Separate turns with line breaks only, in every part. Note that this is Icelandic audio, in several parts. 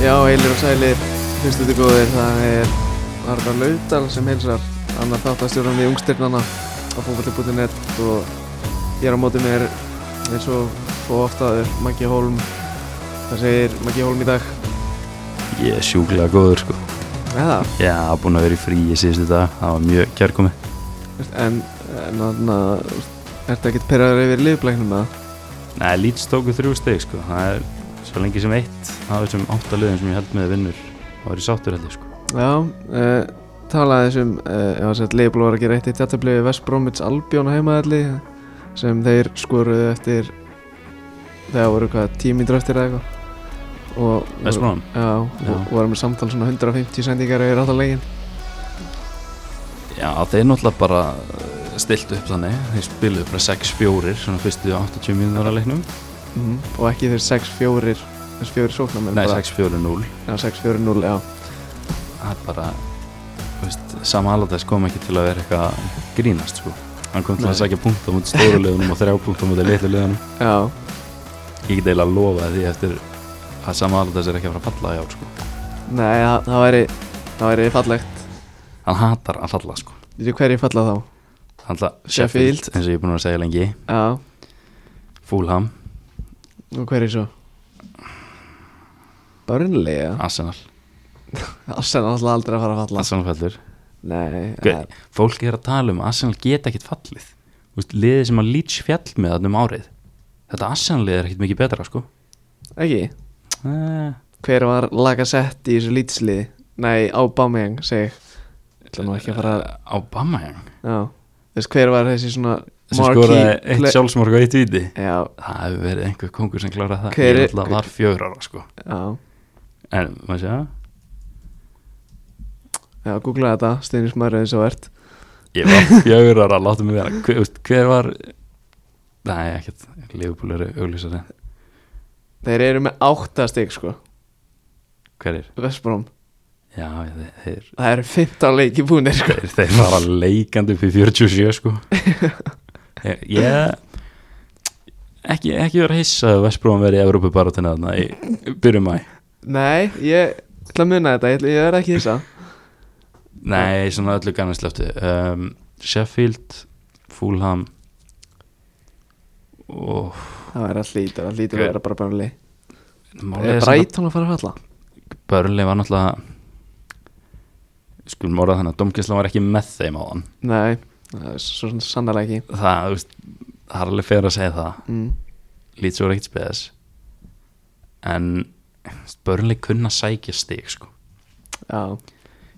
Já, heilir og sælir, fyrstu til góðir, það er Arnar Laudal sem heilsar, annar þáttastjórnandi ungstyrnana á fókvöldi.net og hér á móti mér eins og og oftaður Maggi Hólm, það segir Maggi Hólm í dag.
Ég er sjúklega góður sko
Eða,
Já, búin að vera í fríi síðustu dag Það var mjög kjærkomi
en, en þannig að, ertu ekkert perraður yfir liðblæknum með það?
Nei, Leeds tóku þrjú steg sko Það er svo lengi sem eitt Það er sem átta liðum sem ég held með vinnur Það var í sáttur held ég sko
Já, uh, talaði þessum, uh, já, sett liðból var að gera eitt í tjartabliði West Bromwich Albion heimaðalli sem þeir skoruðu eftir, þegar voru hvað, tímíndur eftir eða eitthvað og voru-
Vestbrón
Já,
Já.
og varum við samtal svona 150 sendingar yfir alltaf legin
Já, þeir náttúrulega bara eh, stiltu upp þannig Þeir spiluðu bara 6-4 Svona fyrstu 80 mínútur að leiknum
og ekki þeir 6-4 þessi fjóri sóknar
Nei, 6-4-0
Já, 6-4-0, já
Það er bara þú veist, Sam Allardyce kom ekki til að vera eitthvað að grínast sko Hann kom til
Nei.
að sækja punktum út stóru liðunum og þrjá punktum út í litlu liðunum
Já,
ég get eiginlega að lofa því eftir að samanlega þess er ekki að fara að falla í ár sko.
nei, það, það væri það væri fallegt
hann hatar að falla sko.
Þetta er hverju falla þá
hann ætla
Sheffield.
Sheffield, eins og ég er búin að vera að segja lengi
Já,
Fulham,
og hverju svo Börnlega ja.
Arsenal
Assen alltaf aldrei að fara að falla
Arsenal fellur
Nei,
Hver- fólk er að tala um að Arsenal geta ekkit fallið Vist, liðið sem að Leach fjall með þarna um árið þetta Arsenal liðið er ekkit mikið betra sko.
eh, ekki
Eh,
Hver var laga sett í þessu lýtsliði Nei, Aubameyang, segi ég ætla nú ekki að fara að
Eh, Aubameyang
Já, þess hver var þessi svona
sem
marquee
skoraði eitt
play-
sjálfsmorg og eitt viti
Já,
það hefur verið einhver kongur sem kláraði það
Hver er-
ég er alltaf var fjör ára sko.
já
en maður sé að
Já, googla þetta, stuðnismæður eins og ert
Ég var fjögur ára, láttu mig vera hver, úst, hver var Nei, ekkert, Liverpool eru auglýsari
Þeir eru með átta stygg sko
Hver er?
Vestbróm,
Já, þeir, þeir,
það eru 15 leiki búinir sko
þeir, þeir var leikandi upp í 47 sko Ég- Ég ekki, ekki vera hissa að Vestbróðan verið í Evrópu bara til næðna í byrjum mæ
Nei, ég ætla að muna þetta, ég, ætla- ég er ekki þessa
Nei, svona öllu gannast löftu um, Sheffield, Fulham og
Það er allt lítur, allt lítur
Hver-
að vera bara bæmli
málið
Er
samt að-
Brighton að fara að falla?
Börli var náttúrulega skulum orða þannig að domkjenslan var ekki með þeim á hann
Nei, það er svo svona sannlega ekki
það, þú veist, það er alveg fyrir að segja það
mm.
lítið svo er ekkert spes en Börli kunna sækja stig sko.
Já,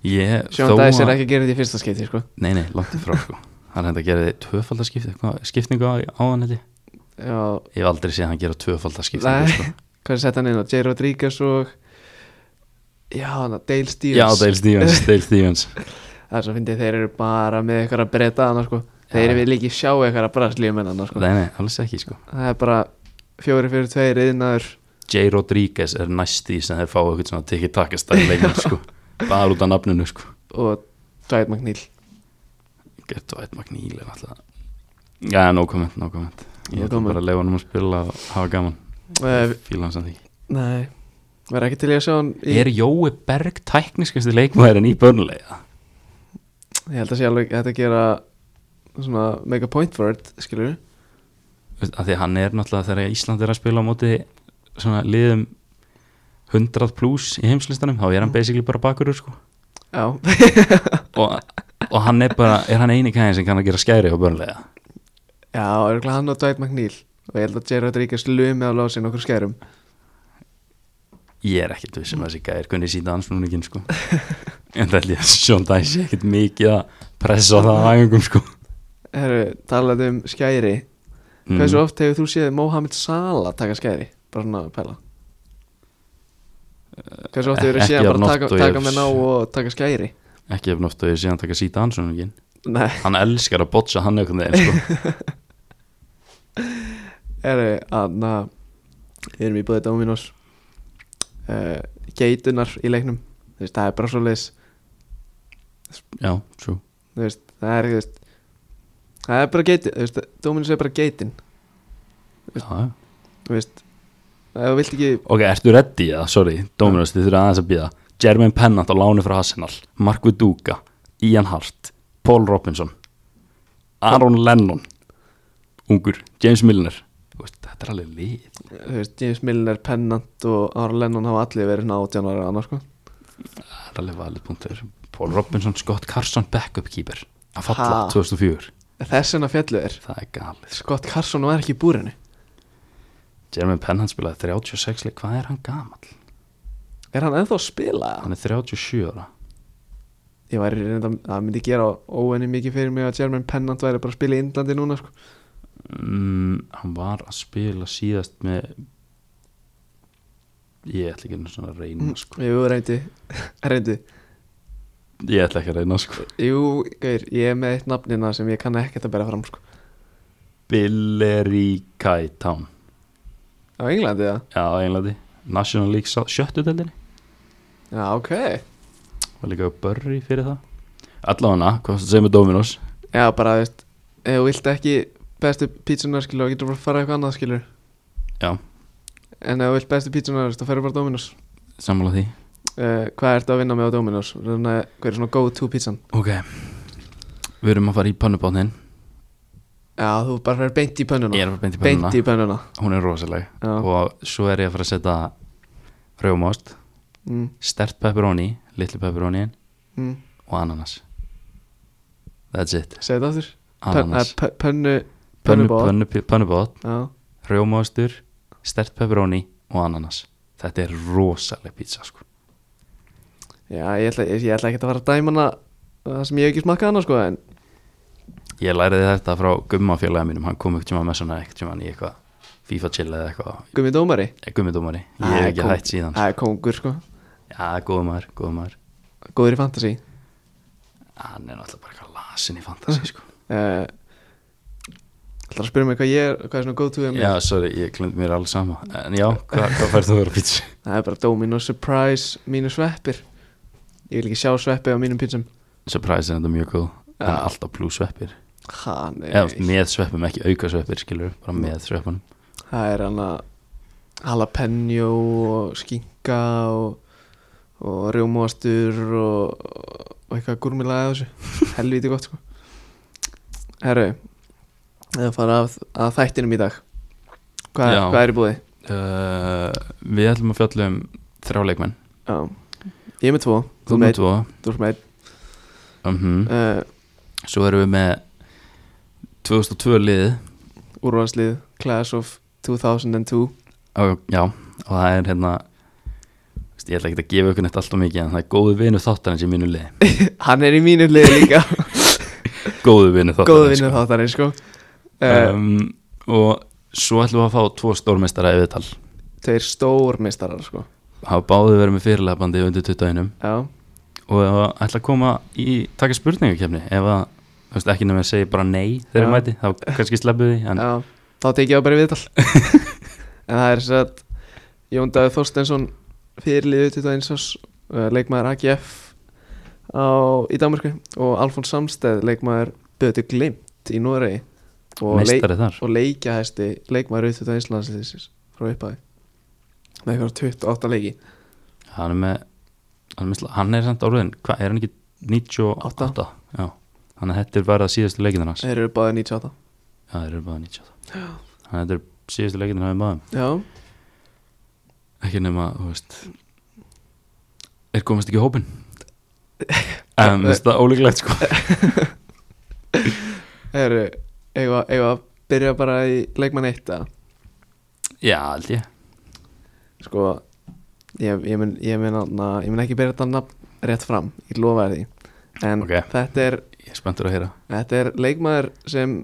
ég
Sjón Dæs er ekki að gera þetta í fyrsta skipti sko
nei nei, langt í frá sko. hann hefði að gera því tvöfaldarskipti skipningu á, á hann þetta
Já,
ég hef aldrei séð hann gera
Nei.
tvöfaldarskiptingu sko.
hvað er sett hann inn á? J. Rodríguez og Já, hann að Dale Stevens
já, Dale Stevens, Dale Stevens.
Það er svo fyndið, þeir eru bara með eitthvað að breyta hann sko Þeir
Já.
eru við líki sjá eitthvað að braslíum en hann sko
nei nei, alls ekki sko.
það er bara fjóri fyrir tveir yðnaður
J. Rodríguez er næst í sem þeir fá eitthvað svona tiki-taka-stæl leikmenn sko. bara út af nafninu sko.
og Dwight McNeil
Gert Dwight McNeil er alltaf Já, no comment, no comment Ég
No
ætla
comment.
bara að leifa hann að spila og hafa gaman
uh,
Fíla hann samt ekki
Nei, verður ekki til í að sjá hann í,
Er Jói Berg tækniskasti leikmæðurinn í börnulega?
Ég held að sé alveg þetta gera svona make a point for it, skilur
Af því að hann er náttúrulega þegar Ísland er að spila á móti svona liðum 100 pluss í heimslistanum þá er hann basically bara bakurur sko
Já,
og, og hann er bara, er hann eini kæðin sem kann að gera skæri á börnulega
já, örgulega hann og Dwight McNeil og ég held að J. Rodríguez lumi á lásin okkur skærum
Ég er ekkert vissum að þessi gæðir kunni síta ansnúningin sko En það held ég að Sjón Dæs sé ekkert mikið að pressa á það á æfingum sko
Herru, talað um skæri
Mm.
Hversu oft hefur þú séð Mohamed Salah taka skæri? Bara svona að pæla Hversu oft hefur þú
Eh, ekki
séð hann
jafn
bara
oft
taka,
og ég
taka
hef
með ná og taka skæri?
ekki ef náttúrulega ég sé hann taka síta hans hann,
Nei
hann elskar að botsa hann einhvern veginn sko.
Herru, aðna Við erum í búið Dominos uh, Geitunar í leiknum Þú veist, Það er bara svo leis
já, true
veist, Það er, þú veist, það er bara geitin veist, Dominos er bara geitin
já, já.
þú veist, Ef þú vilt ekki
Ok, ertu reddi eða, sorry, Dominus, þið þurfið aðeins að býða Jermaine Pennant á láni frá Arsenal Markvið Duga, Ian Hart Paul Robinson Aaron Lennon Ungur, James Milner Þú veist, Þetta er alveg lið
þú veist, James Milner, Pennant og Aron Lennon hafa allir verið svona 18 ára annar sko
Það er alveg valið punktur Paul Robinson, Scott Carson, backup keeper Að falla
Ha?
2004
Þess vegna fjallu er
Það er galið
Scott Carson var ekki í búrinu
Jermaine Pennant spilaði 36 leik Hvað er hann gamall?
Er hann ennþá að spila?
Hann er 37 ára
Ég væri reynda, það myndi gera óenni mikið fyrir mig að Jermaine Pennant væri bara að spila í Indlandi núna sko
mm, Hann var að spila síðast með Ég ætla ekki einu sinni að
Mm.
reyna sko.
Jú, reyndi, reyndi
Ég ætla ekki að reyna sko.
Jú, gaur, ég er með eitt nafnina sem ég kann ekkert að bera fram sko
Billery Kaitán
Á Englandi það?
Já, einlega National League sá- sjöttu deldinni
Já, ok
Var líka börri fyrir það Allavega, hvað sem segir með Dominos
Já, bara, þú veist, ef þú vilt ekki bestu pítsunar skilur, þá getur bara að fara eitthvað annað skilur
Já.
En ef þú vilt bestu pítsunar, þá ferðu bara á Dominos
Sammála því
uh, Hvað ertu að vinna með á Dominos? Svona, hver er svona go to pítsan?
Ok Við erum að fara í pönnubátnin
Já, þú bara ferð beint í pönnuna
Ég er að fara beint í
Beint í
pönnuna
pönnuna
Hún er rosaleg
Já,
Og svo er ég að fara að setja Rjómást,
mm,
stert pepperoni Litlu pepperoni
mm.
og ananas That's it
segðu það aftur Pön- eh,
Ananas
pö- Pönnu,
Pönnu-
pönnubát.
pönnu- Pönnubát,
já
rjómaostur Stert pepperoni og ananas Þetta er rosaleg pizza sko
Já, ég ætla, ég, ég ætla ekki að fara að dæma hana Það sem ég hef ekki smakkað hana, sko En
Ég læriði þetta frá gummafélaga mínum Hann kom ekkert tíma með svona ekkert tíma í eitthvað FIFA chill eða eitthvað
gummi dómari
Eh, Gummidómari, ég
Æ,
hef ekki
kom-
hætt síðan
Það er kongur, sko
Já, góð maður, góð maður
Góður í fantasy
Hann er náttúrulega bara eitthvað lasin í fantasi sko
uh, ætlar að spyrja mig hvað ég er hvað er svona go to hjá mér
Já, sorry, ég klund mér alls sama En já, hva, hvað færðu þú að vera á pizza?
það er bara Domino Surprise mínu sveppir ég vil ekki sjá sveppi á mínum pizzum
Surprise er þetta mjög góð En
Já.
alltaf blú sveppir
ha, nei,
Eða með sveppum, ekki auka sveppir, skilur Bara með sveppunum
það er hann að jalapeno og skinka og, og rjómóastur og, og eitthvað gúrmilaði af þessu helviti gott sko herru eða fara að, að þættinum í dag hvað,
Já.
hvað er í búði?
Uh, við ætlum að fjalla um þrjá leikmenn
Já. ég er með tvo,
Þú með tvo
þú er með einn
uh
uh,
Svo erum við með 2002 liðið
úrvalslið Class of 2002
og, Já, og það er hérna veist, Ég ætla ekki að gefa ykkur neitt alltaf mikið En það er góðu vinu þáttarins í mínu liði
hann er í mínu liði líka
Góðu vinu þáttarins
góð vinnur þáttarins sko uh,
um, Og svo ætlum við að fá tvo stórmestara í viðtal
þeir stórmistarar sko
Hafa báði verið með fyrirlefandi undir 21
já,
Og ætla að koma í taka spurningakefni Ef að, þú veist, ekki nefnir að segja bara nei Þegar
Já.
mæti, þá kannski sleppu því En
já, þá tekið ég á bara viðtal en það er svo að Jón Davíð Þorstensson fyrirliðu 21 árs uh, leikmaður AGF á, í Danmarku og Alfons Samsteð leikmaður Bötu Glimt í Noregi og, leik,
meistari þar
og leikjahæsti leikmaður 21 landsliðsins frá upphæði með eitthvað 28 leiki
hann er með hann er, með, sl- hann er samt áriðin, hvað, er hann ekki 98? Já, þannig að þetta er bara síðustu leikindin hans Já,
Þeir eru báðið 98
það eru bara 98 þannig að þetta er síðustu leikindin hans maður
Já,
ekki nema, þú veist er komast ekki í hópin en veist það ólíklegt sko
þeir eru eigum að- eigum að byrja bara í leikmann eitt að
já, held ég
sko ég, ég, mun, ég, mun, na, ég mun ekki byrja þetta nafn rétt fram, ég lofa þér því en
Ok.
þetta, er,
ég er spenntur að heyra
þetta er leikmaður sem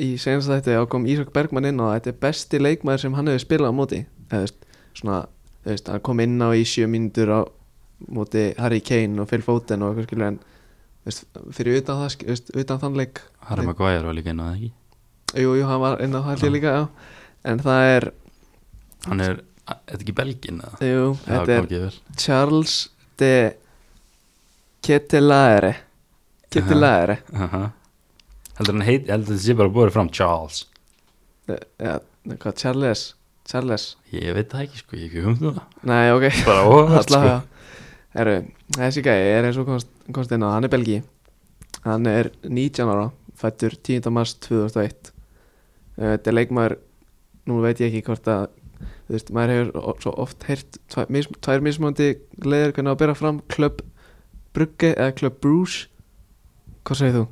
í senast þetta þá kom Ísak Bergmann inn á þetta er besti leikmaður sem hann hefur spilað á móti eða þú veist, svona, þú veist, hann kom inn á í sjö mínútur á móti Harry Kane og Phil Foden og eitthvað skilur en þú veist, fyrir utan, það, sk- þú veist, utan þann leik
Harry Maguire var líka inn á það ekki
Jú, jú, hann var inn á haldi
Já.
líka já. En það er,
hann er, er þetta ekki belgin eða?
jú,
Já,
þetta
kom
er
ekki vel.
Charles de Ketelaere Ketelaere
Aha. heldur hann heit, heldur þetta sé bara búið fram Charles
Já, hvað, Charles Charles
Ég veit það ekki sko, ég hef ekki humtum það
Nei, ok
Bara óhægt sko
Allavega Heru, Þessi gæi er eins og komst, komst inn á Hann er belgi Hann er 19 ára Fættur 10. mars 2001 Eh, Þetta er leikmaður Nú veit ég ekki hvort að þú veist, Maður hefur o- svo oft heyrt tvær, mis, tvær mismöndi leður Hvernig á að bera fram Club Brugge eða Club Bruges Hvað segir þú?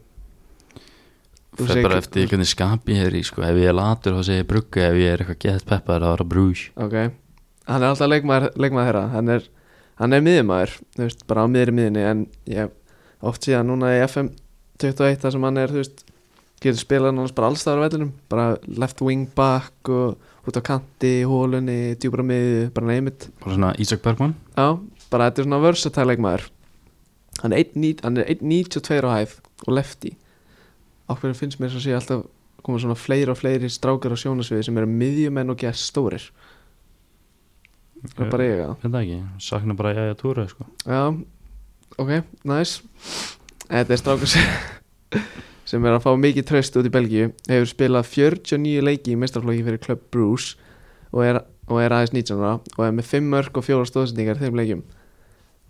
Þú
Fer
segir
bara
ekki-
eftir hvernig skapi ég er í sko Ef ég er latur þá segir ég brugga Ef ég er eitthvað gett peppar þá er það brús
Ok, hann er alltaf leikmaður, leikmaður þeirra hann er, hann er miðjumæður þú veist, bara á miðri miðinni en ég oft síðan núna í FM 21 þar sem hann er, þú veist getur spilað náttúrulega bara allstaðar á vellinum bara left wing back og út á kanti, hólunni, djúbra miðju bara neymit,
Bara svona Ísak Bergman
já, bara þetta er svona versatile leikmaður hann er 1.90 hann er 1.92 á hæð og lefty á hverju finnst mér svo sé alltaf koma svona fleiri og fleiri strákar á sjónasviði sem eru miðjumenn og gæst stórir það er bara ég að
Þetta Eh, ekki, sakna bara jæja túra sko
Já, ok, næs Þetta er strákur sem, sem er að fá mikið tröst út í Belgíu Hefur spilað 49 leiki í mestarflokki fyrir Club Bruce og er, og er aðeins 19 ára og er með 5 mörg og 4 stóðsendingar þeim leikjum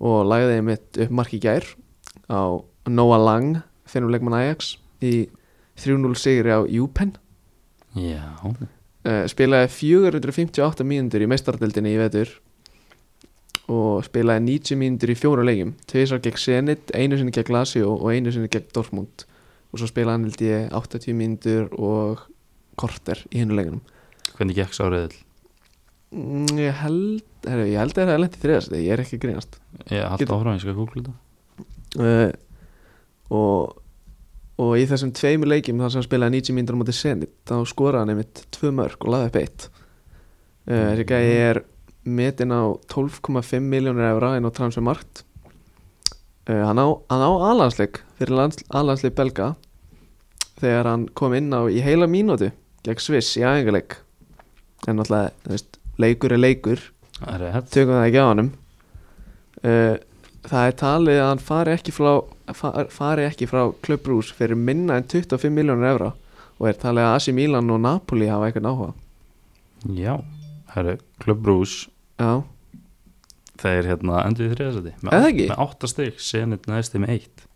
og lagði þeim mitt upp marki í gær á Noah Lang finnum leikmann Ajax í 3-0 sigri á Júpen
Já,
uh, spilaði 458 mínútur í meistardeldinni í vetur og spilaði 90 mínútur í fjóra leikjum tveisar gegn Zenit, einu sinni gegn Lazio og einu sinni gegn Dortmund og svo spilaði hann held ég 80 mínútur og korter í hinu leikunum
hvernig gekk sáriðil
mm, ég held, heru, ég held að það er lent í þriðast ég er ekki að grínast
Ég haldi
Getur-
áfram, ég skal googla þetta
uh, og og í þessum tveimur leikjum þar sem hann spilaði 90 mínútur á móti senit þá skoraði hann einmitt tvö mörg og laði upp eitt uh, þessi gæði er metin á 12,5 miljónir evra inn á transfermarkt uh, hann á, hann á alansleik fyrir lands, alansleik belga þegar hann kom inn á í heila mínútu gegn Sviss í aðingarleik en náttúrulega, þú veist, leikur er leikur
Það er rétt
tökum það ekki á honum uh, það er talið að hann fari ekki frá, far, fari ekki frá Club Brús fyrir minna en 25 miljónur evra og er talið að Asi Milan og Napoli hafa eitthvað áhuga
Já, herru, Club Bruce
já,
Þeir hérna endur í þriðasæti
Er það ekki?
Með 8 stygg, senit næsti með 1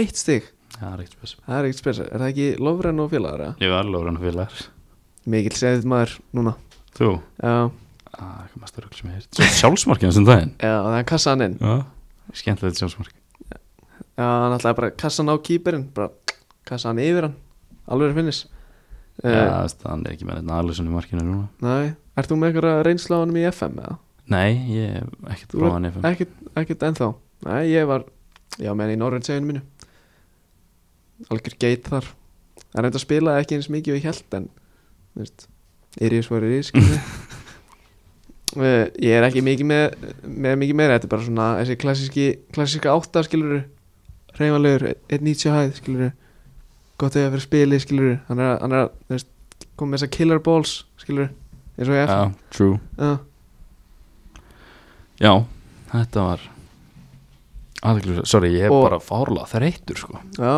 eitt stig,
Það er ekkert spes
það er ekkert spesar er það ekki Lofren og félagar eða?
Ég var alveg rann félagar
mikill segðið maður núna
Þú?
já,
Ah, hvað maður stöður sem ég heirt Svo sjálfsmarkið þessum daginn
já það er kassan hann inn
Já Skemmtilegt sjálfsmark
já, hann ætlaði bara kassan á kýperinn bara kassan yfir hann alveg finnis uh,
Já, þú veist, hann er ekki með þetta Alisson í markinu núna
næ, ert þú með eitthvað reynsla á hann í FM eða?
Nei, ég hef ekkert
Þú
prófað hann FM
ekkert, ekkert ennþá Nei, ég var, já, menn í Norröndseginu mínu Algjör geit þar Það reynda að spila ekki eins mikið og ég held en þú veist, Írjus var Írjus Ég er ekki mikið með, með mikið meira Þetta er bara svona þessi klassíski klassíska átta skilur reyfanlegur, 1.90 hæð skilur gott að ég að vera spili skilur hann er að, hann er að þú veist, koma með þessa killer balls skilur eins og ég
Já,
eftir
true
Já,
Já, þetta var aðeins, sorry, ég hef
Og-
bara fárlega þreytur sko
Já,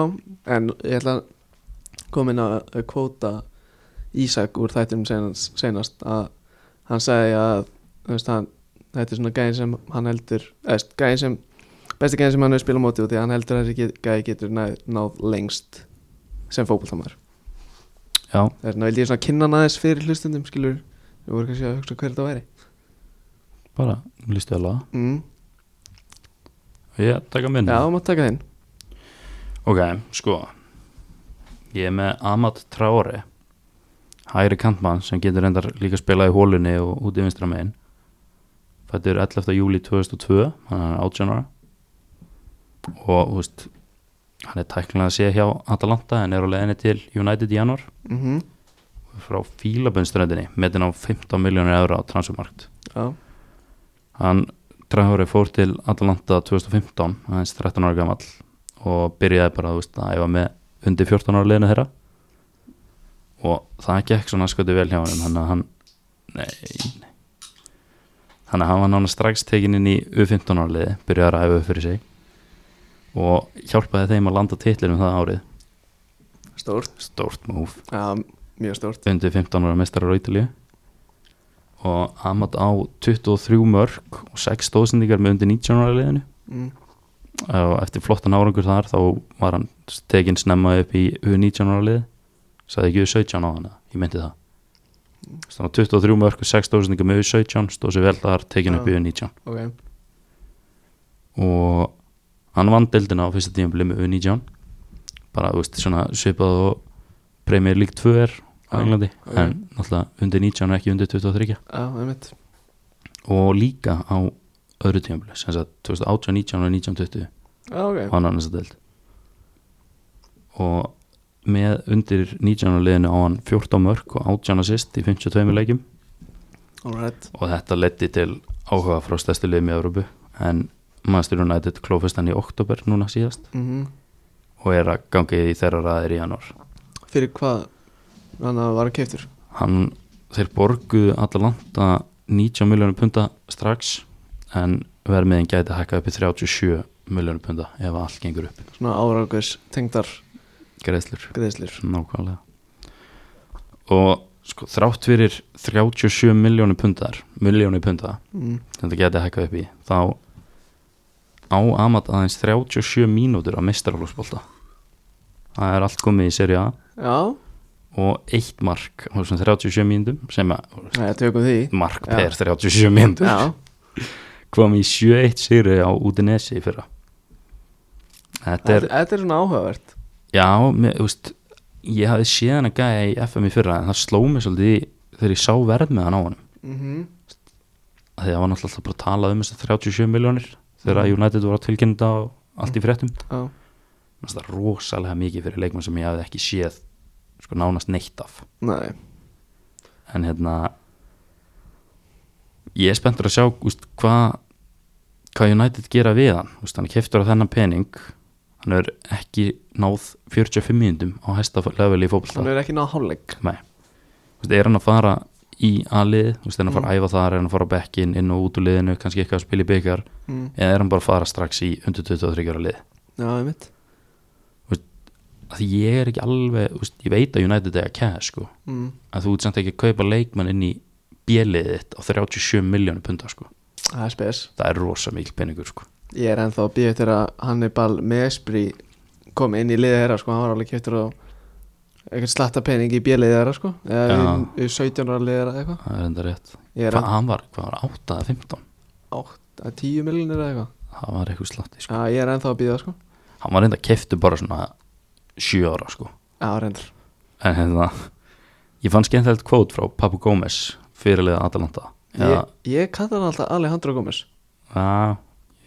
en ég ætla að koma inn að að kvóta Ísak úr þættum senast, senast að hann sagði að þú veist, hann, þetta er svona gæðin sem hann heldur eðst, gæðin sem, besti gæðin sem hann hefur spilað á móti og því að hann heldur að þessi get, gæði getur náð, náð lengst sem fótboltamar
Já,
þess vegna vildi ég svona kynna hann aðeins fyrir hlustundum skilur, við voru kannski að hugsa hver þetta væri
bara, lístu alveg
mm.
Og ég taka minni
Já, maður taka þinn
Ok, sko Ég er með Amat Traore Hæri kantmann sem getur endar líka spilað í hólunni og út í vinstra megin Fættur 11. júli 2002 hann er 18 ára og þú veist hann er tæknilega að sé hjá Atalanta en er á leiðinni til United í janúar
mm
frá Fílabunströndinni metin á 15 miljónir eura á transfermarkt
Já,
Hann Traore fór til Atalanta 2015, aðeins 13 ára gamall og byrjaði bara þú veist, að æfa með undir 14 ára liðinu þeirra og það gekk svona skoði vel hjá hann þannig að hann nei, nei. þannig að hann var nána strax tekin inn í U15 ára liði, byrjaði að æfa upp fyrir sig og hjálpaði þeim að landa titlinum það árið
stórt
stórt múf
Já, mjög stórt
undir 15 ára mestarar á Ítalíu og Amat á 23 mörg og 6 stóðsendingar með undir 19 ára liðinu
mm.
og eftir flottan árangur þar þá var hann tekin snemma upp í U19 ára lið sagði ekki U17 á hann ég myndi það Þannig að 23 mörg og 6 stóðsendingar með U17 stóð sér vel þar tekin upp í
Já.
U19
ok,
og hann vann deildina á fyrsta tímabili með U19 bara, þú veist, svona svipað og Premier League 2 er á
Já,
Englandi
ok.
en náttúrulega undir 19 og ekki undir 23
já, einmitt
og líka á öðru tímabili sem sagt 2018, 19 og 19,
já,
20
ok,
hann annars að deild og með undir 19 og liðinu á hann 14 mörg og 18 assist í 52 leikjum
alright
og þetta letti til áhuga frá stærstu liðum í Európu en Manchester United klófist hann í oktober núna síðast
mm
og er að gangi í þeirra raðir í janúar
fyrir hvað hann að vara keiftur
hann, þeir borguðu Atalanta 90 miljónum punda strax en vermiðin gæti hækka upp í 37 miljónum punda ef allt gengur upp
svona áraugis tengdar
greiðslur,
greiðslir
nákvæmlega og sko, þrátt fyrir 37 miljónum pundar miljónum punda
mm.
sem þetta gæti hækka upp í þá á Amat aðeins 37 mínútur á mestaralúsbolta það er allt komið í seri A
já,
og eitt mark á þessum 37 mínútum sem að
næja, tökum því
mark
Já.
per 37 myndur
já,
kom í 7-1 sigri á Udinese í fyrra þetta er
þetta þetta er svona áhugavert
já, mér, þú veist ég hafði séð hann að gæja í FM í fyrra en það sló mig svolítið í- þegar ég sá verð með hann á hann
mm
að því að það var náttúrulega alltaf bara að tala um þessar 37 miljónir þegar United voru að tilkynna á allt í fréttum
já,
Mér fannst það rosalega mikið fyrir leikmann sem ég hafði ekki séð sko nánast neitt af
nei,
en hérna ég er spenntur að sjá úst, hvað hva United gera við hann úst, hann er keftur á þennan pening hann er ekki náð 45 mínundum á hæsta level í
hann
fótbolta
er ekki náða hálfleik
Nei. Úst, er hann að fara í alið úst, er hann að fara að æfa þar, er hann að fara á bekkin inn og út úr liðinu, kannski eitthvað að spila í byggar
mm.
eða er hann bara að fara strax í undir 23 ára lið
já, einmitt
Af því ég er ekki alveg, úst, ég veit að United er að cash sko,
mm.
að þú ert samt ekki að kaupa leikmann inn í bjeliðið þitt á 37 miljónu punda sko
það er spes
það er rosa mikil peningur sko
Ég er ennþá að býja eftir að Hannibal Mesbri kom inn í liðið þeirra sko, hann var alveg kjöptur á eitthvað slatta pening í bjöliðið þeirra sko, eða
Já.
í- í 17 ára liðið þeirra eitthvað.
það er enda rétt
Ég er
Hva, hann var, hvað var, 8 að 15
átt að 10 miljonir eða eitthvað.
það var eitthvað slatti sko
Já, ég er ennþá að býja sko.
hann var enda keftu bara svona 7 ára sko
Já, reyndur.
en hérna ég fann skemmtilegt kvót frá Papu Gómez fyrirlega Atalanta já,
Ég, ég kallar hann alltaf Alejandro Gómez.
já,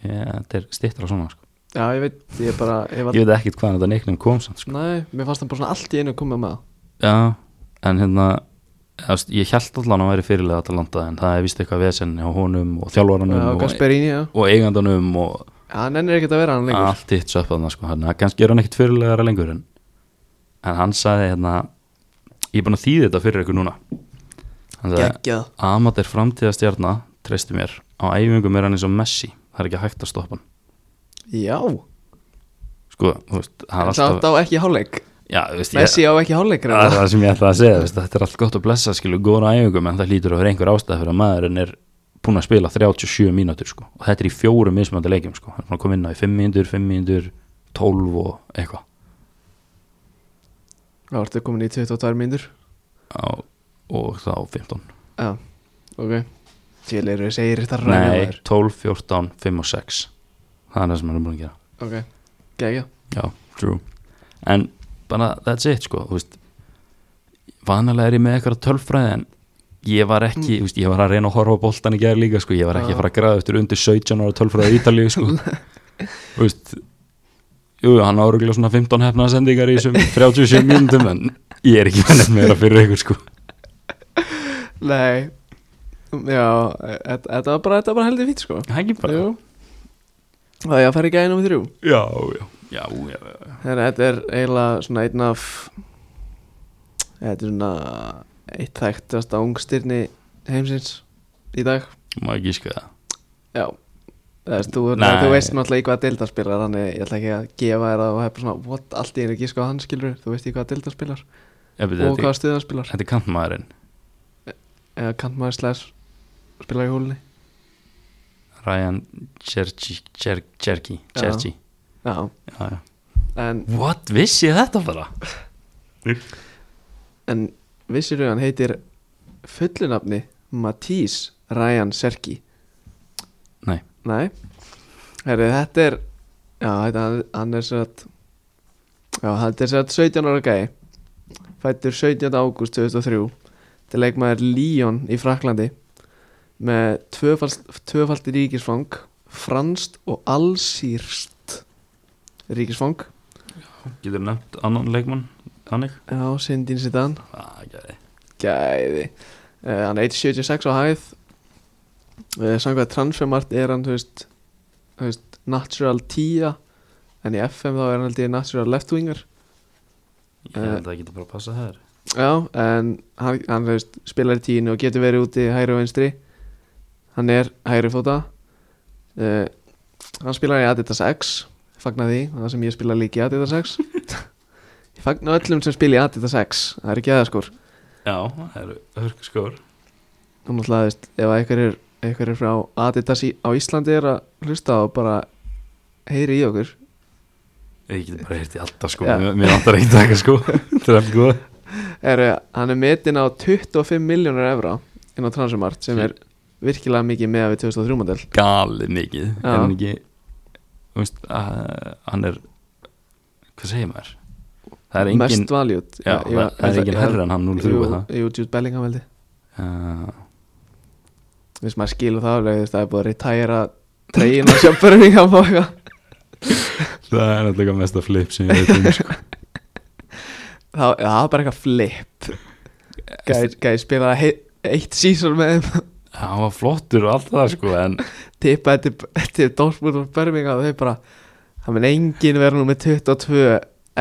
ég- þetta er stittra svona sko
Já, ég veit, ég bara, ég var,
ég veit ekkert hvaðan þetta neiknum kom samt sko
næ, mér fannst hann bara svona allt í einu komið með það.
já, en hérna þú veist, ég held allan að hann væri fyrirlega Atalanta en það er vist eitthvað vesenni á honum og þjálfaranum
Já,
og,
Gasperini, já.
og eigandanum og
Já, hann ennir ekkert að vera hann lengur.
allt hitt söpðaðna sko hann kannski er hann ekkit fyrirlegara lengur en, en hann sagði hérna ég er búin að þýði þetta fyrir ykkur núna hann sagði
Geggjað.
Amat er framtíðastjarna, treystu mér á æfingum er hann eins og Messi það er ekki hægt að stoppa hann
Já,
sko, þú veist, það er
en samt
alltaf
á ekki hálfleik.
já, þú veist, ég, Ah.
Messi á ekki hálfleik,
það er
reyndar.
það sem ég ætla að segja þú veist, þetta er allt gott að blessa, skilu, góðan á æfingum en það lítur að vera einhver ástæð fyrir að maðurinn er búin að spila 37 mínútur sko og þetta er í fjórum mismöndi leikjum sko hann er búin að koma inn á í 5 mínútur, 5 mínútur 12 og eitthvað
Já, ertu komin í 22 mínútur.
á, og þá 15
Já, ok Tjölu eru þessi eirir þetta
Nei,
ræður
12, 14, 5 og 6 það er það sem hann er búin að gera
Ok, gegja
Já, true en bara that's it sko þú veist, vanalega er ég með eitthvað tölfræði en ég var ekki, þú veist, ég var að reyna að horfa á boltan í gerð líka sko, ég var ekki að fara að græða eftir undir 17 ára tölfræði í Ítalíu sko Þú veist, jú, hann á örgulega svona 15 hefna sendingar í þessum 37 mínútum en ég er ekki með nefn meira fyrir ykkur sko
Nei Já, e- e- þetta var bara, þetta var bara heldur fít sko
Það er ekki bara
Jú Það ég að fara í gæðinum við þrjú
Já, já, já, já, já.
Þannig að þetta er eiginlega svona einn af Þetta er svona eitt þekktasta ungstyrni heimsins í dag
Má ekki sko það
Já Þess, þú,
Nei.
þú veist náttúrulega í hvað deildar spilar þannig ég ætla ekki að gefa þér að og hefur svona what, allt í einu gíska á hann skilur þú veist í hvað deildar spilar
Ég, beti,
og
þetta,
hvað stuðan spilar
þetta er kantmaðurinn
eða kantmaður slags spila í hólunni
Ryan Jergi Jergi
Já.
Jergi
Já, en,
What, vissi ég þetta bara?
en vissir hann heitir fullunafni Matís Ryan Serki
Nei.
Nei Herri, þetta er Já, þetta, hann- hann er satt Já, hann er satt 17 ára gæi Fættur 17. ágúst 2003 Þetta er leikmaður Lyon í Fraklandi Með tvöfald, tvöfaldi ríkisfang Franskt og allsýrst Ríkisfang
Getur nefnt annan leikmann Þannig?
Já, Sindin Sidan
Ah, gæði
gæði uh, hann er 176 á hæð uh, samkvæmt transfermart er hann þú veist, þú veist, natural 10 en í FM þá er hann held ég natural left winger
Ég held að geta bara að passa þær
já, en hann, hann þú veist, spilar í tíinu og getur verið úti hægri og vinstri hann er hægri fóta uh, hann spilar í Adidas X fagna því, það sem ég spila líka í Adidas X ég fagna öllum sem spila í Adidas X það er ekki aðeins sko. skor
Já, það eru hörku skór
og náttúrulega, þú veist, ef einhver er, einhver er frá Adidas í, á Íslandi er að hlusta og bara heyri í okkur
Ég geti bara heyrt í alltaf sko
Já.
Mér Mér vantar ekkert eitthvað sko Það er alveg góð
er, eh, hann er metin á 25 miljónur evra inn á Transumart sem er virkilega mikið með við 2003 model
Galið mikið
Já.
Er hann ekki Þú veist, uh, hann er Hvað segir maður? Það er engin
mest valjút
Já, það, það er engin herri en hann 0-3 er það
Jú, Jude Bellingham veldi
Já,
Viss maður skilur það alveg, þú veist, það er búið að retæra treyina sjöfbörning af okkar
Það er náttúrulega mesta flip sem ég veit um sko.
Það það var bara eitthvað flip Gæði gæ, spilaði he- eitt sísón með þeim
Hann var flottur og allt það sko En
tippaði til, til Dortmund og Birmingham og þau bara það mun engin vera nummer 22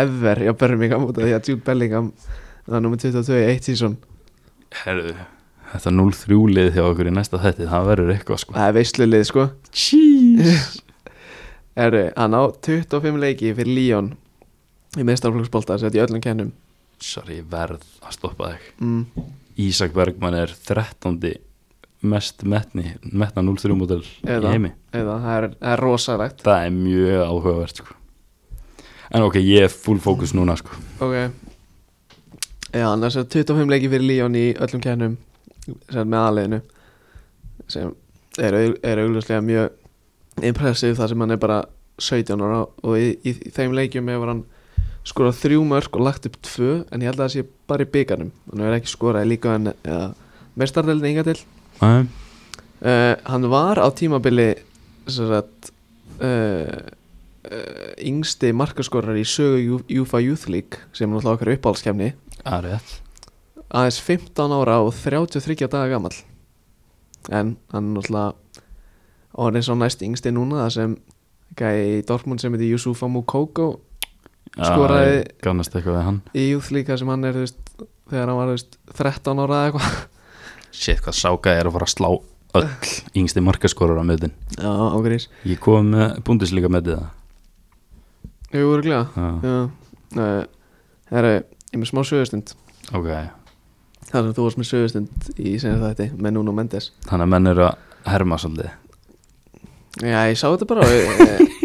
ever hjá Birmingham út af því að Jude Bellingham það er nummer 22 í eitt sísón
herru, þetta 0-3 lið hjá okkur í næsta þætti Það verður eitthvað sko
það er veislulið sko
Jeez
Eru, hann á 25 leiki fyrir Lyon í meðstaflöksbolta sett í öllum kennum
Sorry, ég verð að stoppa þig
mm.
Ísak Bergman er 13. mest metni metna 0-3 mótel í
Eða.
heimi
eða það er, það er rosalegt
það er mjög áhugavert sko. en ok, ég er full fókus núna sko.
ok já, annars er 25 leiki fyrir Líón í öllum kennum sem með aðleginu sem er, au- er augljóslega mjög impressiv þar sem hann er bara 17 ára og í, í, í þeim leikjum hefur hann skorað þrjú mörg og lagt upp tvö en ég held að það sé bara í byggarnum hann hefur ekki skorað í líka en ja, mestardeldin inga til
Æ,
uh, hann var á tímabili sem sagt uh, uh, yngsti markaskorar í sögu Ju- UEFA Youth League sem er náttúrulega okkar uppáhaldskefni
það er rétt
aðeins 15 ára og 33 daga gamall en hann er náttúrulega orðin svo næst yngsti núna það sem gæði í Dortmund sem heiti Yusufa Mukoko Skoraði-
gannast eitthvað við hann
í Youth League þar sem hann er þú veist, þegar hann var þú veist, 13 ára eða eitthvað
shit, hvað sáka er að fara að slá öll yngsti markaskorur á mötin
já, ágrís
ég kom með búndisleika með það
Jú, örglega
Já,
Já, uh, herri, ég er með smá sögustund
ok,
Það sem þú varst með sögustund í senast þætti með Nuno Mendes
þannig að menn eru að herma svolítið
Já, ég sá þetta bara og ég, ég,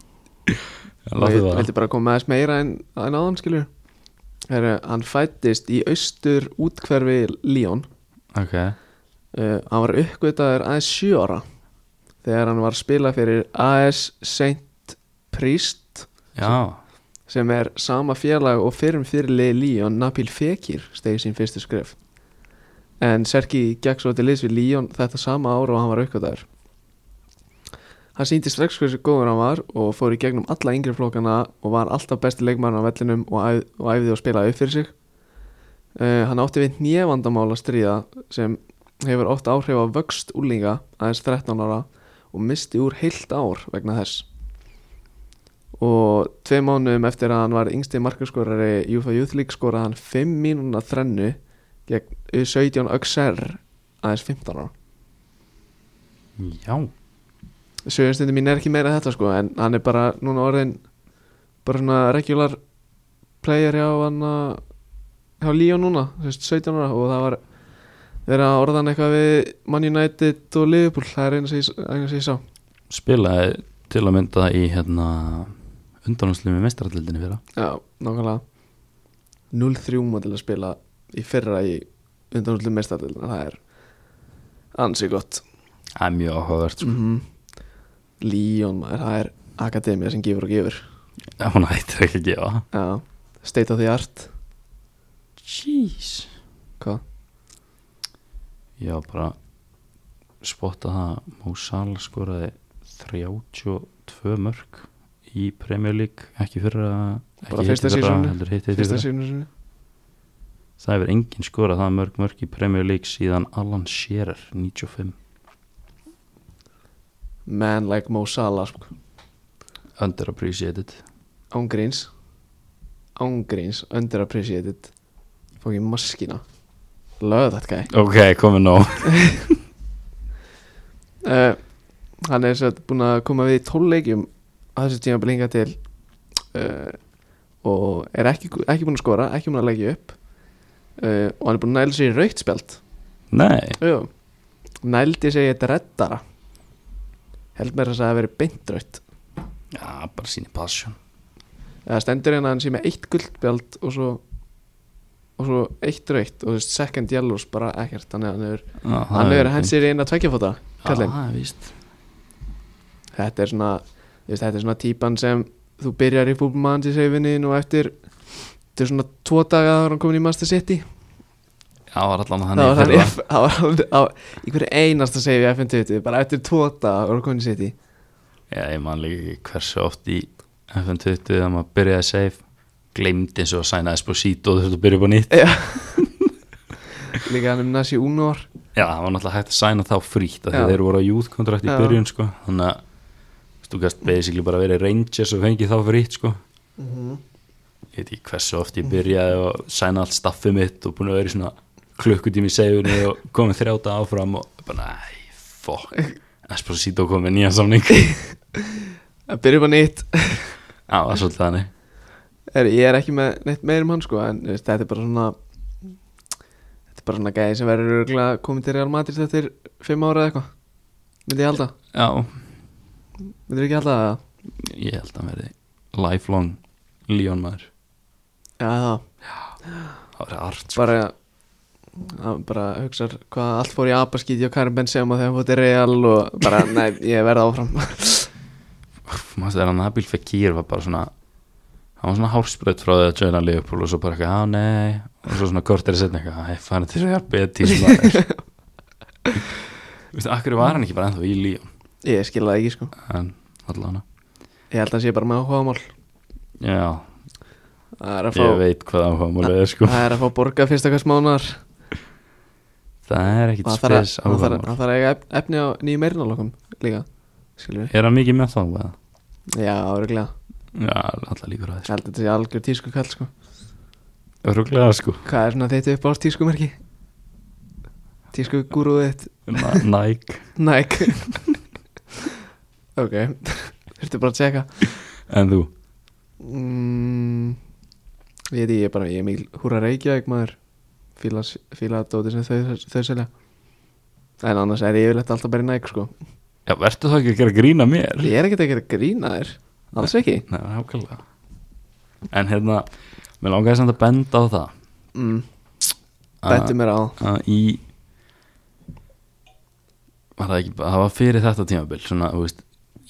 og
Láttu
ég
það.
vildi bara koma aðeins meira en, en áðan skilur Heru, Hann fættist í austur útkverfi Líón
ok,
uh, Hann var uppgötaður aðeins sjö ára þegar hann var að spila fyrir AS Saint Priest
já
sem er sama félag og fyrrum fyrirlið Líón Nabil Fekir stegi sín fyrstu skref en Serki gekk svo til liðs við Líón þetta sama ára og hann var aukvöldaður hann síndi strax hversu góður hann var og fór í gegnum alla yngri flokkana og var alltaf besti leikmann á vellinum og, æf og æfði og spilaði upp fyrir sig uh, hann átti við nýjavandamál að stríða sem hefur oft áhrif á vöxt úlinga aðeins 13 ára og misti úr heilt ár vegna þess og tvei mánuðum eftir að hann var yngsti markaskorari Júfa Júþlík skoraði hann 5 mínúna þrennu gegn 17 Öxer aðeins 15 ára
já,
sögumstundin mín er ekki meira en þetta sko en hann er bara núna orðin bara svona regular player hjá hann að- hjá Líó núna þú veist, 17 ára og það var þú vera að orðan eitthvað við Man United og Liverpool það er einu sem ég- eina sem ég sá
spilaði til að mynda í hérna undanúslu með mestarallildinni fyrra
Já, nákvæmlega 0-3 mótil að spila í fyrra í undanúslu mestardildina það er ansið gott
það er mjög áhugavert sko.
mm Líón maður, það er akademia sem gefur og gefur
mm. hún hættir ekki að gefa
Já, state of the art
jeez
Hvað?
ég var bara spotta það Mo Salah skoraði 32 mörg í Premier League ekki fyrra ekki
Bara fyrsta
hitt í fyrra,
seasoninu?
heldur hitt í
Fyrsta
fyrra.
sínur sinni?
það hefur enginn skorað það mörg mörg í Premier League síðan Alan Shearer 95
Man like Mo Salah sko.
underappreciated
Ángríns Ángríns, underappreciated Fókin maskina Love that guy
ok, komið nóg
uh, Hann er sett búin að koma við í 12 leikjum að þessu tíma blinga til uh, og er ekki, ekki búin að skora ekki búin að leggja upp uh, og hann er búin að næla sér í raukt spjald
nei,
Jú, nældi sér í þetta reddara held mér að það hafi verið beint raukt
já, bara síni passion
eða stendur hérna að hann sé með eitt guldbjald og svo og svo eitt raukt og þú veist second yellows bara ekkert þannig að hann hefur
já, það
hann hefur
beint.
hent sér í eina tveggjafóta kallinn.
Já, það er víst
þetta er svona þú veist, þetta er svona típan sem þú byrjar í fútbolmann til seifinin og eftir þetta er svona tvo daga þá er hann komin í Master City
Já, var allan
það var
þannig
hann
fyrir
í-
það
það var hann á í hverju einasta seifi FN20 bara eftir tvo daga var hann komin í City
Já, ég man líka ekki hversu oft í FN20 þegar maður byrjaði safe gleymdi eins og að sæna Esposito og þurfti að byrja upp á nýtt
Já. líka hann um Nasi Unor
Já, það var náttúrulega hægt að sæna þá frítt af því
Já.
þeir voru á youth kontrakt í
Já.
byrjun sko. þannig að þú veist, þú gæst basically bara verið Rangers og fengið þá frítt sko.
Mhm.
ég veit ekki hversu oft ég byrjaði og sæna allt staffið mitt og búin að vera í svona klukkutími í seifunni og komið þrjáta áfram og bara, næ, fokk Esposito komið nýjan samning Já,
að byrja upp á nýtt
það var svolítið þannig
er, ég er ekki með neitt meir um hann sko en þú veist, þetta er bara svona þetta er bara svona gæði sem verður örugglega komið til Real Madrid eftir fimm ára eða eitthvað myndi ég halda,
Já,
myndi ég ekki halda það
Ég held að hann verði lifelong Leon maður
já það,
Það verði art sko.
bara það bara hugsar hvað allt fór í apaskíti og Karim Benzema þegar hann fótt í Real og bara nei, ég verði áfram
Maður þegar hann Nabil Fekir var bara svona Hann var svona hárspreitt frá því að joina Liverpool og svo bara eitthvað, já nei og svo svona kortir að setja eitthvað, hei, fann til að hjálpa ég tíma Þú veist, akkur var hann ekki bara ennþá í Leon
ég skil það ekki sko
en allan
ég held að hann sé bara með áhugamál
Já,
það er að
ég
fá,
veit hvað áhuga múlið er sko
það er að fá borga fyrsta hvers mánar
Það er ekkit
og það
spes
þarf að- hann
áhuga
þarf- hann þarf að eiga ef- efni á nýjum meirnalokum líka skilur
Er hann mikið með þá? eða?
við já, öruglega
Já, alltaf líkur að
Ég held að þetta sé algjör tísku kall sko
þessu Rúglega sko
Hvað er svona þitt upp á tísku merki? Tísku gúruð þitt
Na- Nike
Nike Ok Þurftu bara að tjekka
En þú?
mm, Ég veit ekki, ég er bara Ég er mikil húra Reykjavík maður Fíla, fíla dóti sem þau, þau selja En annars er ég yfirleitt alltaf bara í Nike sko
Já, verður þá ekki að gera grína mér?
Ég er ekkert að gera grína þér Alls ekki
Nei, nákvæmlega En hérna, mér langaði samt að benda á það
mm,
að-
Bentu mér á
að í var það ekki, það var fyrir þetta tímabil svona, þú veist,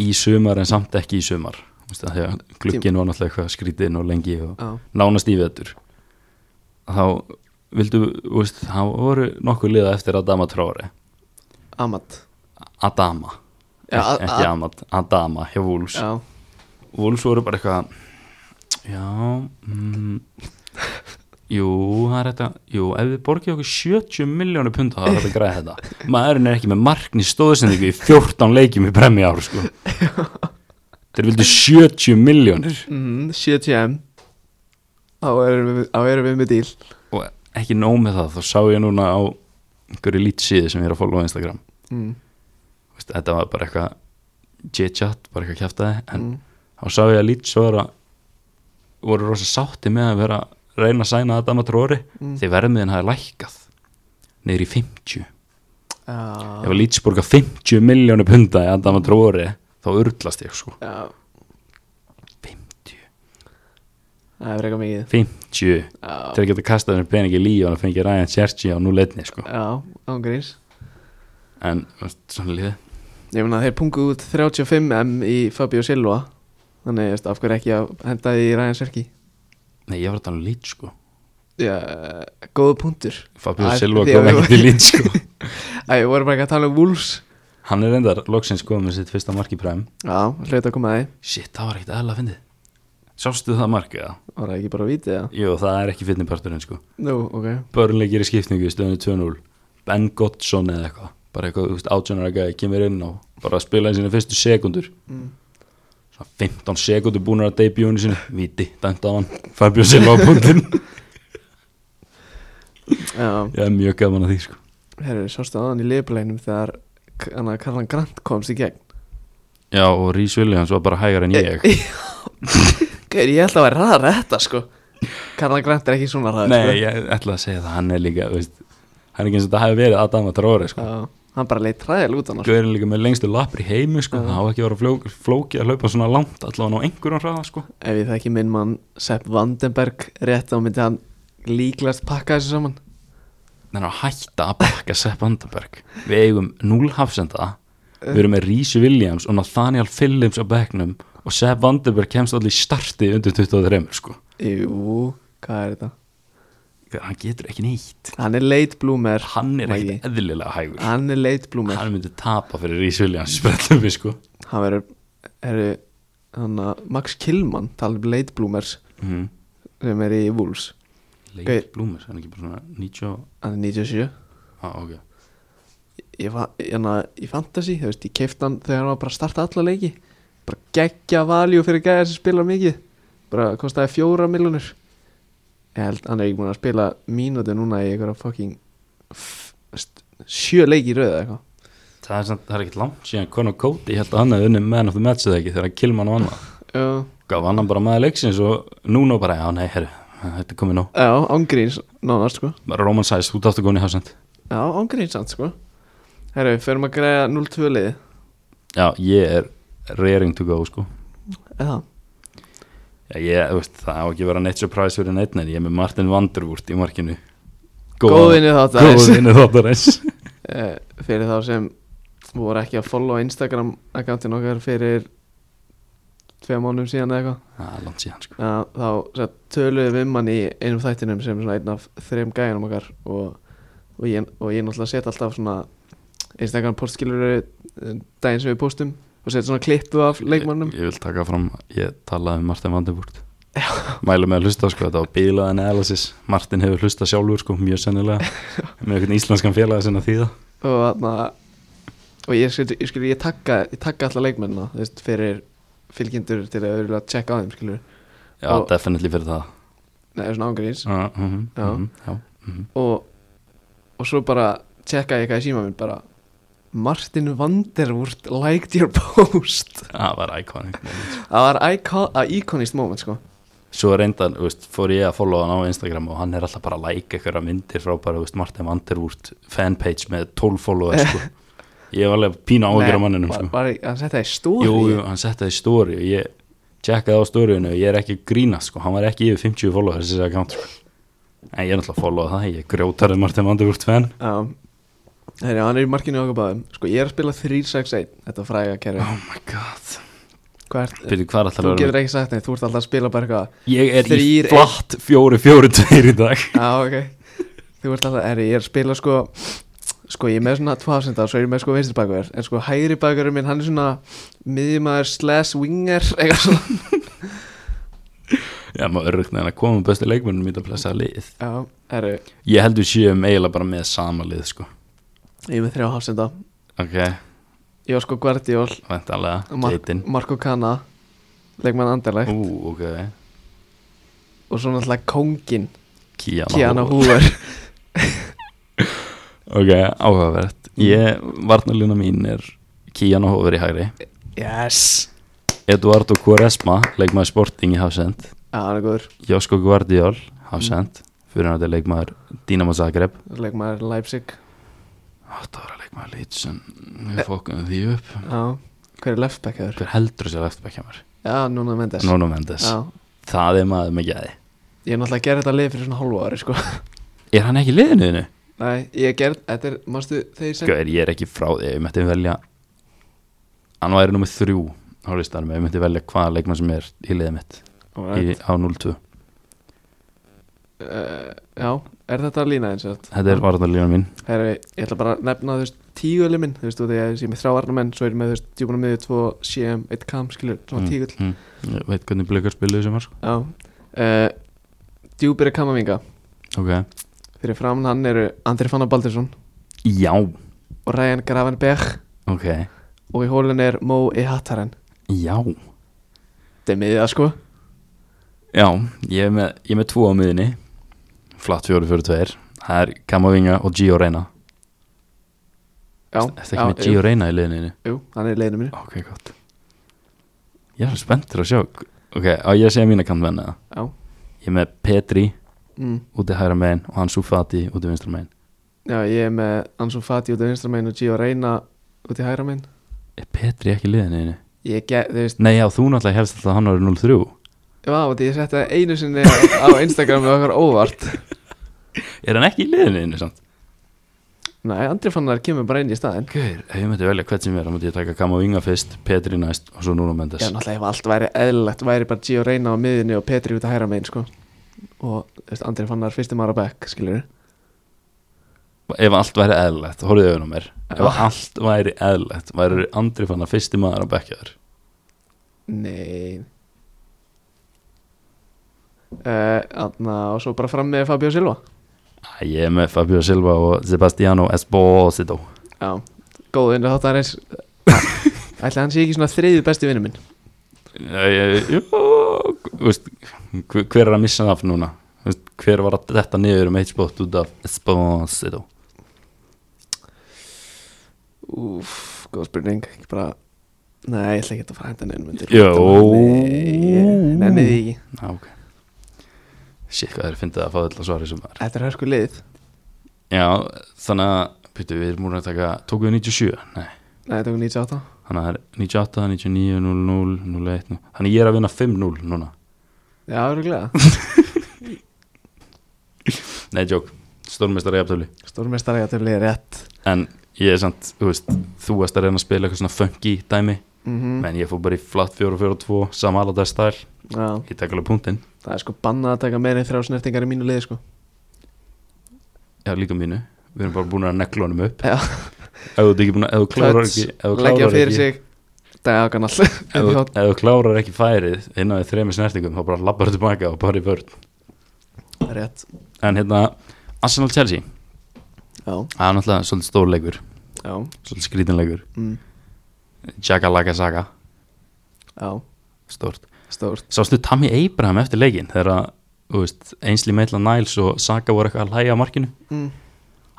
í sumar en samt ekki í sumar þú veist, að því að glugginn var náttúrulega eitthvað skrítinn og lengi og
Já,
nánast í vetur þá vildu, þú veist, þá voru nokkuð liða eftir Adama Tróri
Amat
Adama,
Já,
Ek-
a-
ekki
a-
Amat Adama hjá Wolves
Já,
Wolves voru bara eitthvað Já mm, Jú, það er þetta Jú, ef við borgið okkur 70 miljónu punda þá er þetta græði þetta Maðurinn er ekki með markni stóðsendingu í 14 leikjum í bremmi ár sko. Þeir vildu 70 miljónir
mm, 70M Þá erum við, þá erum við með díl
og ekki nóg með það þá sá ég núna á einhverju lítsíði sem ég er að followa á Instagram
mm.
Vist, Þetta var bara eitthvað chit-chat, bara eitthvað kjaftaði en
Mm.
þá sá ég að Leeds var að voru rosa sátti með að vera að reyna að sæna Adama Tróri mm. því verðmiðin hafi lækkað neyri í 50
Já,
ef að Leeds borga 50 miljónu punda í Adama Tróri þá urlast ég sko
já,
50
það er eitthvað mikið
50
Já,
til að geta kastað þessum pening í líf og hann fengi Ryan Sergi á núleitni sko
já, ángurins
en þú veist, svona lífið
Ég meina þeir pungu út 35M í Fabio Silva Þannig, ég veist, af hverju ekki að henda því í Ryan Serki
nei ég var að tala um Leeds sko
Já, góðu punktur
Fabio
Æ,
Silva
því að
kom
við-
ekki til Leeds sko
Æ, voru bara ekki að tala um Wolves
hann er reyndar loksins komið með sitt fyrsta mark í præm
Já, hlaut að koma að því
shit það var ekkit aðla að fyndið sástu það markið það?
Var það ekki bara að víti það?
jú það er ekki fyrniparturinn sko
Nú, ok
Börnleik gerir skiptingu í stöðinu 2-0 Ben Gottson eða eitthvað bara eitthvað átjónara gæði, kemur inn og bara spila í sína fyrstu sekundur svona 15 sekundur búin að debutinu sínu, viti, dæmt á hann Fabio Silva á búndin
Já,
ég er mjög gaman að því sko
herru, sástu aðan í liðbæleinum þegar hann að Karlan Grant komst í gegn
já og Rhys Williams var bara hægar en ég sko.
Gauður, ég ætla að vera ræðar þetta, sko Karlan Grant er ekki svona sko. ræðar
nei, ég ætla að segja það, hann er líka þú veist, hann er ekki eins og þetta hafi verið Adama Traore sko
Já, hann bara leitt ræðil út hann sko.
Gaurin líka með lengstu lapri heimi sko,
Já.
það hafa ekki verið flóki, flóki að hlaupa svona langt allavega á einhverjum hraða sko
Ef ég þekki minn mann Sepp Vandenberg rétt þá myndi hann líklast pakka þessu saman
þannig að hætta að bakka Sepp Vandenberg við eigum núl hafsenda við erum með Rísi Williams og Nathaniel Phillips á bekknum og Sepp Vandenberg kemst allir í starti undir 23 sko.
Jú, hvað er þetta?
hann getur ekki neitt
Hann er late bloomer
hann er
Maggi.
ekkert eðlilega hægur
Hann er late bloomer
hann myndi tapa fyrir Rísi Williams sprellum við sko
Hann verður, herru, hann að Max Killmann talið um late bloomers
mm.
sem er í Wolves
Leit Blúmus, hann er ekki bara svona 90 og-
Hann er 97
ah, ok
Ég, fa hana, ég fantasy, þú veist, ég keifti hann þegar hann var bara að starta alla leiki Bara geggja valjú fyrir gæja sem spilar mikið Bara kostaði fjóra miljonir Ég held, hann er ekki búin að spila mínúti núna í einhverja fucking f- st- Sjö leiki í rauða eitthvað
það er, samt- það er ekkert langt síðan Conor Cody, ég held að hann hefði unnið man of the match eða ekki þegar hann kilma hann á annað
Já,
gaf hann bara maður leiksins og núna bara, já nei, herru, þetta er komið nóg
já ángríns, nánast sko
bara Roman Sæs, þú dátt að góðin í hafsend
Já, ángríns hans sko Herru, við förum að græja 0-2 liði
Já, ég er rearing to go sko
Eða,
Já, ég, þú veist, það á ekki að vera neitt surprise fyrir neitt en ég er með Martin Vanderwurt í markinu
góðinu þáttarins
Góðinu þáttarins
Eh, fyrir þá sem voru ekki að followa Instagram akkantinn okkar fyrir tveim mánuðum síðan eða
Það er langt síðan sko
eitthvað að þá sem sagt, töluðum við um hann í einum þættinum sem svona einn af þreim gæjanum okkar og, og, ég, og ég náttúrulega set alltaf svona Instagram postskilur daginn sem við postum og set svona klippu af leikmannum
ég, ég vil taka fram, ég talaði um Martin Vanderwurt Mælu með að hlusta sko, þetta var bílaðan analysis Martin hefur hlusta sjálfur sko, mjög sennilega með einhvern íslenskan félaga sinna því það
og þarna og ég skilur, ég, skilur, ég takka, ég takka alltaf leikmennina þú veist, fyrir fylgjendur til að örugglega tjekka á þeim skilur,
Já,
Og-
definitely fyrir það
neða svona ángríns
uh, uh, uh,
Já.
uh, já. mhm.
og, og svo bara tjekka ég eitthvað í síma minn bara Martin Vanderwurt liked your post
Það var iconic moment
það var icon, að íkonist moment sko
svo reyndan, þú veist, fór ég að followa hann á Instagram og hann er alltaf bara að like einhverja myndir frá bara, þú veist, Martin Vanderwurt fanpage með 12 followers sko. ég var alveg pína áhugur á
Nei,
manninum
var,
sko.
var, hann setja það í stóri
jú, jú, hann setti það í story og ég tjekkaði á storyinu og ég er ekki að grína sko. hann var ekki yfir 50 followers þessi account sko. en ég er náttúrulega að followa það ég er grjótarið Martin Vanderwurt fan
um, heyri, hann er í markinu okkur báðum sko ég er að spila 361 þetta fræga kerfi
oh my god
hvað er
Byrju, hvað er alltaf
Þú
að vera
getur ekki sagt neitt, þú ert alltaf að spila bara eitthvað
með- ég er
Þrír-
í flatt 4-4-2 í dag
Já, ok Þú ert alltaf, er, ég er að spila sko Sko, ég er með svona 2000 og svo er ég með sko vinstri bakverð En sko, hægri bakverður minn, hann er svona Miðjumæður slash winger Eitthvað svona
já, maður örugna en að koma með bestu leikmennum í þetta blessaða lið
Já, herru,
ég heldur séum eiginlega bara með sama lið sko.
ég er með þrjá hafsenda
Ok,
Ég var sko Guardiol,
væntalega,
Mar
geitin
Marko Kana Leikmann Anderlegt
Ú, ok,
Og svo náttúrulega Kongin,
Kiana,
Kiana
Hú
Húver
Ok, áhugavert Ég, varnalina mín er Kiana Hóver í hægri
Yes
Eduardo Quaresma, leikmaður Sporting í Hafsend
Já, hann er góður,
Josko Guardiol, Hafsend Fyrir hann að þetta er leikmaður Dinamo Zagreb
leikmaður Leipzig
Þetta var að leikmaður lít sem við fókum því upp
Já, hver er leftbackaður?
Hver heldur sér eftir hjá mér?
Já, Nuno Mendes
Nuno Mendes
Já,
Það er maður með gæði
ég er náttúrulega að gera þetta lið fyrir svona hálfu ári sko
Er hann ekki í liðinu þínu?
Nei, ég gerð, þetta er, mástu þeir sem
Gauðir, ég Sko, er ekki frá því Ef Ég myndi velja Hann væri nummið þrjú á listanum Ef Ég myndi velja hvaða leikmann sem er í liðið mitt í,
Alright.
Á 0-2
Uh, Já, er þetta lína eins og þetta?
Þetta er varðarlíðan mín
Herri, ég ætla bara að nefna þú veist tíu elimin, þú veist, þú veist, ég er með þrá varnamenn svo er ég með þú veist, djúbunum miðið tvo CM, 1 kam, skilur, svona tígull
mm, mm. Ég veit hvernig blikar spiluðu sem var sko.
Já uh, Djúbir er Kamavinga
okay.
Fyrir framan hann eru Andri Fanna Baldursson
Já,
og Ryan Gravenberg
ok
og í hólun er Mo Ihattaren
Já,
Þetta er miðið sko
já Ég er með, ég er með tvo á miðinni Flatt 4-4-2 Það er Kamavinga og Gio Reyna
Já,
Er það ekki með Gio
jú,
Reyna í liðinu? þínu?
jú, hann er í leiðinu mínu
Ok, gott Ég er svo spenntur að sjá Ok, á ég að segja mína kantmenn eða
Já
Ég er með Petri
mm.
úti hægra megin og hann Sufati úti vinstra megin
Já, ég er með Ansu Fati út í vinstra megin og Gio Reyna út í hægra megin
Er Petri ekki í liðinu? þínu?
Ég get, þú veist,
Nei, já, þú náttúrulega helst alltaf að hann árið 0-3
já, þetta ég setti það einu sinni á Instagram með okkar óvart
Er hann ekki í liðinu þínu samt?
Nei, Andri Fannar kemur bara inn í staðinn
Gauður, ef ég myndi velja hvert sem er þá myndi ég taka Kamavinga fyrst, Petri næst og svo Nuno Mendes
Já, náttúrulega ef allt væri eðlilegt væri bara Gio Reyna á miðinni og Petri út að hæra megin sko. og þú veist, Andri Fannar fyrstum ára bekk, skilur
Ef allt væri eðlilegt, horfðu auðvitað mér
Já.
Ef allt væri eðlilegt, væri Andri fann að fyrsti maður að bekka þér
Nei Eh, Þarna og svo bara fram með Fabio Silva
Æ, Ég er með Fabio Silva og Sebastiano Esposito
Já, góð vinnu þáttan eins Ætli hann sé ekki svona þriði besti vinnu minn
Já, ég- jú, þú veist, hver hver er að missa hann af núna? Þú veist, Hver var að detta niður um eitt spott út af Esposito?
Úf, góð spurning ekki bara Nei, ég ætla ekki að fara að henda neinum undir
Jó.
Nei, nennið því ekki
Já, Ah, ok Shit, hvað þeir fyndið að fá öll að svara sem maður
Þetta er hörsku lið
Já, þannig að, pýttu, við erum múin að taka Tóku við 97? Nei
Nei, þetta er 98
Þannig að það er 98, 99, 00, 01 nú. Þannig ég er að vinna 5-0 núna
Já, öruglega
Nei, jók, stórmestari jafntöfli
Stórmestari að þau blið rétt
En ég er samt, þú veist, þú varst að reyna að spila eitthvað svona funky dæmi
mm
En ég fór bara í flatt 4-4-2, sama alveg stæl
Já,
Ég tek alveg punktinn,
það er sko bannað að taka meira en þrjá snertingar í mínu liði sko
já líka mínu Við erum bara búin að negla honum upp
Já.
Ef þú ert ekki búin að, ef þú klárar
Klöts,
ekki Ef þú
Leggja
klárar
fyrir
ekki,
sig Dagan all
ef þú- ef þú klárar ekki færið Innan við þremi snertingum, þá bara labbar þú tilbaka og bara í vörn
Rétt
En hérna, Arsenal Chelsea
Já,
Það er náttúrulega svolítið stórleikur,
já,
svolítið skrítinleikur
mm,
Jaka Laga Saga
já,
Stort.
stórt
Sástu Tammy Abraham eftir leikinn þegar að, þú veist, einsli meitla Niles og Saga voru eitthvað að hlæja á markinu
mm.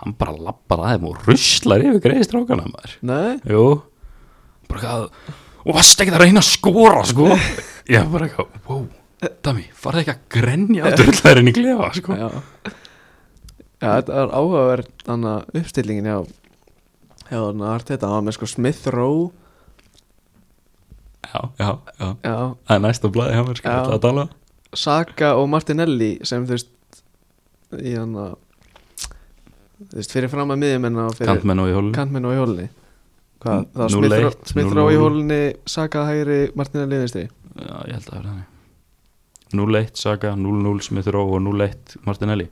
hann bara lappar að þeim og ruslar yfir greiði strákana maður
Nei,
Jú, bara eitthvað og varst ekki að reyna að skora sko Já, bara eitthvað, wow Tammy, farði ekki að grenja að drullarinn í klefa sko
já Já, þetta var áhugaverð Þannig að uppstillingin hjá Já, þannig að þetta var með sko Smith Rowe
Já, já, já
Já,
Það er næst að blæði hjá mér sko,
Já.
ætlaði að tala
Saka og Martinelli sem þú veist Í hann að Þú veist, fyrir fram að miðjumenn og fyrir
Kantmenn og í hólun
kantmenn og í hólunni Hvað, það var
0-1,
Smith Rowe- Smith
0-0.
Rowe í hólunni Saka hægri, Martinelli vinstri
Já, ég held að það er þannig 0-1 Saga, 0-0 Smith Rowe og 0-1 Martinelli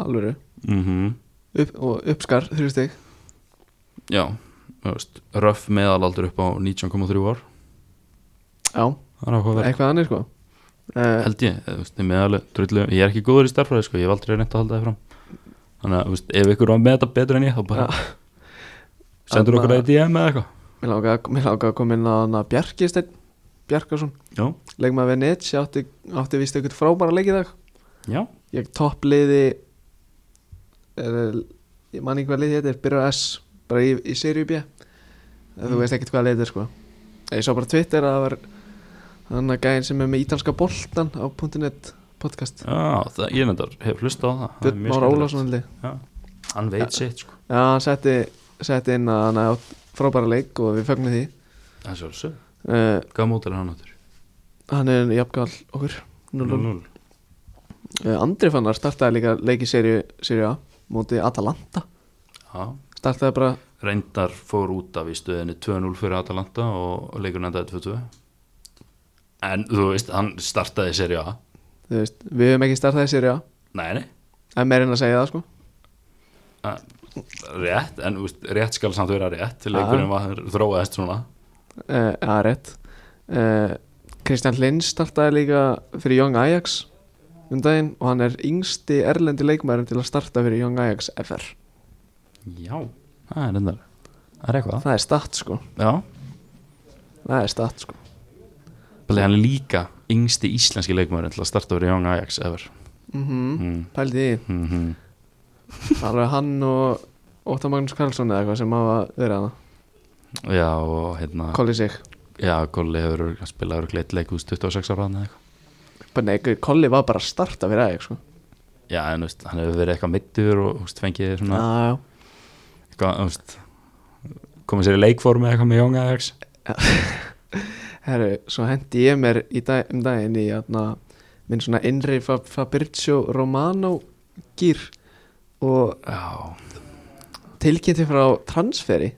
Alvöru
Mhm
Upp, og uppskar, þrjú stygg
Já, þú veist, röf meðalaldur upp á 19,3 ár
Já,
Það er áhugaverð
eitthvað annir sko uh,
Held ég, þú veist, meðaleg, drullu, ég er ekki góður í starfræði sko, ég hef aldrei reynt að halda það fram Þannig að, þú veist, ef ykkur var með þetta betur en ég þá bara sendur okkur að DM eða eitthvað
Mér láka, mér láka að koma inn á hana Bjarkisteinn Bjarkarsson,
Já,
leikmaður Venetia átti, átti vist eitthvað frábæra leik í dag
já,
Ég toppliði er, Ég man ekki hvað liði þetta er Byrjar á S, bara í, í Siriu B
Mm.
Þú veist ekkert hvað liði þetta er sko Ég sá bara á Twitter að það var Þannig að gæðin sem er með ítalska boltan á .net podcast
já, það, ég nefndar hef hlustað á það það
Björn
er mjög
Már
skemmtilegt.
Ólafsson held ég.
Já, hann veit sitt sko
Já, hann setti, setti inn að hann átt frábæra leik og við fögnum því
Það er svolítið
uh,
Hvað mótel er hann áttur?
Hann er jafnkall okkur 0-0 uh, Andri fannar startaði líka leik í serju, serju A móti Atalanta
Já,
Startaði bara,
reyndar fór út af í stöðinni 2-0 fyrir Atalanta og leikur endaði 2-2 En þú veist, hann startaði sér já
þú veist, við höfum ekki startaði í serju A
Nei, nei,
En meir en að segja það sko
að- rétt En þú veist, rétt skal samt vera rétt Leikurinn var þróaðist svona
uh, að rétt uh, Kristján Lind startaði líka fyrir Young Ajax um daginn og hann er yngsti erlendi leikmæðurinn til að starta fyrir Young Ajax FR
Já, það er reyndar Það er eitthvað
það er statt sko,
Já,
það er statt sko
Bæli, hann er líka yngsti íslenski leikmærin til að starta fyrir Young Ajax ever
mm
mm
pældi því,
-hmm.
það er hann og Óttar Magnús Karlsson eða eitthvað sem hafa verið hana,
Já, og hérna
kolli sig
Já, Kolli hefur örugglega- spilað örugglega einn leik úr 26 ára eða eitthvað
bara nei, kolli var bara að starta fyrir Ajax sko
Já, en þú veist, hann hefur verið eitthvað middur og þú veist, fengið svona
já, já.
eitthvað, þú veist, komið sér í leikformi eitthvað með Young Ajax
Herru, svo hendi ég mér í dag, um daginn í atna, minn svona innri Fa- Fabrizio Romano gýr og
Já,
tilkynnti frá transferi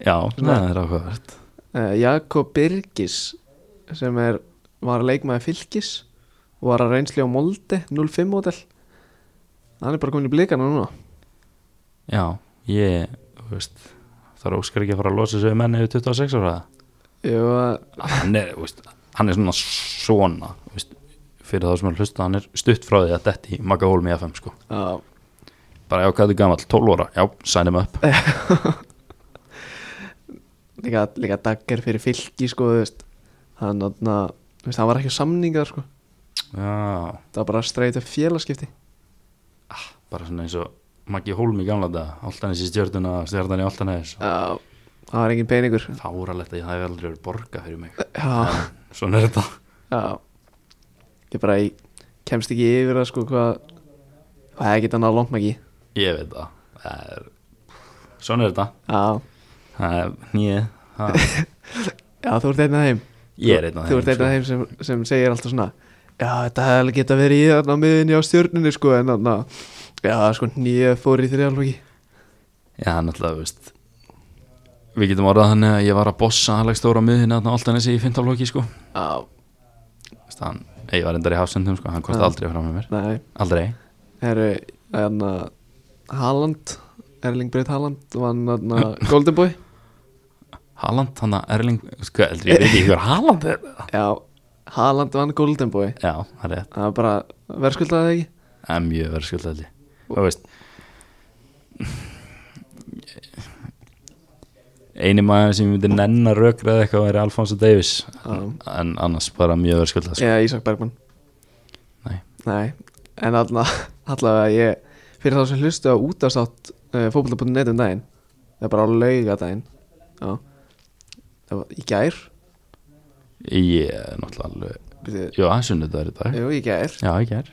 já,
Svona-
það er áhugavert
uh, Jakob Birgis sem er, var leikmaði fylgis og var að reynsli á Molde 05 model hann er bara komin í blikana núna
Já, ég, þú veist þarf Óskar ekki að fara að losa sig við menni yfir 26 ára
Jú, að-
hann er, þú veist, hann er svona svona, þú veist, fyrir þá sem að hlusta hann er stutt frá því að detti í Magga Hólm í FM sko,
já,
bara já, hvað er gamall 12 ára, já, sign him up
líka, líka dagger fyrir fylgi sko, þú veist. hann, atna, þú veist, hann var ekki á samningar sko.
já,
það var bara streyta félagskipti
bara svona eins og Maggi Hólm í gamla dag, Altanis í stjörnuna stjörnan í Altanis,
já, það var engin peningur
fáralegt að ég það hef aldrei verið borga fyrir mig,
já,
svona er þetta
já ég bara ég kemst ekki yfir það sko, hvað hvað er ekki þannig að langt mæki
ég veit það, það er svona er þetta,
já,
það er nýið það-
já, þú ert einn af þeim
ég er einn af
Þú ert einn af
sko.
þeim sem, sem segir alltaf svona Já, þetta hefði alveg geta verið í þarna miðinni á stjörnunni sko En þarna, já, sko, nýja fór í þrjálflóki
já, náttúrulega, þú veist við getum orðað þannig að ég var að bossa Alex Þóra miðin að Altanis í fintaflóki sko
Já,
Þú veist, hann, ég var endar í hafsendum sko, hann kosti
Já.
aldrei frá með mér
nei,
aldrei,
herru, þarna Haaland, Erling Breit Haaland Vann þarna Golden Boy
Haaland, hann að Erling sko, eldri, ég veit ekki hver Haaland er
Já, Haaland vann Golden Boy
já, það er rétt,
Það var bara, verðskuldaði það ekki
það er mjög verið skuldaði og veist eini maður sem ég myndi nenn að rökraði eitthvað væri Alfonso Davis en, en annars bara mjög verið skuldað sko.
Já, Ísak Bergman
Nei.
Nei, en allna, allavega ég Fyrir þá sem hlustu á útastátt uh, Fótbolta.net um daginn Það er bara á laugadaginn Já Það var í gær
ég er náttúrulega alveg
byrju,
já, það er sunnudagur í dag,
Jú, í gær
já, ég er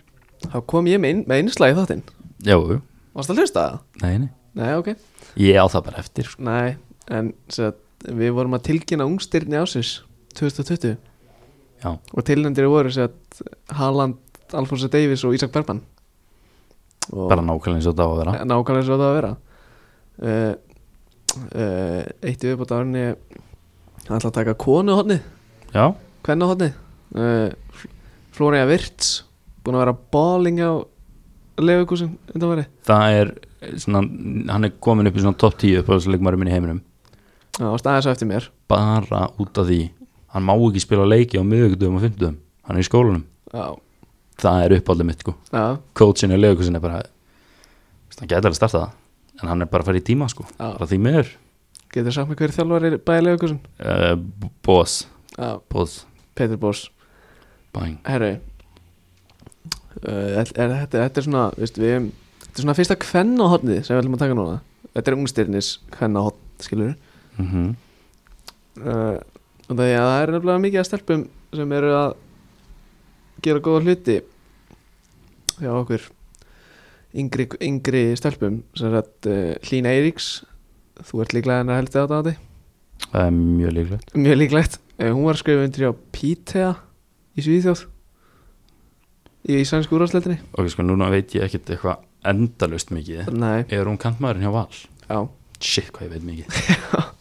Þá kom ég með, inn, með innslag í þáttinn
já, jú.
Varst að hlusta á það?
nei, nei,
Nei, ok
ég á það bara eftir sko.
Nei, en set, við vorum að tilkynna ungstyrni ásins 2020
já,
Og tilnendir voru set, Haaland, Alfonso Davies og Ísak Bergman og
bara nákvæmlega eins og það á að vera
Eh, nákvæmlega eins og það á að vera uh, uh, eitt í viðbútt árni hann ætla að taka konu hodni
já,
hvenna hodni uh, Flória Virts búin að vera balling á leifugúsin undan veri
það er svona, hann er komin upp í svona topp 10 uppáðsleikmarum minn í heiminum
og staðið svo eftir mér
bara út af því hann má ekki spila leiki á miðugdöfum og fymtdöfum hann er í skólanum,
já,
það er uppáðlega mitt sko.
já,
coachin og leikusin er bara veist, hann gæti alveg starta það en hann er bara að fara í tíma sko,
Já.
bara því miður
getur sagt mér hver þjálfar er bæði leifugúsin
uh, bós,
já,
bós,
Peter Bors
bæn
herru uh, er, er, þetta, þetta er svona veist, við, þetta er svona fyrsta hvenna hodni sem við ætlum að taka núna þetta er ungstyrnis hvenna hodn skilur
mm
uh, og það, ja, það er nefnilega mikið að stelpum sem eru að gera góða hluti hjá okkur yngri, yngri stelpum sem sagt uh, Hlín Eiríks þú ert líklega hennar heldi á dati
það er mjög líklegt
mjög líklegt, uh, hún var skrifin undir á Pítea í Svíþjóð í sænsku úrvarsleitinni
ok, sko, núna veit ég ekkert eitthvað endalust mikið
nei,
er hún kantmaðurinn hjá Val?
já
shit, hvað ég veit mikið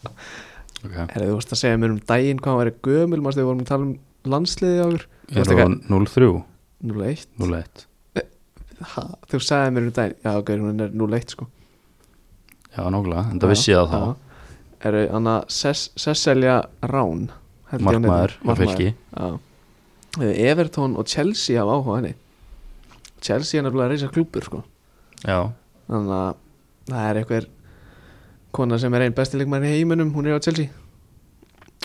ok,
Herra, þú vorst að segja mér um daginn hvað hann væri gömul mannstu við vorum að tala um landsliði á okkur Þú
er
varst eitthvað-
hún 03?
01
01
ha, þú sagði mér um daginn já ok, hún er 01 sko
já, nógulega, en það vissi ég það þá
þá eru hann að Ses Cecilia Rán held ég hún
markmaður,
heitir.
hjá fylki
já. Eh, Everton og Chelsea hafa áhuga á henni Chelsea er nefnilega að reysa klúpur sko.
já,
þannig að það er einhver kona sem er einn bestilegmar í heiminum hún er á Chelsea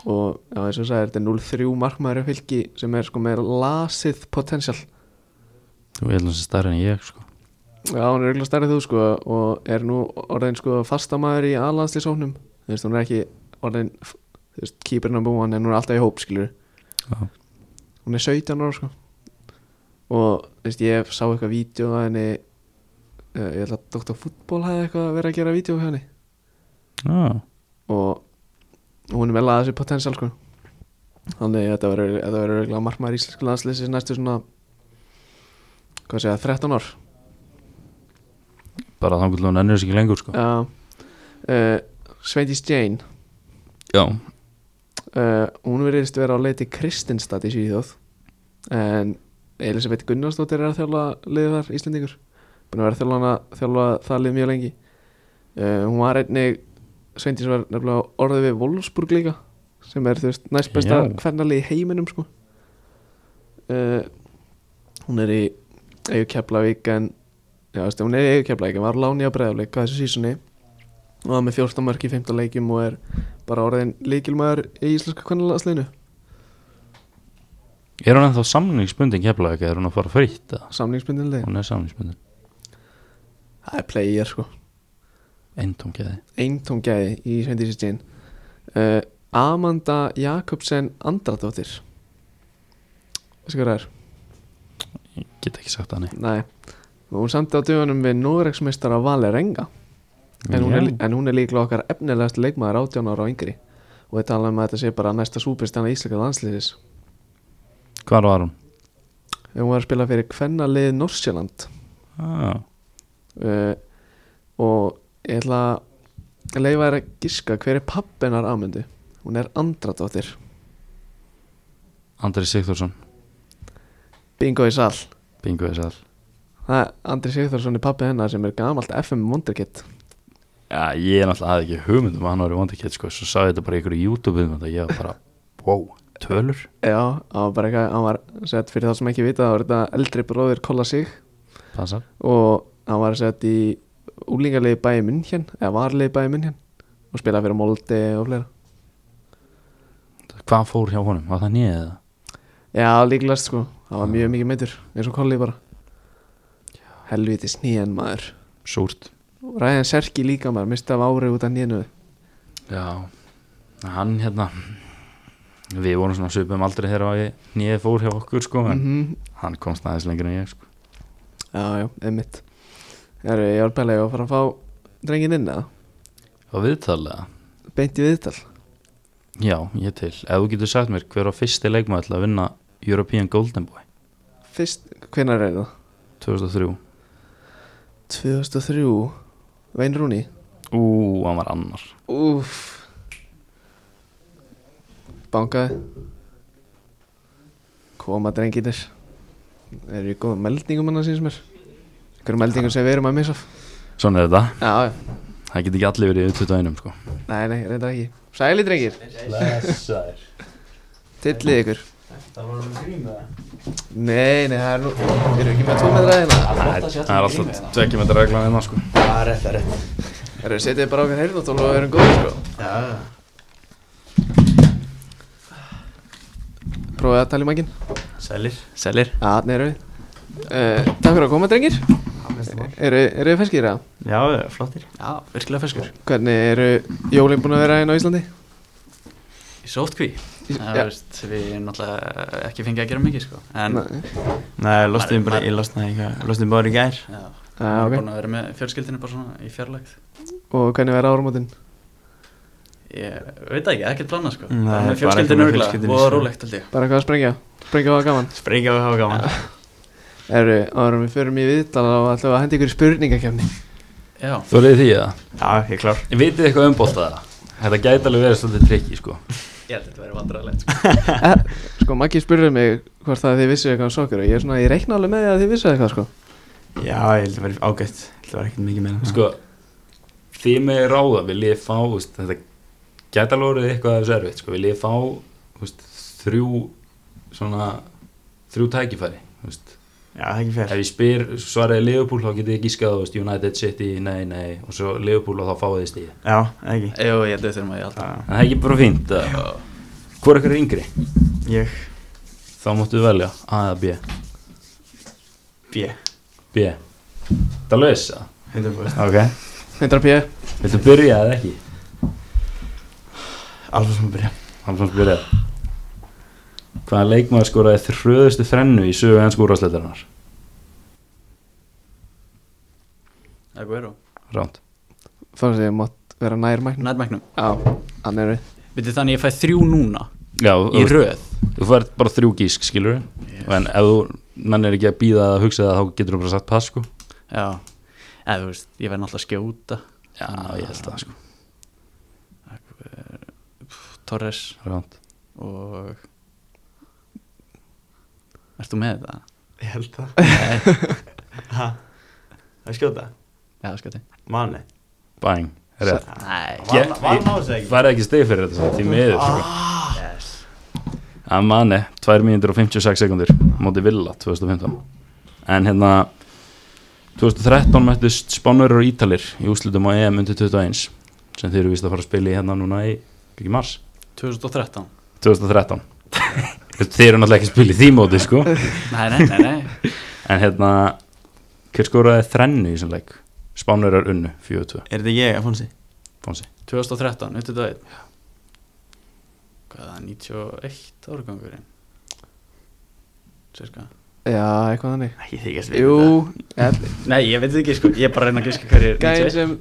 og já, eins og sagði, þetta er 0-3 markmaður á fylki sem er sko með lasið potential
þú er hans stærri en ég sko.
Já, hún er auðvitað stærrið þú sko og er nú orðin sko fastamæður í aðlandslisóknum þú veist, hún er ekki orðin þú veist, keeper number one en hún er alltaf í hóp skilur
Já.
hún er 17 ára sko og þú veist, ég sá eitthvað vídeo að henni uh, ég held að Dr. Fútból hefði eitthvað verið að gera vídeo hjá henni
já,
og hún er með laðið sér potential sko þannig að þetta verður þetta verður auðvitað markmaður íslensku landslisins næstu svona hvað segja, 13 ár
bara þá hún ennur sig ekki lengur sko.
Já uh, Sveindís Jane
já,
uh, Hún verðist vera á leiti Kristinstad í Svíþjóð En Elisabeth Gunnarsdóttir er að þjálfa liðið þar Íslendingur Búin að vera að þjálfa, hana, þjálfa það lið mjög lengi uh, Hún var einnig Sveindís var nefnilega orðið við Wolfsburg líka Sem er þú veist næst besta
Já.
hvernalið í heiminum sko uh, Hún er í Eigu Keflavík en Já, veistu, hún er í Eigu Keflavík en var láni á breiðafleik á þessu sísunni og það með 14 mörg í 15 leikjum og er bara orðin líkilmaður í íslenska kvennalandsliðinu
er hún ennþá samningsbundin keflaðið, er hún að fara fritt eða?
samlingsbundinlega,
hún er samningsbundin,
það er player sko
endum keði
eintóngæði í Sveindísistíðin uh, Amanda Jakobsen Andradóttir veistu hvað það er?
ég get ekki sagt það nei
Nei, hún samti á dögunum við Noregsmeistara Valerenga en hún, er,
Já.
en hún er líklega okkar efnilegast leikmaður 18 ára og yngri og við tala um að þetta sé bara næsta súpistana íslenska landsliðis
hvar var hún?
hún var að spila fyrir kvennalið Norsjöland
Ah,
uh, og ég ætla að leifa þér að giska hver er pappinar ámyndu hún er andradóttir
Andri Sigþórsson,
bingo í sall
bingo þess all
það er Andri Sigþórsson er pappi hennar sem er gamalt FM Wonderkid
Já, ég er náttúrulega hafði ekki hugmynd um að hann var í vandakett sko, svo sagði þetta bara í einhverju YouTube-um og ég var bara, wow, tölur
já, hann var bara eitthvað hann var sett fyrir þá sem ekki vita þá var þetta eldri bróðir kolla sig
Passar
og hann var sett í úlingarlegi bæði munn hér eða varlegi bæði munn hér og spilaði fyrir Molde og fleira
Hvað fór hjá honum? Var það nýðið eða?
já, líklegast sko, hann var mjög mikið meitur eins og kolli bara helviti sníðan maður
Súrt
Ræðan Serki líka maður, misti af ári út af nénu
Já, hann hérna Við vorum svona svipum aldrei þegar ég nýðið fór hjá okkur sko, en
-hmm.
hann komst aðeins lengur en ég sko.
Já, já, einmitt Heru, Ég var bælega að fara að fá drengin inn að
Og viðtalega
Beint í viðtal
Já, ég til, ef þú getur sagt mér hver var fyrsti leikmaður til að vinna European Golden Boy
Fyrst, hvenær er það?
2003
2003 Vein Rúni
Ú, hann var annar
Úff Bankaði Koma drenginir Eru í góðum meldingum hann að síns mér Einhverjum meldingum sem við erum að missa af.
Svona er þetta,
Já, já,
það getur ekki allir verið í 21 sko.
nei, nei, reynda ekki Sæli drengir,
Blessaður.
tillið ykkur
Það var um grín með það.
Nei, nei, það er nú, við erum ekki með tómetra hérna
Það
Það er alltaf tvekkjum þetta reglan hérna sko
Það er rétt, það er rétt.
Það eru setið bara okkar heyrðatól og við erum góðir sko
Já, já.
Prófið að tala í mækin
Sælir.
Selir
Já, þannig erum við uh, Takk fyrir að koma drengir Eru eru þið feskir eða?
Já, já, flottir.
Já, virkilega feskur
Hvernig eru jólinn búin að vera hérna á Íslandi?
Í sótkví
Í-
Það
já.
veist, við náttúrulega ekki fengið að gera mikið sko En
Nei.
Nei, lostum
Maður-
bara, ég losnaði ekki, lostum bara í gær.
já,
Já,
okay.
Ah, ok.
búin að vera með fjölskyldinu bara svona í fjarlægð
Og hvernig verður áramótin?
ég veit það ekki, ekkert planað sko
Nei,
Bara
bara
með fjölskyldinu
eitthvað með
örgulega,
fjölskyldunni,
búið
sko.
rólegt held ég
Bara eitthvað að sprengja? Sprengja og hafa gaman?
Sprengja og hafa gaman
Eru, árum við förum í viðtal og ætlum við að henda ykkur í spurningakefni.
já,
Þú reyði því að
Já, ég er klár
Vitið eitthvað um bóltaða? Þetta gæti alveg verið svolítið trikki sko
ég held að þetta verið vandræðilegt sko.
Er, sko, Maggi spurði mig hvort það þið vissu eitthvað um sokkur og ég er svona, ég reikna alveg með því að þið vissu eitthvað, sko.
Já, ég held að vera ágætt Ég held að vera ekkert mikið meira en það.
Sko, því með ráða vil ég fá úst, Þetta gæti alveg verið eitthvað af þessu erfitt sko Vil ég fá úst, þrjú svona þrjú tækifæri úst.
Já, það er ekki
Ef
fyrir
ég spyr svaraði Leopold þá getið ég gískað úst, United City, nei, nei og svo Leopold og þá fáið þið stíð
Já, eða ekki
jú, ég held að þetta er maður í alltaf
Það-
En það er ekki bara fínt að Hvor er ykkur er yngri?
Ég,
Þá máttu velja A eða B
B,
B Það laus það?
100%
Ok
100 p.
Viltu byrja eða ekki?
Alfa sem að byrja
Hamsons byrjað Hvaða leikmaður skoraði þröðustu þrennu í sögu ennsku úrvarsleitarinnar?
Aguero,
Ránt
Þá sem ég mátt vera nær mæknum.
nærmæknum
Já, hann er við.
veitir þannig ég fæ þrjú núna
Já,
í
þú,
röð
þú fært bara þrjú gísk, skilur við En ef þú mennir ekki að býða að hugsa það þá getur þú bara sagt pass, sko
já, eða þú veist, ég verð náttúrulega að skjóta
Já, ég held það, sko
Torres
Ránt
og Erst þú með það?
Ég held það Ha? Það er skjóta
Já, skjóti
Mani
Bang, rétt
Nei,
Ég-
Var náðu seg
Það er ekki stegi fyrir þetta, samt, því miður, sko
yes.
Að manni, 2 mínútur og 56 sekundur Móti Villa, 2015 En hérna 2013 mættust Spánverður og Ítalir í úslutum á EM undir 21 sem þeir eru vist að fara að spila í hérna núna í byggjum mars
2013
2013 þeir eru náttúrulega ekki að spila í því móti sko
Nei, nei, nei, nei
en hérna hver skoraði þrennu í þessum leik Spánverður unnu 4-2
Er þetta ég, Afonsi?
Fonsi
2013, 21 Hvað er það, 91 árgangurinn? Sirka
Já, eitthvað þannig.
Ekki þykast við
Jú, ell-
Nei, ég veit ekki, sko, ég er bara að reyna að gíska hverju
gæinn sem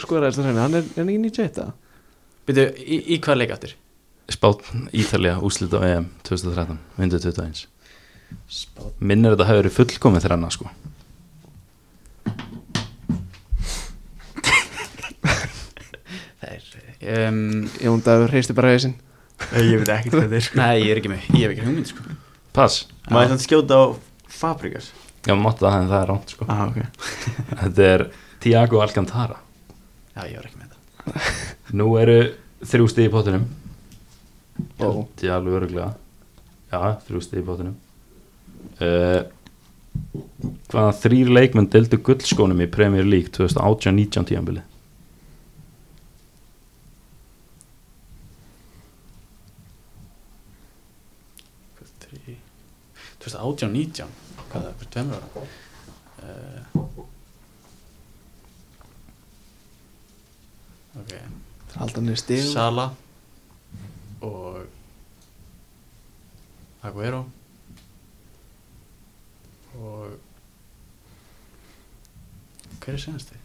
skoraði þess að hreina, hann er, er hann ekki 91 það?
Býtu, í, í hvað leik áttir?
Spán Ítalija úslut á E EM 2013 undir 21
Spátt
minnir þetta hafi verið fullkomið þrenna sko
Þeir um,
Jón Dagur hreisti bara hausinn.
Ég veit ekki hvað þetta er sko
Nei, ég er ekki með, ég hef ekki hugmynd, sko
pass
Maður þannig skjóta á Fabrikas
já mátti það en það er ránt sko
Ah, ok
þetta er Tiago Alcantara
Já, ég var ekki með það
nú eru þrjú stið í pottinum
Ó.
held ég alveg öruglega já, þrjú stið í bóttinum uh, hvaða þrýr leikmenn deldu gullskónum í Premier League 2018-19 tíðanbili
Hvað, þrí- 2018, 19 Hvað er það, fyrir tveimur ára? Uh, ok
Haldan niður stig.
Sala og Aguero og hver er senasti?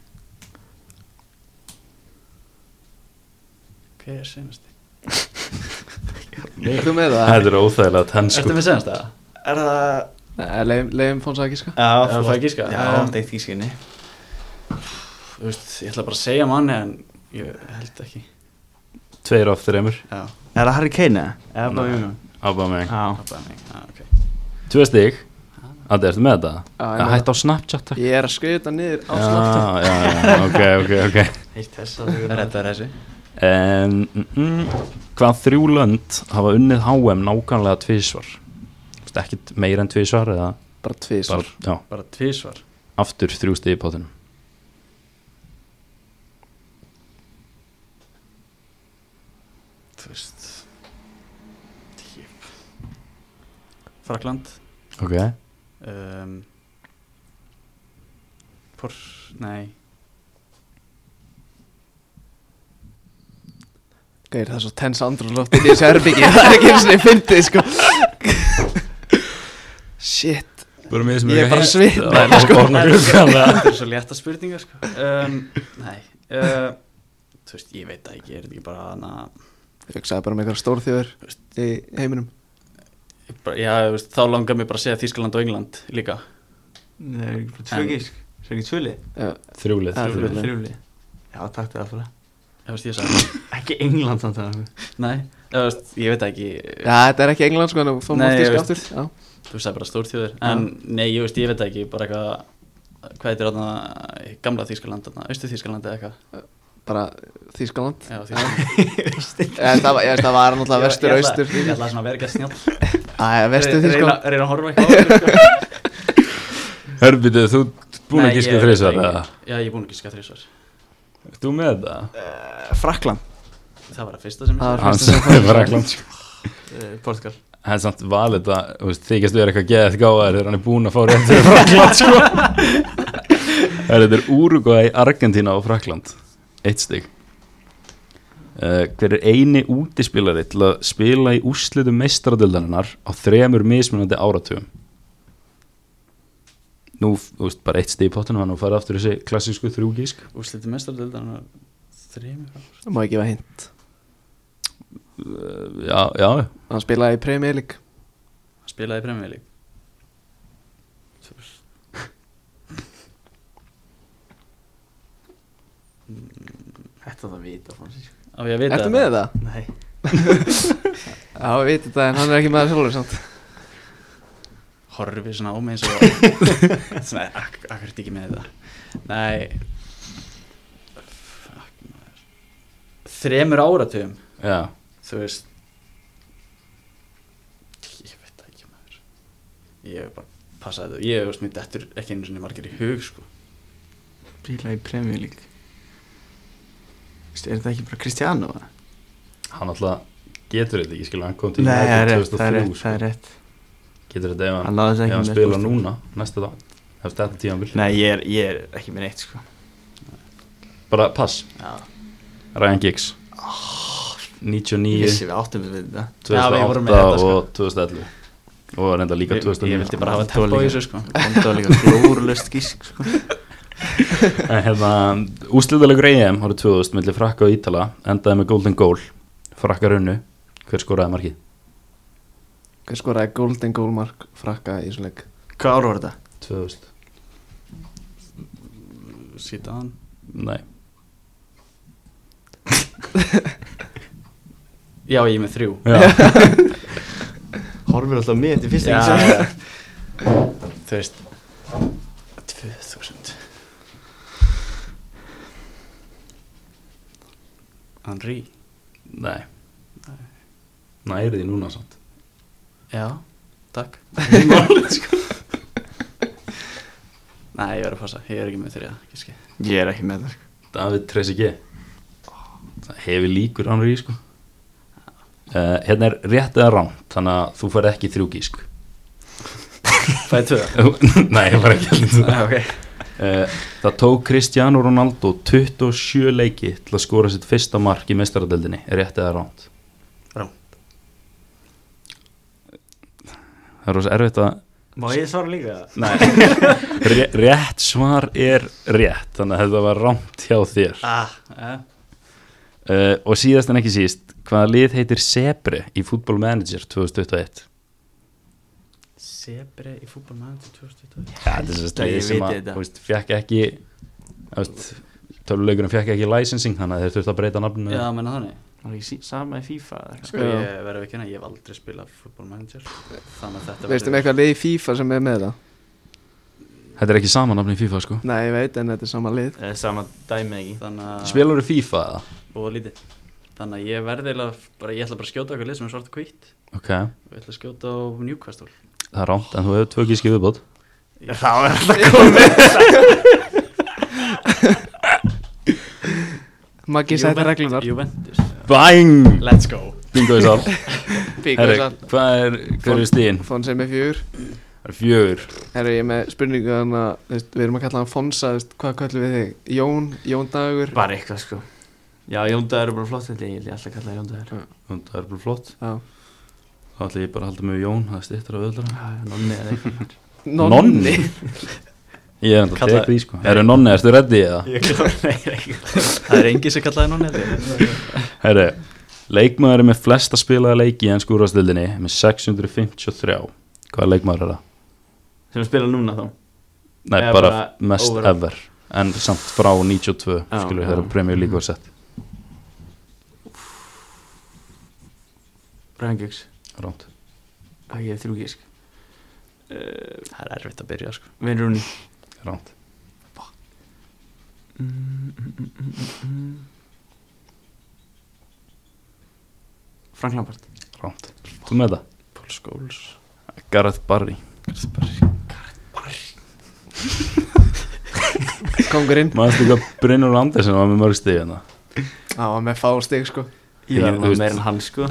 hver er senasti?
Er þú með það?
þetta er óþægilega
Ertu
tennsku
með senasta?
Er það
Nei, leiðum- Leiðum fóns að gíska.
Já,
það
flott.
ekki giska?
Já,
Já.
það er ekki skinni
Þú veist, ég ætla bara að segja manni en ég held ekki
tveir af þreymur
Já,
Er það Harry Kane eða? Eða
Nei.
bara Júna?
Aubameyang
Já
það er mig, já, ok
tvö stig að ertu með þetta
Já, ég
að
með
hætta á Snapchat takk.
Ég er að skauta niður á
já,
sláttu.
já, já, ok, ok, ok
Heitt þess
Þetta er þessi
um, mm, mm, hvað þrjú lönd hafa unnið HM nákvæmlega tvísvar ekkert meira en tvísvar eða
Bara tvísvar.
bara, já,
Bara tvísvar
aftur þrjú stið í pottinum
Þú veist Típ Frakland
ok
um, Por, nei
Gauðir, það er svo tens andrúrlótt í þessu herbyggi. Það er ekki eins og ég fyndi, sko. Shit.
Við erum með sem
Ég er bara svitnaður,
um
sko
Þetta er svo létta spurningar sko. um, Nei uh, Þú veist, ég veit það ekki, er þetta ekki bara hana,
Ég hugsaði bara um með einhverja stórþjóður í heiminum
bara, Já, þú veist, þá langar mér bara að segja Þískaland og England líka
Það er ekki bara tvö
En-
gísk Það er ekki tvölið
Já,
Þrjúlið
Já,
þrjúlið.
þrjú lið.
Þrjúlið Já, takk til það fyrir
Ég veist, ég sagði
Ekki England samt að
Nei, þú veist, ég veit það ekki
Já, þetta er ekki England sko, en þú fórum
Nei,
oft í
ég
skáttur Já,
Þú sagði bara stórþjóður En nei, ég veist, ég veit það ekki, bara eitthvað Hvað heitir þarna, gamla Þískaland, þarna, austu Þískaland eða eitthvað
bara Þýskaland
Já, Þískaland
En það, var- ég veist, það var náttúrulega vestur, austur
Ég ætla svona að vera ekki að snjál
Æ, vestur sko. Þýskaland
Reyna reyna að horfa eitthvað á þetta, sko.
Hörbyttu, þú ert búin
Nei,
að gíska
ég-
þrísar
ég-
eða?
Já, ég er búin að gíska þrísvar
Ert Þú með það?
Frakland
Það var að fyrsta sem ég
Það var
Hann
sagði.
fyrsta sem
sagði Frakland
Eh, Portugal
Hann samt valið það, þú veist, þykist vera eitthvað geðið gáðar þegar hann er búin að fá rétt fyrir Frakland sko Herra, Þetta er Uruguay, Argentína og Frakland Eitt stig Uh, hver er eini útispilari til að spila í úrslitum meistaradöldarinnar á þremur mismunandi áratugum nú, þú veist, bara eitt stig í pottunum hann og farið aftur í þessi klassísku þrjúgísk
Úrslitið mestardeldarna þreymur ár
Má ekki vera hint
Eh,
já, já,
Hann spilaði í Premier League
Hann spilaði í Premier League Þú veist.
Þetta það vita Francis
Á ég að vita
Ertu með það?
Nei
Já, við veitum þetta, en hann er ekki með það sjálfur samt
Horfið svona á mig eins og Svona, ak akkur er ekki með þetta Nei Fuck, maður. Þremur áratugum
já
Þú veist Ég veit það ekki maður Ég hef bara passaði þetta Ég hef veist mér dettur ekki einu svona margir í hug sko
Bíla í Premier League Veistu, Er þetta ekki bara Cristiano? eða?
hann alltaf getur þetta ekki skilja hann kom til
Nei, það er
United
rétt, það er
2003
rétt, það er rétt
sko. getur þetta ef
Hann
hann,
náði
ef
þess ekki
hann
með sko.
spila
Portugal.
núna næsta dag eftir þetta tímanbíl
Nei, ég er, ég er ekki með neitt sko
bara pass,
Já
Ryan Giggs
Ég
99,
vissi við áttum við þetta
Já, við vorum
2008
með þetta, sko.
og 2011 og reynda líka
Ég, ég
2009
vildi bara hafa tempo í þessu sko
Bónda var líka glórulöst gísk sko
En hérna, úslitaðleikur EM árið 2000 millir Frakka og Ítala endaði með golden goal Frakka runnu, hver skoraði markið?
Hver skoraði golden goal mark frakka í svona leik
Hvað ára var þetta?
2000,
Síðan
nei
Já, ég er með þrjú
Já,
Horfir alltaf með þetta í fyrsta
Já,
ekki
já. Þú veist 2000 Henri
nei Næri því núna samt
Já, takk Málið, sko. Nei, ég verður að passa, ég er ekki með þrjá Giski.
Ég er ekki með þetta sko
David Trezeguet Það hefur líkur hann í sko Uh, hérna er rétt eða rám þannig að þú fær ekki þrjú gísk
Fæði tvö
Nei, ég var ekki allir
Nei, okay.
Eh, Það tók Cristiano Ronaldo 27 leiki til að skora sitt fyrsta mark í mestaradeldinni, rétt eða ránt?
Rangt.
Það er rosa erfitt að
Má ég svara líka?
Ré- Rétt svar er rétt, þannig að þetta var ránt hjá þér
ah,
Eh?
ja.
uh, Og síðast en ekki síst, hvaða lið heitir Sebre í Football Manager 2021?
Sebre í fútbolmaður til 2020
Ja, þetta er sem sagt
Ég
lið
veit
sem að,
þetta.
þú veist, fekk ekki þú veist, Töluleikurinn fekk ekki licensing, þannig að þeir þurftu að breyta nafninu
Já, menna þannig
Var ekki sí- sama í FIFA eða eitthvað?
Sko,
Já.
ég verður ekki hérna, ég hef aldrei spilað fútbolmanager Þannig að þetta
Veistu með eitthvað lið í FIFA sem er með það?
Þetta er ekki sama nafni í FIFA sko
Nei, ég veit, en þetta er sama lið
Eða sama dæmi ekki
Þannig að
Spilar þú FIFA eða?
og lítið þannig að ég verði eiginlega bara, ég ætla bara að skjóta okkur lið sem er svart og hvitt
Ok,
og ég ætla að skjóta á Newcastle
það er rámt en þú hefur tvö gíski viðbót
Það var alltaf
Maggi sætti
Juven-
reglunar
Juventus
Bang!
let's go
Bingo í sal Herri,
Herri,
hvað er, hver er stíðin?
Fonse með fjögur
Það er fjögur
Herri, ég er með spurningu þannig að þú veist, við erum að kalla hann Fonsa, þú veist, hvað kallum við þig? Jón, Jón Dagur
Bara eitthvað sko Já, Jóndaður er bara flott þetta Ég vil alltaf kalla það Jóndaður
Þannig það er bara flott
Já,
Þá ætla ég bara að halda mig við Jón, það er stýttur af öðlur
Nonni eða eitthvað
Nonni? Ég er enda að
Kallaði-
teka því sko Herru nonni, erstu reddi eða?
Ég kláði, nei, ekki
Það er engi sem kallaði nonni held ég.
Herru, leikmaður er með flesta spilaða leiki í ennsku úrvastildinni með 653 Hvaða leikmaður er það?
Sem spila núna þá
Nei,
Eða
bara,
bara
mest
overall.
ever En samt frá 92
uh, Já,
skilur við
já.
þegar Premier League var sett
Ryan Giggs
Ránt
Æ, ég hef þrjú sko. gísk Eh,
Það er erfitt að byrja sko
Vin Rooney
Ránt
Frank Lampard
Ránt Þú með það?
Paul Scholes
Gareth Barry
Kongurinn
Maður hvað Brynur Andersen var með mörg stig hérna
Það var með fá stig sko
Ég
Ég-
var
þú
alveg
veist-
meira en hann sko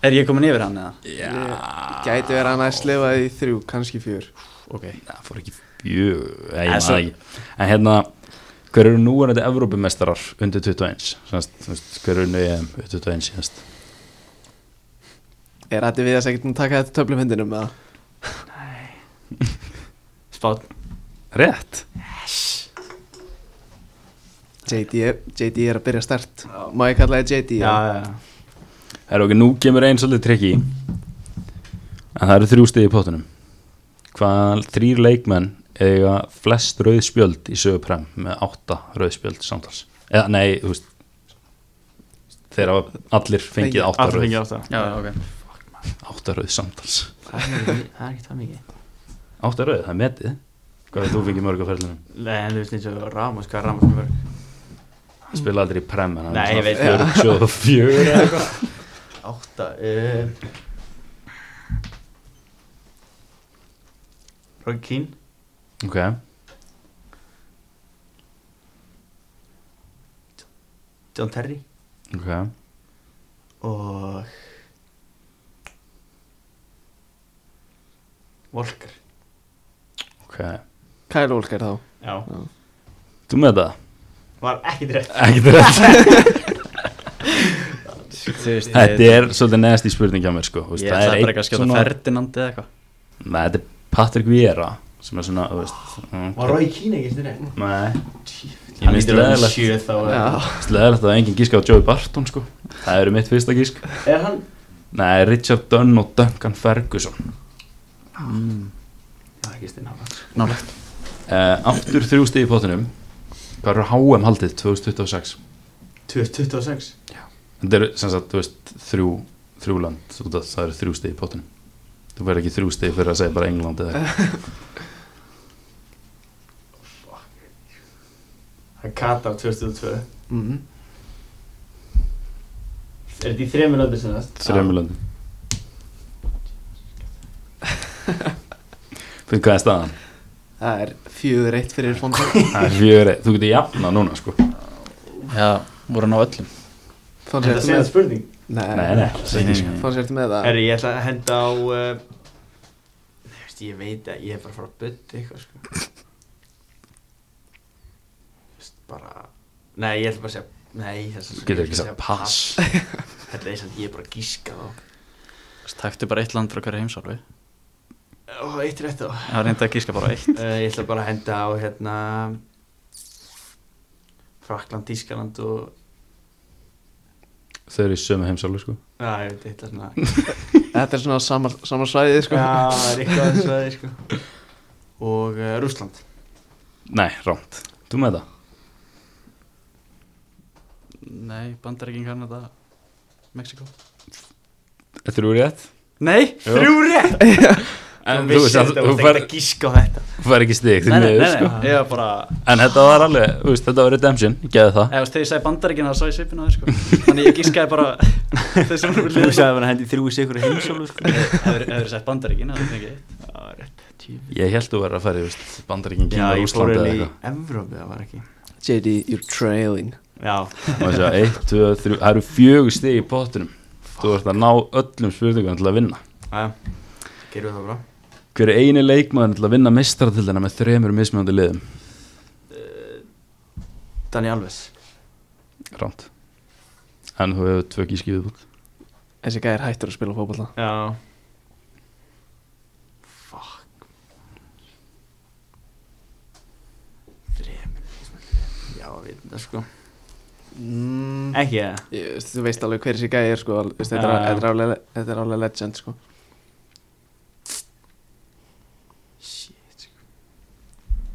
Er ég komin yfir hann eða?
Já
Gæti verið hann að slefa í þrjú, kannski fjör
Ok
Það fór ekki fjög Nei, ég
En
maður
svo-
það ekki En hérna Hver eru núverandi Evrópumestrar undir 21? Sannst, veist, hver eru nöðum undir 21 síðast?
Er þetta við að segja að taka þetta töflumhendinum eða?
Spátt
Rétt
JD er, JD er að byrja stert Má ég kalla það JD? eða?
já, já
Það eru okkur, nú kemur einn svolítið trikki En það eru þrjú stið í pottunum Hvað þrýr leikmenn eiga flest rauðspjöld í söguprem með átta rauðspjöld samtals Eða, nei, þú veist Þeir hafa allir fengið átta
Alltaf
rauð
fengið átta
Já, já, ok
Átta rauð samtals
Það er ekki- það er ekki það mikið
Átta rauð, það er metið Hvað er þú fengið mörg á ferlunum?
Nei, en þú veist eins og Ramos, hvað er Ramos mörg?
Mm.
Hann spilaði aldrei í prem en hann
Nei,
er
ég veit
svona 44 eða eitthvað.
Átta uh,
eh,
Roy Keane
Ok,
John Terry
ok
og Volker
Ok,
Kyle Walker þá
Já,
þú með það?
var ekki rétt
Ekkert rétt
sko.
Þú veist
Þetta er svolítið neðast í spurningi á mér sko Þú veist,
Ég ætla
einn
bara ekki að skjóta Ferdinand eða eitthvað
Nei, þetta er Patrick Vieira sem er svona, þú veist mm,
Var Roy Keane ekki rétt?
Nei,
Ég
Hann lítur að vera sjö
þá eh.
Já,
sleðilegt að enginn gíska á Joey Barton sko Það eru mitt fyrsta gísk
Er hann?
Nei, Richard Dunn og Duncan Ferguson
Það er ekki stinn hann
Nálegt
uh, Aftur þrjú stig í pottinum Hvað eru HM haldið 2026?
26
Þetta eru sem sagt, þú veist, þrjú, þrjú land, þú veist, það eru þrjú stið í potinu. Þú verður ekki þrjú stið fyrir að segja bara England eða eitthvað.
Hann Katar 2002 Er
mm
þetta í þremur löndu sem það?
þrjum löndum. Fyrir hvað er staðan?
það er fjögur eitt fyrir Fonseca
Það er fjögur, þú getur jafna núna sko.
Já, voru hann á öllum
Fonseca
Þetta
ertu
sé það
sko.
með
spurning
Nei, nei, það er ekki sko.
Fonseca ertu með það
Herri, ég ætla að henda á uh, Nei, veist, ég veit að ég er bara að fara að byrja eitthvað sko Þú veist, bara Nei, ég ætla bara að segja Nei, þess að
Þú getur ekki sagt pass.
Þetta er sem ég er bara að gíska þá
Þú veist, Taktu bara eitt land frá hverju heimsálfi
Ó, eitt rétt þá uh,
Það reyndi að gíska bara á eitt
Ég ætla bara að henda á hérna Frakland, Ískaland og
Þau eru í sömu heimsálu sko.
Já, ég veit, ég ætla svona
Þetta er svona sama, sama svæðið sko
Já, það er eitthvað þess að sko Og uh, Rússland
Nei, rámt. Þú með það?
Nei, bandaríkinn Kanada Mexiko
Þrjú rétt.
Nei,
Jú.
þrjú rétt
En
Þú
þú veist,
veist þetta,
þú
þú
fær,
fært að gíska á þetta
þú fær ekki stig því
Nei, nei,
miður
nei,
sko.
nei, ég var bara
En þetta var alveg, þú veist, þetta var redemption, ég geði það.
Eða, þú veist, þegar ég sagði bandaríkinn þá sá ég svipin á þér sko Þannig ég gískaði bara Þessum hún
Þú
vilja
sagði að vera hendi þrjú sigur heimsólu sko
Hefur þið sett bandaríkinn, það er ekki eitt
Já, rétt
Ég held þú verið að fara, í, þú veist, bandaríkin
Já,
kynna
ég fór
Úslandi eða
henni í
eitthvað.
Evrópu, það var ekki
JD, you're trailing
Já,
Má ég sjá, 1, 2, 3, það eru fjögur stig í pottunum Þú ert að ná öllum spurningum til að vinna
já, gerum við það bra
Hver er eini leikmaður til að vinna mistratildina með þremur mismjöndi liðum?
Dani Alves
Rámt En þú hefur tvö gíski viðbútt
Þessi gæði er hættur að spila fótbolta
Já Fuck þetta sko
mm.
Ekki það
Ég, veist, þú veist alveg hver þessi gæði er sko al- veist, þetta,
Já, já.
er, þetta, er alveg, þetta er alveg legend sko
Shit sko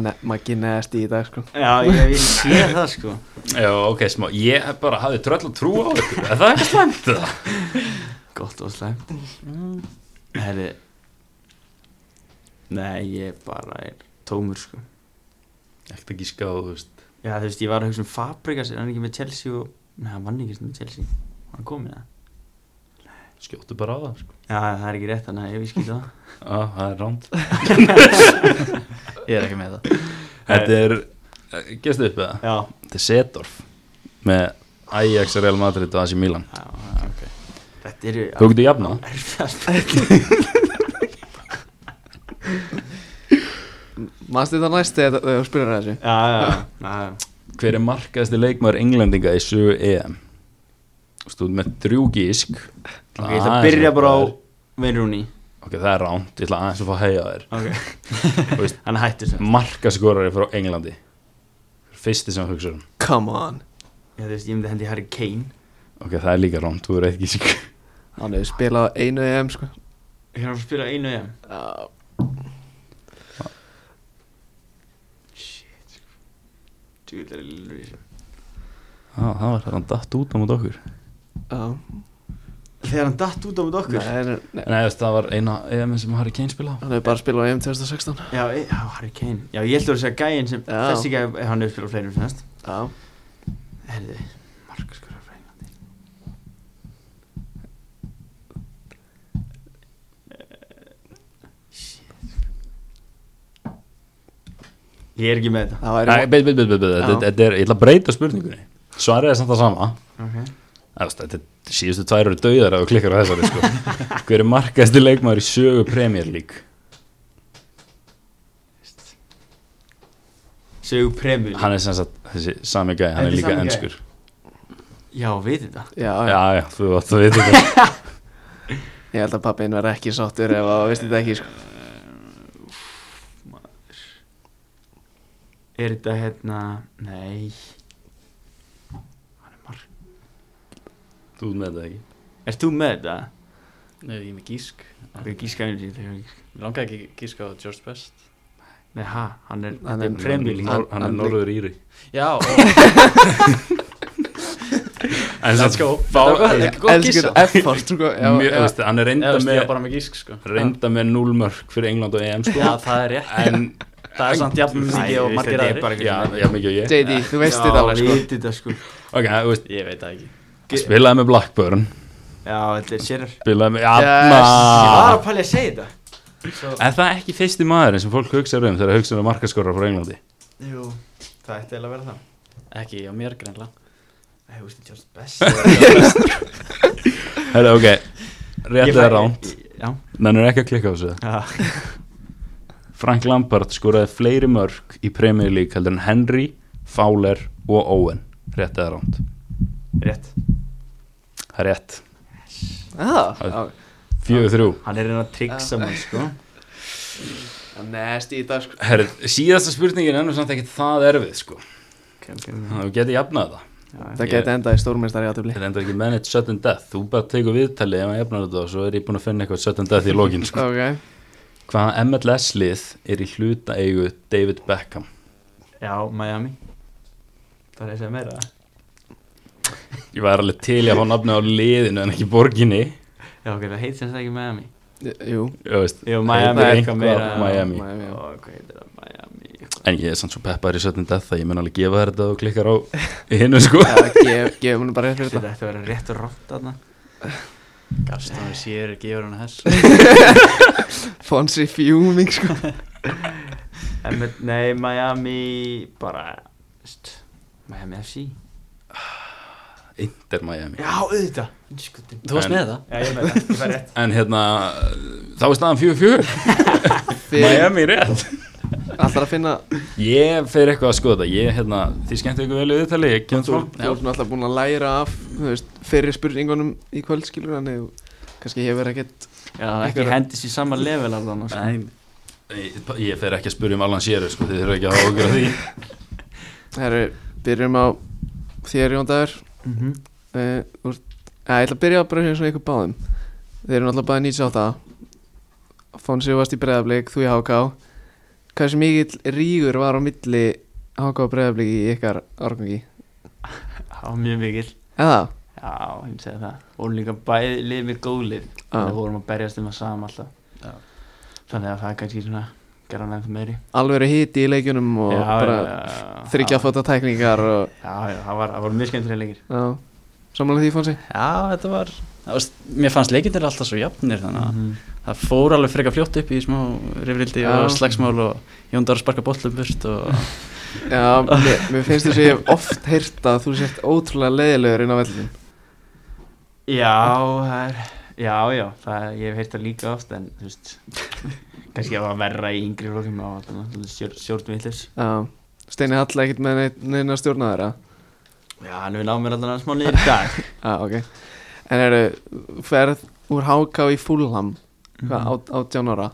ne, maður genast í dag sko
Já, ég hef sé það sko
Já, ok, smá, ég bara hafði tröll að trúa á ykkur, er það ekki slæmt það?
Gott og slæmt Mm. Herri Nei, ég bara er tómur sko
Ekkert að gíska á, þú veist
Já, þú veist, ég var að hugsa um Fabregas Er hann ekki með Chelsea og Nei, hann vann ekki með Chelsea Var Hann komið það
Skjóttu bara á það, sko
Já, það er ekki rétt hann, ég vískið það
Já, Ah, það er rámt
Ég er ekki með það
Þetta er, Eh, gefstu upp eða?
Já,
Þetta er Sedorf með Ajax, Real Madrid og AC Milan
já, já, ok Þetta eru
Þú getur jafnað
erfiðast
maður þetta næst þegar þegar þú spyrir að þessu
Já, já, já, já
Hver er markaðasti leikmaður englendinga í sögu EM? Þú veist, þú ert með þrjú gísk
Ok, ég ætla að byrja bara á Verúni
Ok, það er rámt, ég ætla aðeins að fá að heia þér
Ok
Þú veist,
Hann hættir sem
markaskorari frá Englandi Fyrsti sem hugsa um
come on
Já, þú veist, ég myndi hendi Harry Kane
Ok, það er líka rámt, þú er eitt gísk
hann hefur spilað á einu EM sko
Ég er að spila einu EM
Já,
Shit sko. Djúvill er ég lillur í þessu
Já, það var hann datt út á mót okkur
já.
Þegar hann datt út á mút okkur
Nei, nei, nei.
Nei, þú veist, það var eina EM sem Harry Kane spila
hann hefur bara spilað á EM 2016
Já, e- já, Harry Kane Já, ég held að segja gæinn sem
Já.
Þessi gæinn, eh, hann hefur spilað fleiri finnast
já.
Herði, Markus Guðar frá Englandi Eh, Shit Ég er ekki með þetta
það væri
Nei, beit, beit, beit, beit, beit, þetta-
Já.
þetta er, ég ætla að breyta spurningunni Svarið er samt það sama
Ok
Eða, þú veist, Þetta er- síðustu tvær eru dauðar ef þú klikkar á þessari sko. Hver er markaðasti leikmaður í sögu Premier League?
Sögu premjur
Hann er sem sagt, þessi sami gæði, hann er
Þetta er
líka
sami gæi.
ennskur
Já, við þetta
já, já.
Já, já, þú átt að vita það
ég held að pappin verði ekki sáttur ef að veist þetta ekki sko
Er þetta hérna Nei Hann er marg
Þú ert með þetta ekki
Erst þú með þetta?
Nei, ég er með gísk
Það er gískaðinu síðan þegar ég
Mér langaði ekki að gíska á George Best
Nei, ha, hann er,
Hann
hann er
er-
premjur
League.
Nor- Hann er
Hann-
norður íri
Já, ó,
En
let's
samt
go
fá-
Ég
Þetta var- þetta er góð
elska
gíska
þetta effort sko já,
mjög-
já.
þú veist, Hann er
Ég
reynda
veist, ég var
með
bara með gísk sko
reynda með núlmörk fyrir England og EM sko.
Já, það er rétt
En,
Það er samt jafn mikið og margir
Þetta er
aðri
bara
já,
eitthvað
já, mikið og ég
JD, þú veist þetta alveg
Já,
sko
við þetta sko
Ok, þú veist,
Ég veit það ekki
spilaði með Blackburn
Já, þetta er sérar
Spilaði með,
Yes.
Ég var
jafna
að pæli að segja þetta Svo,
Er það ekki fyrsti maðurinn sem fólk hugsaður um þegar hugsaður um markaskorra frá Englandi?
jú, það ætti eiginlega að vera það
Ekki á mér greinlega
Nei, þú veist, þetta er just best
Herra, ok, rétt eða rán
Já,
Nennir ekki að klikka á þessu
já,
Frank Lampard skoraði fleiri mörg í Premier League heldur en Henry, Fowler og Owen Rétt eða ránt
rétt
Það er rétt
Já,
Já.
já.
Fjögur þrjú
Hann er hérna að tryggsa mann sko
Næst í dag sko
Herri, síðasta spurningin er ennum samt ekkert það erfið sko
Ok, ok, ok.
Þú getur jafnað það
Já,
Það geti endað í stórmeistari átöfli
Þetta endar ekki manage sudden death Þú bara tegur viðtalið ef maður jafnar þetta og svo er ég búinn að finna eitthvað sudden death í lokin sko
Ok,
Hvaða MLS lið er í hluta eigu David Beckham?
já, Miami Það er að segja meira
Ég var alveg til í að fá nafnið á liðinu en ekki borginni
Já, ok, það heit sem sagt ekki Miami
jú
Ég veist
Jú, Miami
heitir
er
eitthvað
eitthvað meira
Miami.
Miami, já.
Ó, hvað heitir það, Miami eitthvað.
En ég er samt svo peppar í sudden death að ég mun alveg gefa þér þetta og klikkar á hinu sko
Já, gef- gefum henni bara rétt fyrir
Þetta
þetta
ætti að vera rétt og rátt þarna
Gaston sér, gefur hann hess
Fonsi fjúming sko
En með, nei, Miami bara, veist, Miami FC
Inter Miami
Já, auðvitað, skutin
Þú varst
En-
með það?
Já, ég með það, ég fær rétt
En hérna, þá er staðan 4-4
Fyrir-
Miami rétt
Alltaf að finna
Ég fer eitthvað að skoða þetta Ég, hérna, þið skemmtu ykkur vel í viðtali Ég kem
Þú
frá
þú ert náttúrulega búin að læra af þú veist, Fyrir spurningunum í kvöld skilur Þannig þú kannski hefur ekkert
Já, ekki
Einhver-
sko.
hendis í sama level allan
Nei,
Ég, ég fer ekki að spyrja um Alan Shearer sko, þið þurfum ekki að hafa okkur að því
Herru, byrjum á þér Jón Dagur uh, úr, ja, Ég ætla að byrja bara eins og ykkur báðum Þeir eru náttúrulega bæði 98 Fonsi varst í breðablík, þú í HK Hversu mikill rígur var á milli HK og breðablík í ykkar árgangi?
Það var mjög mikil
Eða?
Já, ég myndi segja það Vorum líka bæði lið með góð lið Þannig að
Já,
vorum að berjast um að sama alltaf
Já.
Þannig að það er kannski svona Gerða hann ennþá meiri
alveg hiti í leikjunum og
Já,
bara
já, já, já.
þryggja fóta tækningar og,
Já, já, það var, það var mjög skemmtilega leikir
já, samanlega því Fonsi
Já, þetta var það var- Mér fannst leikindir alltaf svo jafnir
Mhm.
þannig að
Mhm.
það fór alveg frekar fljótt upp í smá rifrildi
Já.
og slagsmál og Jóndar sparka bollum burt og
Já, mér, mér finnst þess að ég hef oft heyrt að þú sért ótrúlega leiðilegur inn á vellin
Já, það er Já, já, það, er- ég hef heyrt það líka oft en þú veist kannski að það var verra í yngri flokkum á stjórnvillis
Já, Steini Hall ekkert með neinn- neina stjórnaðara
Já, hann við náðum mér alltaf smá niður í dag
ah, ok En eru, ferð úr HK í Fulham Hvað, át, átján ára?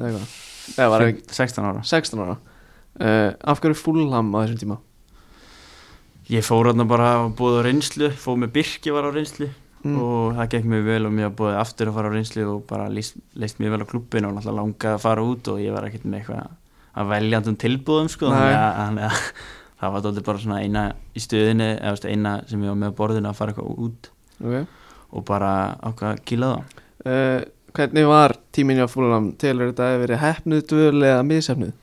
Eða hvað? Eða var ekki
16 ára
16 ára uh, Af hverju Fulham á þessum tíma?
Ég fór hann bara og búið á reynslu fóð með Birki var á reynslu
Mm.
og það gekk mjög vel og mér búið aftur að fara á reynslu og bara líst, leist mjög vel á klubbin og náttúrulega langaði að fara út og ég var ekkert með eitthvað að veljandum tilbúðum sko
Nei.
þannig að, þannig að það var dóttir bara svona eina í stöðinni eða þú veist, eina sem ég var með á borðinu að fara eitthvað út
Ok
og bara ákvað að kýla það
uh, Hvernig var tíminn hjá Fulham? Telur þetta að verið hefnuð, dvöl eða mishefnuð?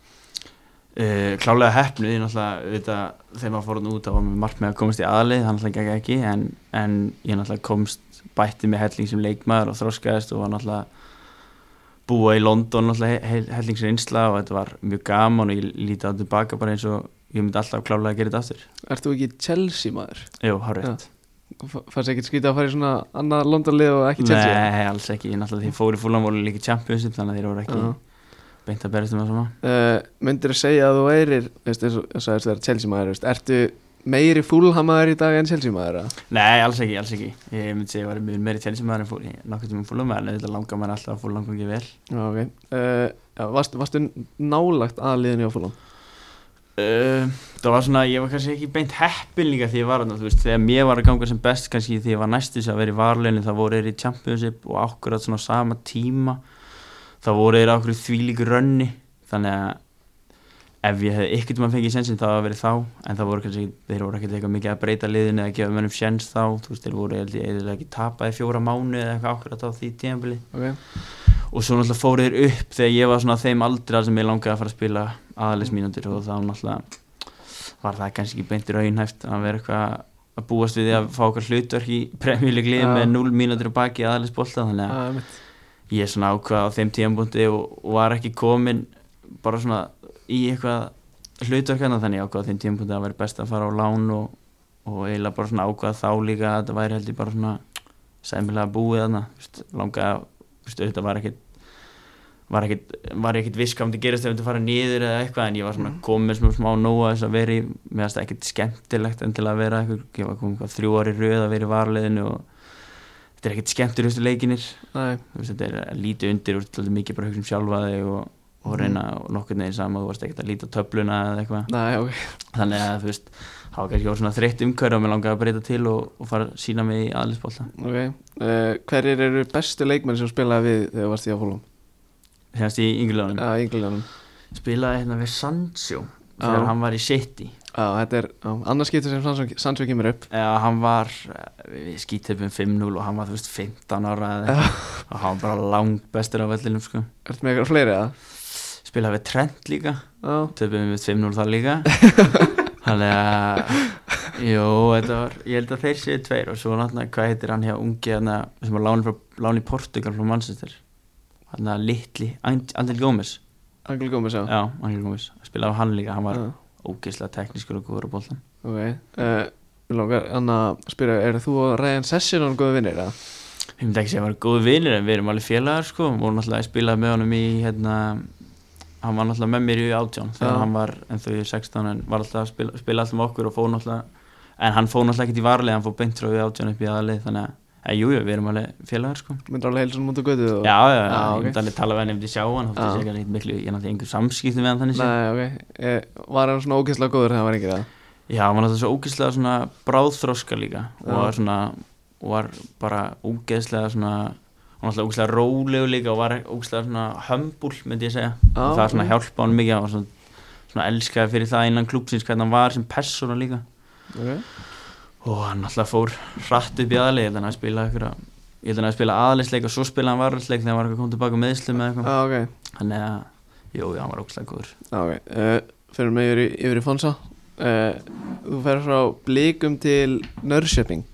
Uh, klálega heppnu, ég náttúrulega auðvitað, þegar maður fór hann út þá var mér margt með að komast í aðlið, hann náttúrulega gekk ekki en, en ég náttúrulega komst bætti með helling sem leikmaður og þróskaðist og var náttúrulega búa í London náttúrulega he- he- helling sem einsla og þetta var mjög gaman og ég líti á tilbaka bara eins og ég myndi alltaf klálega að gera þetta aftur
Ert þú ekki Chelsea maður?
Jú, hárið
F- Fannst ekkert skrítið að fara í svona annað Londonlið og ekki Chelsea?
Nei, alls ekki, ég náttúrulega þeir fóru fúlan voru líka champions þannig að þeir voru ekki
Já.
beint að berjast um það sama
uh, myndir að segja að þú eirir veist, eins og eins og það er Chelsea maður veist, ertu meiri fúlhamaður í dag en Chelsea maður eða?
Nei, alls ekki, alls ekki Ég myndi segja að ég var mjög meiri Chelsea maður en fúl, nokkuð tíma fúlum en auðvitað langar maður alltaf að fúlan gangi vel
já, okay. uh, já, varst, varstu nálagt að liðinu á fúlham
Uh, það var svona, ég var kannski ekki beint heppin líka því ég var þarna, þú veist, þegar mér var að ganga sem best kannski því ég var næstis að vera í varleginu þá voru þeir í Championship og akkurat svona á sama tíma þá voru þeir okkur þvílíku rönni þannig að ef ég hefði ykkert maður fengið sensin þá að verið þá en það voru kannski, þeir voru ekkert eitthvað mikið að breyta liðinu eða gefa mönnum sens þá þú veist, þeir voru eða ekki tapaði fjóra mánu eða eitthvað akkurat á því tímabili
okay.
og svo náttúrulega fóru þeir upp þegar ég var svona á þeim aldra sem ég langaði að fara að spila aðalis mínútur og þá náttúrulega var það kannski ekki beintir raunhæft að vera eitthvað að búast við því að fá okkar hlutverk í premjuleglið
Já.
með 0 mínútur á baki aðalis bolta þannig að
uh, mitt.
ég svona ákvað á þeim tíðanbúndi og, og var ekki komin bara svona í eitthvað hlutverkana þannig ég ákvað á þeim tíðanbúndi að vera best að fara á lán og, og eiginlega bara svona ákvað þá líka að þetta væri heldur bara svona sæmilega búið þarna þú veist, langaði að þú veist, auðvitað var ekkit var ekkit, var ekkit viss hvað myndi gerast ef þetta fara niður eða eitthvað en ég var svona komin smá, smá nóa þess að vera í mér fannst það ekkit skemmtilegt en til að vera eitthvað, ég var komin hvað þrjú ári röð að vera í varliðinu og þetta er ekkit skemmtilegustu leikinir
Nei,
þú veist, þetta er að líti undir og þetta er mikið bara að hugsa um sjálfa þig og, og reyna og nokkurn veginn saman, þú varst ekkert að líta á töfluna eða eitthvað,
nei, ok
þannig að þú veist það var kannski orð svona þreytt umhverju og mér langaði að breyta til og, og fara að sína mig í aðlisbólta
okay. Uh, hverjir eru bestu leikmenn sem spilaði við þegar þú varst í á fúlham?
þegar í yngilöðunum,
Já, ynglunum
spilaði hérna við Sancho þegar
Já.
hann var í City
Já, þetta er já, annars skiptur sem Sandsjó- Sandsjó kemur upp
eða hann var eh, skítöpum 5-0 um og hann var þú veist 15 ára eða, eitthvað. og hann var bara langt bestur á vellinum sko.
Ertu með eitthvað fleiri eða?
spilaði við Trent líka
Já,
töfum við 5-0 þar líka þannig að jú, þetta var, ég held að þeir séu tveir og svo náttúrulega, hvað heitir hann hjá ungi hana, sem var láni, frá, láni í Portugal frá Manchester hann að litli And- Andel Gómez,
Angel Gómez já,
já, Andel Gómez spilaði á hann líka, hann var
Já,
ógeðslega teknískur og góður á boltan
Ok uh, Mér langar hann að spyrja, eru þú og Ryan Session góðu vinnir eða?
ég myndi ekki segja að hann var góð vinur en við erum alveg félagar sko, og vorum náttúrulega að spila með honum í hérna, hann var náttúrulega með mér í átján þegar
Já.
hann var ennþá í 16 en var alltaf að um spila, spila alltaf með okkur og fóð náttúrulega en hann fóð náttúrulega ekkert í varlið, hann fóð beint frá við átján upp í aðalið þannig að en jújú, jú, við erum alveg félagar sko
myndir alveg heilsun mútu götu og...
já, já, já,
Já, ok.
ég myndi alveg tala við hann ef ég sjá hann þá
Já.
þótti ég ekki miklu, ég náttúrulega einhver samskipti með hann þannig séð.
Nei, ok, eh, var hann svona ógeðslega góður þegar hann var yngri eða?
já, hann var náttúrulega svo ógeðslega svona bráðþroska líka og
Já.
var svona, og var bara ógeðslega svona hann var alltaf ógeðslega rólegur líka og var ógeðslega svona hömbul, myndi ég segja
Já,
og það var
ok.
svona hjálpa hann mikið hann var svona, svona elskaði fyrir það innan klúpsins hvernig hann var sem persóna líka
Ok.
og hann alltaf fór hratt upp í aðlið ég held að hann spila ykkur að ég held að hann spila aðlisleik og svo spila hann varðisleik þegar hann var eitthvað kom tilbaka með Íslu með eitthvað
Já, Ah, ok,
þannig að, jú, já, hann var ógslag góður
Já, ok, uh, fyrir mig yfir, í- yfir í Fonsa uh, Þú fer frá Blikum til Nörrköping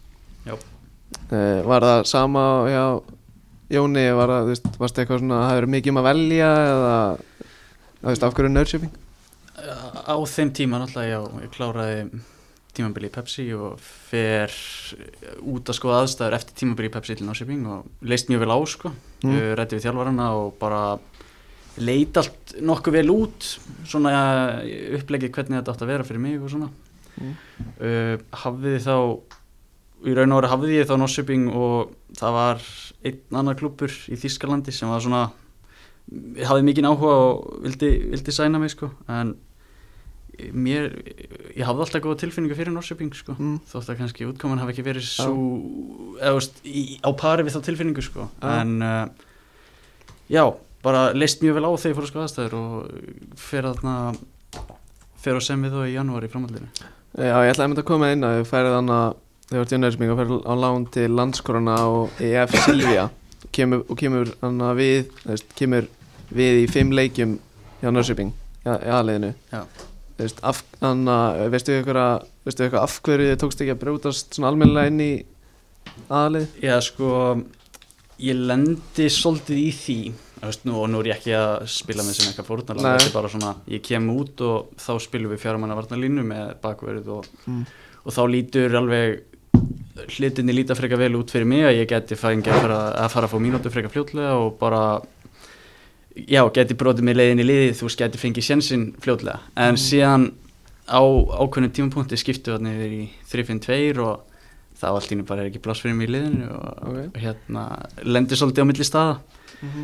Já.
Eh, Var það sama hjá Jóni, var það, þú veist, varst eitthvað svona Það hefur mikið um að velja eða Þú veist, af hverju Nörrköping?
á þeim tíma náttúrulega já, ég kláraði tímabili í Pepsi og fer út að skoða aðstæður eftir tímabili í Pepsi til Norrköping og leist mjög vel á sko
Mm.
mm. rætti við þjálfarana og bara leit allt nokkuð vel út svona ja, upplegið hvernig þetta átt að vera fyrir mig og svona
Mm.
uh, hafði þá í raun og orði hafði ég þá Norrköping og það var einn annar klubur í Þískalandi sem var svona hafði mikinn áhuga og vildi, vildi sæna mig sko en mér, ég hafði alltaf góða tilfinningu fyrir Norrköping sko
Mm.
þótt að kannski útkoman hafi ekki verið svo eða þú veist, í- á pari við þá tilfinningu sko
Já.
en uh, já, bara leist mjög vel á þegar ég fór að skoða aðstæður og fer þarna fer og sem við þá í janúar í framhaldinu
Já, ég ætlaði að mynda að koma inn að þú færið hann að Þú ert í Nörrköping og ferð á lán til Landskrona og EF Silvia kemur, og kemur hann að við þú veist, kemur við í fimm leikjum hjá Nörrköping, í aðliðinu
Já.
Þú veist, af, anna, veistu ykkur að, veistu ykkur af hverju þið tókst ekki að brjótast svona almennilega inn í aðlið?
Já, sko, ég lendi svolítið í því þú veist, nú, og nú er ég ekki að spila með sem eitthvað
Nei.
fórnarlega þetta er bara svona, ég kem út og þá spilum við fjármanna varnalínu með bakverð og,
Mm.
og þá lítur alveg hlutinni líta frekar vel út fyrir mig að ég geti fæðingi að fara að, fara að fá mínútu frekar fljótlega og bara já, geti brotið mig leiðin í liðið þú veist, geti fengið sjensinn fljótlega en
Mm.
síðan á ákveðnum tímapunkti skiptu við þarna yfir í 3-5-2 og það var allt í nú bara er ekki pláss fyrir mig í liðinu og
Ok.
og hérna lendir svolítið á milli staða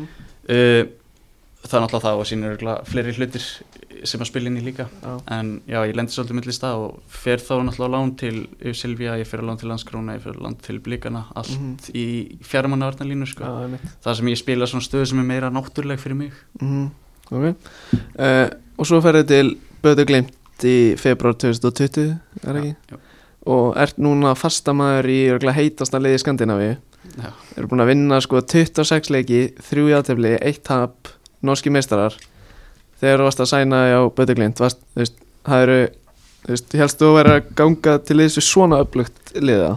uh, það er náttúrulega það og sín eru fleiri hlutir sem að spila inn í líka
Já.
en já, ég lendir svolítið á milli staða og fer þá náttúrulega á lán til Silvía, ég fer á lán til Landskróna, ég fer á lán til Blikana allt
Mhm.
í fjármannavarnalínu sko.
Já, einmitt
það sem ég spila svona stöðu sem er meira náttúrleg fyrir mig
mm. Ok uh, Og svo ferðið til Böðu Glimt í februar 2020, er það ekki?
Já, já.
Og ert núna fastamæður í örugglega heitasta liði Skandinavíu
já,
eru búin að vinna sko 26 leiki, 3 játefli, 1 tap, norski meistarar þegar þú varst að sæna á Bötteglind, varst, þú veist, það eru þú veist, helst þú að vera að ganga til þessu svona upplugt liða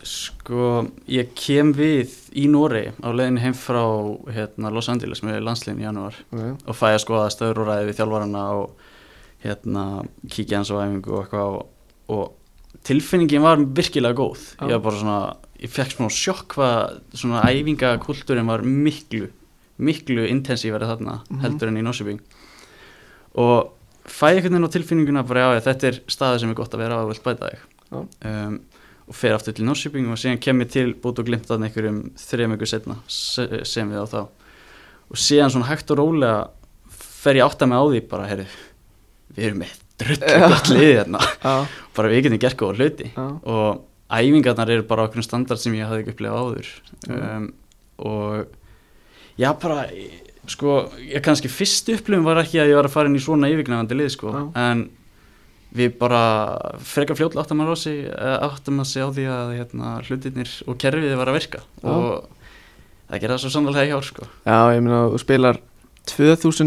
sko, ég kem við í Nóri á leiðinu heim frá hérna, Los Angeles með landsliðin í janúar
okay.
og fæ að skoða stöður og ræði við þjálfarana og hérna, kíkja hans á æfingu og eitthvað og, og tilfinningin var virkilega góð
Já.
ég var bara svona, ég fekk smá sjokk hvað svona æfingakultúrin var miklu, miklu intensífari þarna
Mhm.
heldur enn í Norsibing og fæ einhvern veginn á tilfinninguna bara já, já, þetta er staði sem er gott að vera á og vilt bæta þig um, og fer aftur til Norsibing og síðan kem ég til bútt og glimt að einhverjum þrejum ykkur setna sem við á þá og síðan svona hægt og rólega fer ég átt að með á því bara, herri, við erum með drullu gott liðið hérna,
Já,
bara við getum gert góða hluti
já,
og æfingarnar eru bara okkur standard sem ég hafði ekki upplegað áður
Já.
um, og já bara sko, ég kannski fyrst upplifum var ekki að ég var að fara inn í svona yfirgnæfandi lið sko, en við bara frekar fljótlega áttum að rási áttum að sjá því að hérna, hlutinir og kerfið var að virka
Já.
og það gerða svo sannlega í ár sko.
já, ég meina þú spilar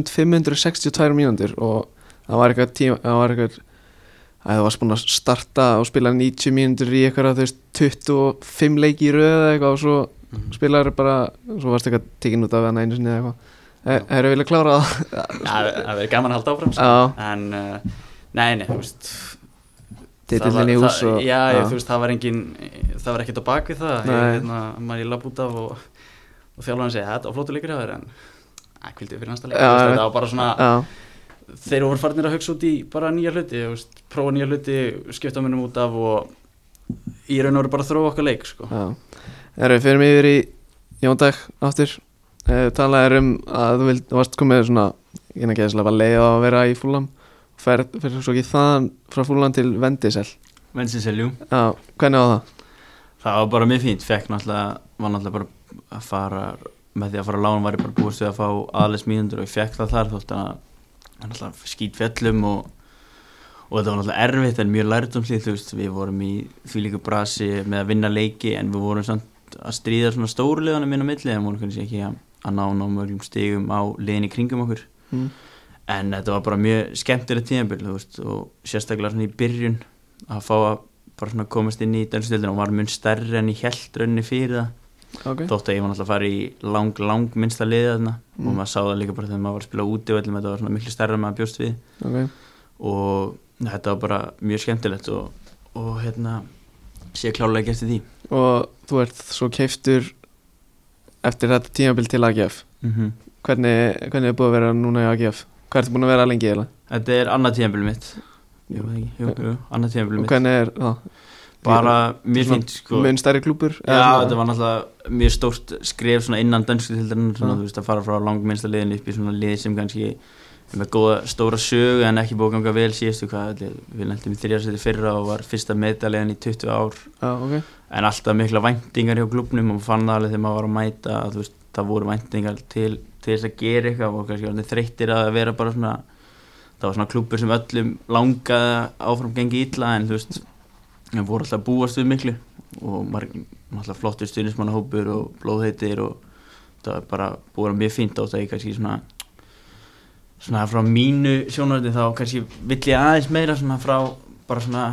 2562 mínúndur og það var eitthvað tíma, það var eitthvað að þú varst búin að starta og spila 90 mínútur í eitthvað þú veist 25 leiki í röð eða eitthvað og svo
Mhm.
spilaður bara, svo varst eitthvað tekin út af hann einu sinni eða eitthvað Það eru vilja klára það
Já, það það verður gaman að halda áfram sko.
Já,
en uh, nei, nei, þú veist það var-
titillin í hús
það-
og
já, ég, þú veist, það var engin það var ekkert á bak við það ég,
Nei.
hérna, maður ég lapp út af og, og þjálfan segi, þetta var flottu leikur hjá þér en að kvildu fyrir næsta leik
Já,
þú veist,
já.
þetta var bara svona,
Já,
þeir voru farnir að hugsa út í bara nýja hluti, þú veist, prófa nýja hluti skipta munum út af og í raun og veru bara þróa okkar leik sko.
já Erum við fyrir mig yfir í Jóndag aftur uh, Talað er um að þú vild, varst komið svona innan geðislega var leið á að vera í fúlam Ferð fer svo ekki þaðan frá fúlam til Vendisel
Vensinseljú
Já, hvernig á það?
Það var bara mjög fínt, fekk náttúrulega var náttúrulega bara að fara með því að fara á lán var ég bara búist við að fá aðlis mínundur og ég fekk það þar þótt að það var náttúrulega skýt fjallum og, og þetta var náttúrulega erfitt en mjög lærdomslið þú veist, við vorum í því líka brasi með að vinna leiki en við vorum samt að stríða svona stóruleðana minna milli en vorum kannski ekki að, að ná ná mörgum stigum á liðin í kringum okkur
Mm.
en þetta var bara mjög skemmtilega tíðanbyrg þú veist og sérstaklega svona í byrjun að fá að bara svona komast inn í dansstildin og var mun stærri enn í heldrönni fyrir það
Okay.
þótt að ég var náttúrulega að fara í lang, lang minnsta liðið þarna
Mm.
og maður sá það líka bara þegar maður var að spila úti og allir þetta var svona miklu stærra en maður bjóst við
Okay.
og þetta var bara mjög skemmtilegt og, og hérna sé klálega gert í því
Og þú ert svo keiftur eftir þetta tímabil til AGF Mhm. Hvernig, hvernig er búið að vera núna í AGF? Hvað ertu búin að vera lengi eða?
þetta er annað tíðanbyrg mitt jú, er það ekki? jú, jú, annað tíðanbyrg
Og
mitt
hvernig er það?
bara mjög
Svona
fínt sko
Mun stærri klúpur?
Já, þetta var náttúrulega mjög stórt skref svona innan dansku til þarna, svona,
Já.
þú veist, að fara frá langminnsta liðin upp í svona lið sem kannski er með góða stóra sögu en ekki búið að ganga vel síðustu hvað, ætli, við lendum í þrjarsæti fyrra og var fyrsta medalíðan í 20 ár
Já, ok
en alltaf mikla væntingar hjá klubnum og maður fann það alveg þegar maður var að mæta að þú veist, það voru væntingar til, til þess að gera eitthvað og kannski orðin þreyttir að vera bara svona það var svona klubur sem öllum langaði að áfram gengi illa en þú veist en voru alltaf að búast við miklu og marg, alltaf flottur stuðnismannahópur og blóðheitir og það var bara búið að vera mjög fínt á það ég kannski svona svona frá mínu sjónarði þá kannski vill ég aðeins meira svona frá bara svona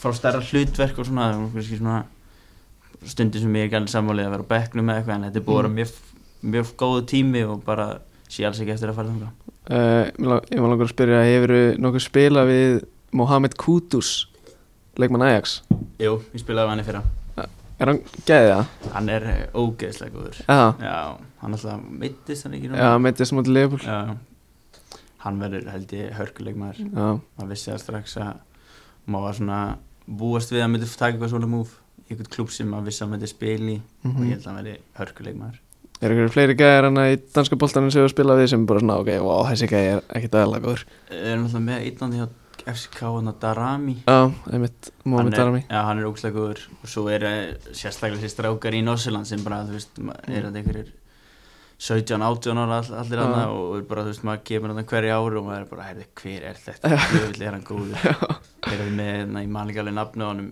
frá stærra hlutverk og svona, og kannski svona stundir sem ég er gæli sammálið að vera á bekknum eða eitthvað en þetta er búið að vera mjög, mjög góðu tími og bara sé alls ekki eftir að fara þangað
Uh, mig lang- ég var langar að spyrja, hefur nokkuð spila við Mohamed Kudus leikmann Ajax
Jú, ég spilaði við hann í fyrra
er hann gæðið það?
Hann er eh, ógeðslega góður
Já,
Já, hann alltaf meittist hann ekki núna?
já, meittist mútið Leopold
Já, hann verður held ég hörkuleik maður
Já,
maður vissi það strax að maður var svona búast við að myndi taka eitthvað svona múf eitthvað klúb sem maður vissi að myndi spila í og ég
mhm
held að hann verði hörkuleik maður
Er ykkur fleiri gæðir hann í danska boltanum sem við spila við sem bara svona, ok, wow, þessi gæði er ekkit aðalega góður
Við erum alltaf með einnandi hjá FCK hann að Darami
Já, einmitt,
Hann
Mohamed
er-
Darami
Já, hann er ógeðslega góður og svo er eh, sérstaklega þessi strákar í Norsiland sem bara, þú veist, ma-
Mm.
er þetta einhverjir 17, 18 ára all, allir
Já.
annað og er bara, þú veist, maður kemur hann hverja ári og maður er bara, herði, hver er þetta? Jöfnvill er hann góður Þeir eru með, hérna, ég man ekki alveg nafni á hann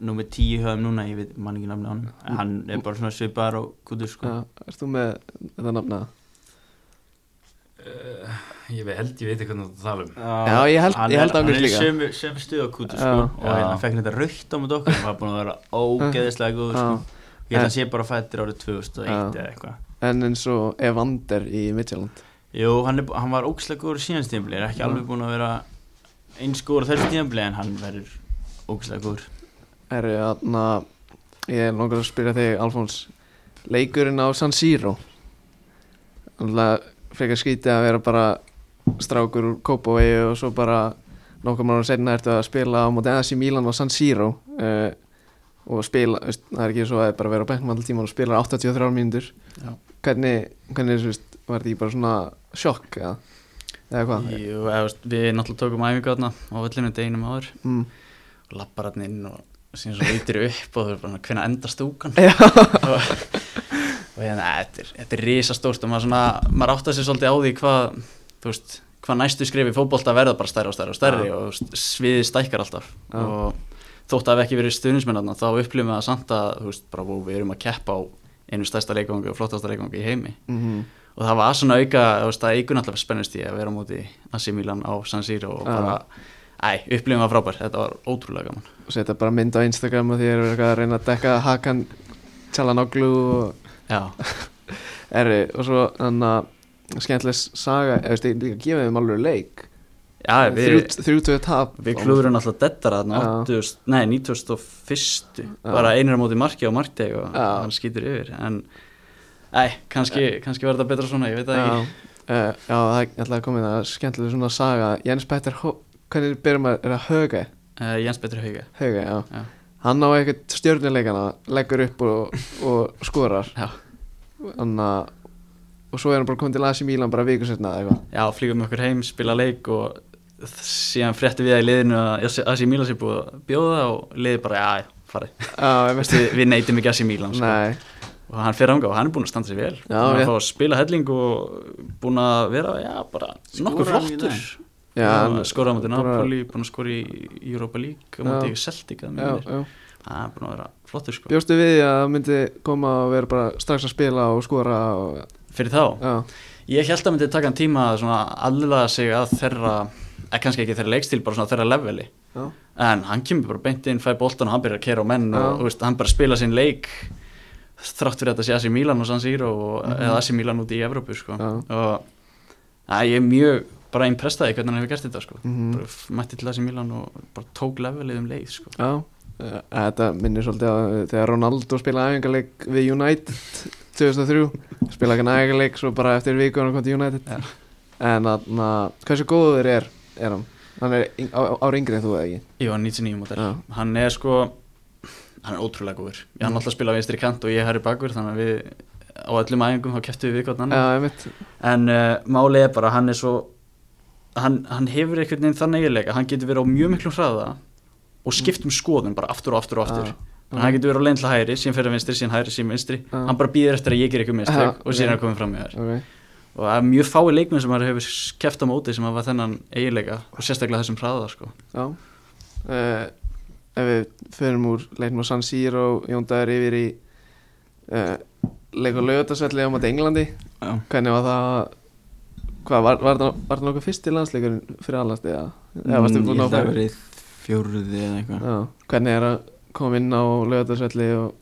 Númer 10 höfum núna, ég veit, man ekki nafni á hann En Hann er bara svona svipaðar og gutur, sko
Já, ert þú með þetta nafna?
Eh, Ég ve- held ég veit ekki hvernig það tala um
Já, ég held-
Hann
ég held
er-
að hann er líka.
Hann er í sömu- sömu stuð á kútu sko
Já.
og hérna fekk hann þetta raukt á mjög okkur og var búin að vera ógeðislega góð
Já,
sko. Ég held að hann sé bara fættir árið 2001
Eh. Já.
eða eitthvað
en eins og Evander í Midtjylland
Jú, hann, er, bú- hann var ógeðislega góður síðan stímbli er ekki
Já.
alveg búin að vera eins góður á þessu stímbli en hann verður ógeðislega góður
Herru, þarna, ég er langar að spyrja þig, Alfons Leikurinn á San Siro Þannig frekar skrítið að vera bara strákur úr Kópavegi og svo bara nokkuð mánu setna ertu að spila á móti aðeins í Mílan á San Siro uh, og spila, veist, það er ekki svo að bara vera á bekknum allir tíma og spila 83 mínútur
Já.
Hvernig, hvernig, þú veist, var þetta ekki bara svona sjokk eða, eða hvað?
Jú, eða, þú veist, við náttúrulega tókum æfingu þarna á völlinu deginum áður
Mm.
og lappar hann inn og síðan svo lítir upp og þú er bara hvernig endast stúkan
Já.
og, og hérna, "Æ, þetta er, þetta er risastórt og maður, svona, maður áttar sér svolítið á því hvað þú veist, hvað næstu skrifi fótbolta verða bara stærri og stærri og stærri
Já.
og þú veist, sviðið stækkar alltaf
Já.
og þótt að hafa ekki verið stuðnismennarna þá upplifum við að samt að þú veist, bara, "Vó, við erum að keppa á einu stærsta leikangu og flottasta leikangu í heimi
Mm
og það var svona auka, þú veist, það eigur náttúrulega spennust í að vera á móti Asi Milan á San Siro og
Já.
bara, æ, upplifum var frábær, þetta var ótrúlega gaman.
og setja bara mynd á Instagram og því eru eitthvað að reyna að dekka hakan tjalanoglu og
Já,
erri og svo hann að skemmtileg saga eða veist, ég líka gefið þeim alveg leik
já við,
þrjú tvö tap
við klúðurum alltaf dettara þarna,
Já.
80, nei, 91.
Já.
bara einir á móti marki á markteg og
Já.
hann skýtur yfir, en æ, kannski, kannski var þetta betra svona, ég veit það
já,
ekki.
uh, já, það er alltaf komið það skemmtileg svona saga Jens Petter Ho- hvernig byrjum maður, er það Höge?
Uh, Jens Petri Hauga,
Höge, já,
Já.
hann á ekkert stjörnuleikana leggur upp og, og skorar
Já.
Þannig að og svo er hann bara komið til AC Milan bara viku setna eða eitthvað
Já, flýgum okkur heim, spila leik og þ- síðan frétti við það í liðinu að Asi Mílan sé búið að bjóða og liði bara, já, já, farið
Já, ég veist
Veistu, við neytum ekki Asi Mílan sko.
Nei,
og hann fer ánga og hann er búin að standa sér vel já, hann
rétt.
er fá að spila helling og búin að vera, já, bara
Skoraði
nokkuð
í
flottur
dag.
já, hann-
skora á móti
bara-
Napoli, búin að skora í Europa League, á
Já.
móti Celtic að
já,
mér,
já.
hann er búin að vera flottur sko.
Bjóstu við því að það myndi koma og vera bara strax að spila og skora og,
fyrir þá
já,
Ég held að myndi taka hann tíma að svona aðlaða sig að þeirra, eh, kannski ekki þeirra leikstíl, bara svona þeirra leveli.
já,
En hann kemur bara beint inn, fæ boltan og hann byrjar að kera á menn
Já.
og þú veist, hann bara spila sinn leik þrátt fyrir að þetta sé Asi Milan og San Siro og, eh, eða Asi Milan úti í Evrópu sko.
Mhm. Já.
Og að, ég er mjög bara impressaði hvernig hann hefur gert þetta sko.
Mhm.
Bara f- mætti til Asi Milan og bara tók levelið um leið sko.
já. Eh, Þetta minnir svolítið að þegar Ronaldo spilaði æfingarleik við United 2003 spilaði ekki æfingarleik svo bara eftir viku hann kom til United
Já.
en þannig að hversu góður er, er hann? Hann er yng- á- ári yngri en þú eða ekki?
Jú, hann er 99 mótel.
Já. Mm.
Hann er sko, hann er ótrúlega góður. Hann alltaf spila vinstri kant og ég herri bakur þannig að við á öllum æfingum þá kæftu við hvernig annan.
Já, ég mitt
en uh, málið er bara að hann er svo hann, hann hefur einhvern veginn þann eiginleika hann getur verið á mjög miklum hraða og skipt um skoðun bara aftur og aftur og aftur
Mm. Já.
þannig að hann getur verið á leið til hægri síðan fyrir að vinstri, síðan hægri, síðan vinstri
Já.
hann bara býður eftir að ég ger eitthvað mistök
Já,
og síðan
já.
er hann komið fram í þær
okay.
og það er mjög fái leikmenn sem hann hefur keft á móti sem hann var þennan eiginleika og sérstaklega þessum hraða sko.
Já uh, Ef við förum úr leiknum á San Siro Jóndaður yfir í uh, leik á laugatasvelli á mati Englandi
Já.
Hvernig var það Hvað, var, var, það- var það nokkuð fyrsti landsleikurinn fyrir allast eða, eða varstu
Mm, Ég
búin
held
að
að
fara
verið fjóruði eða eitthvað
Já, Hvernig er að koma inn á laugatasvelli og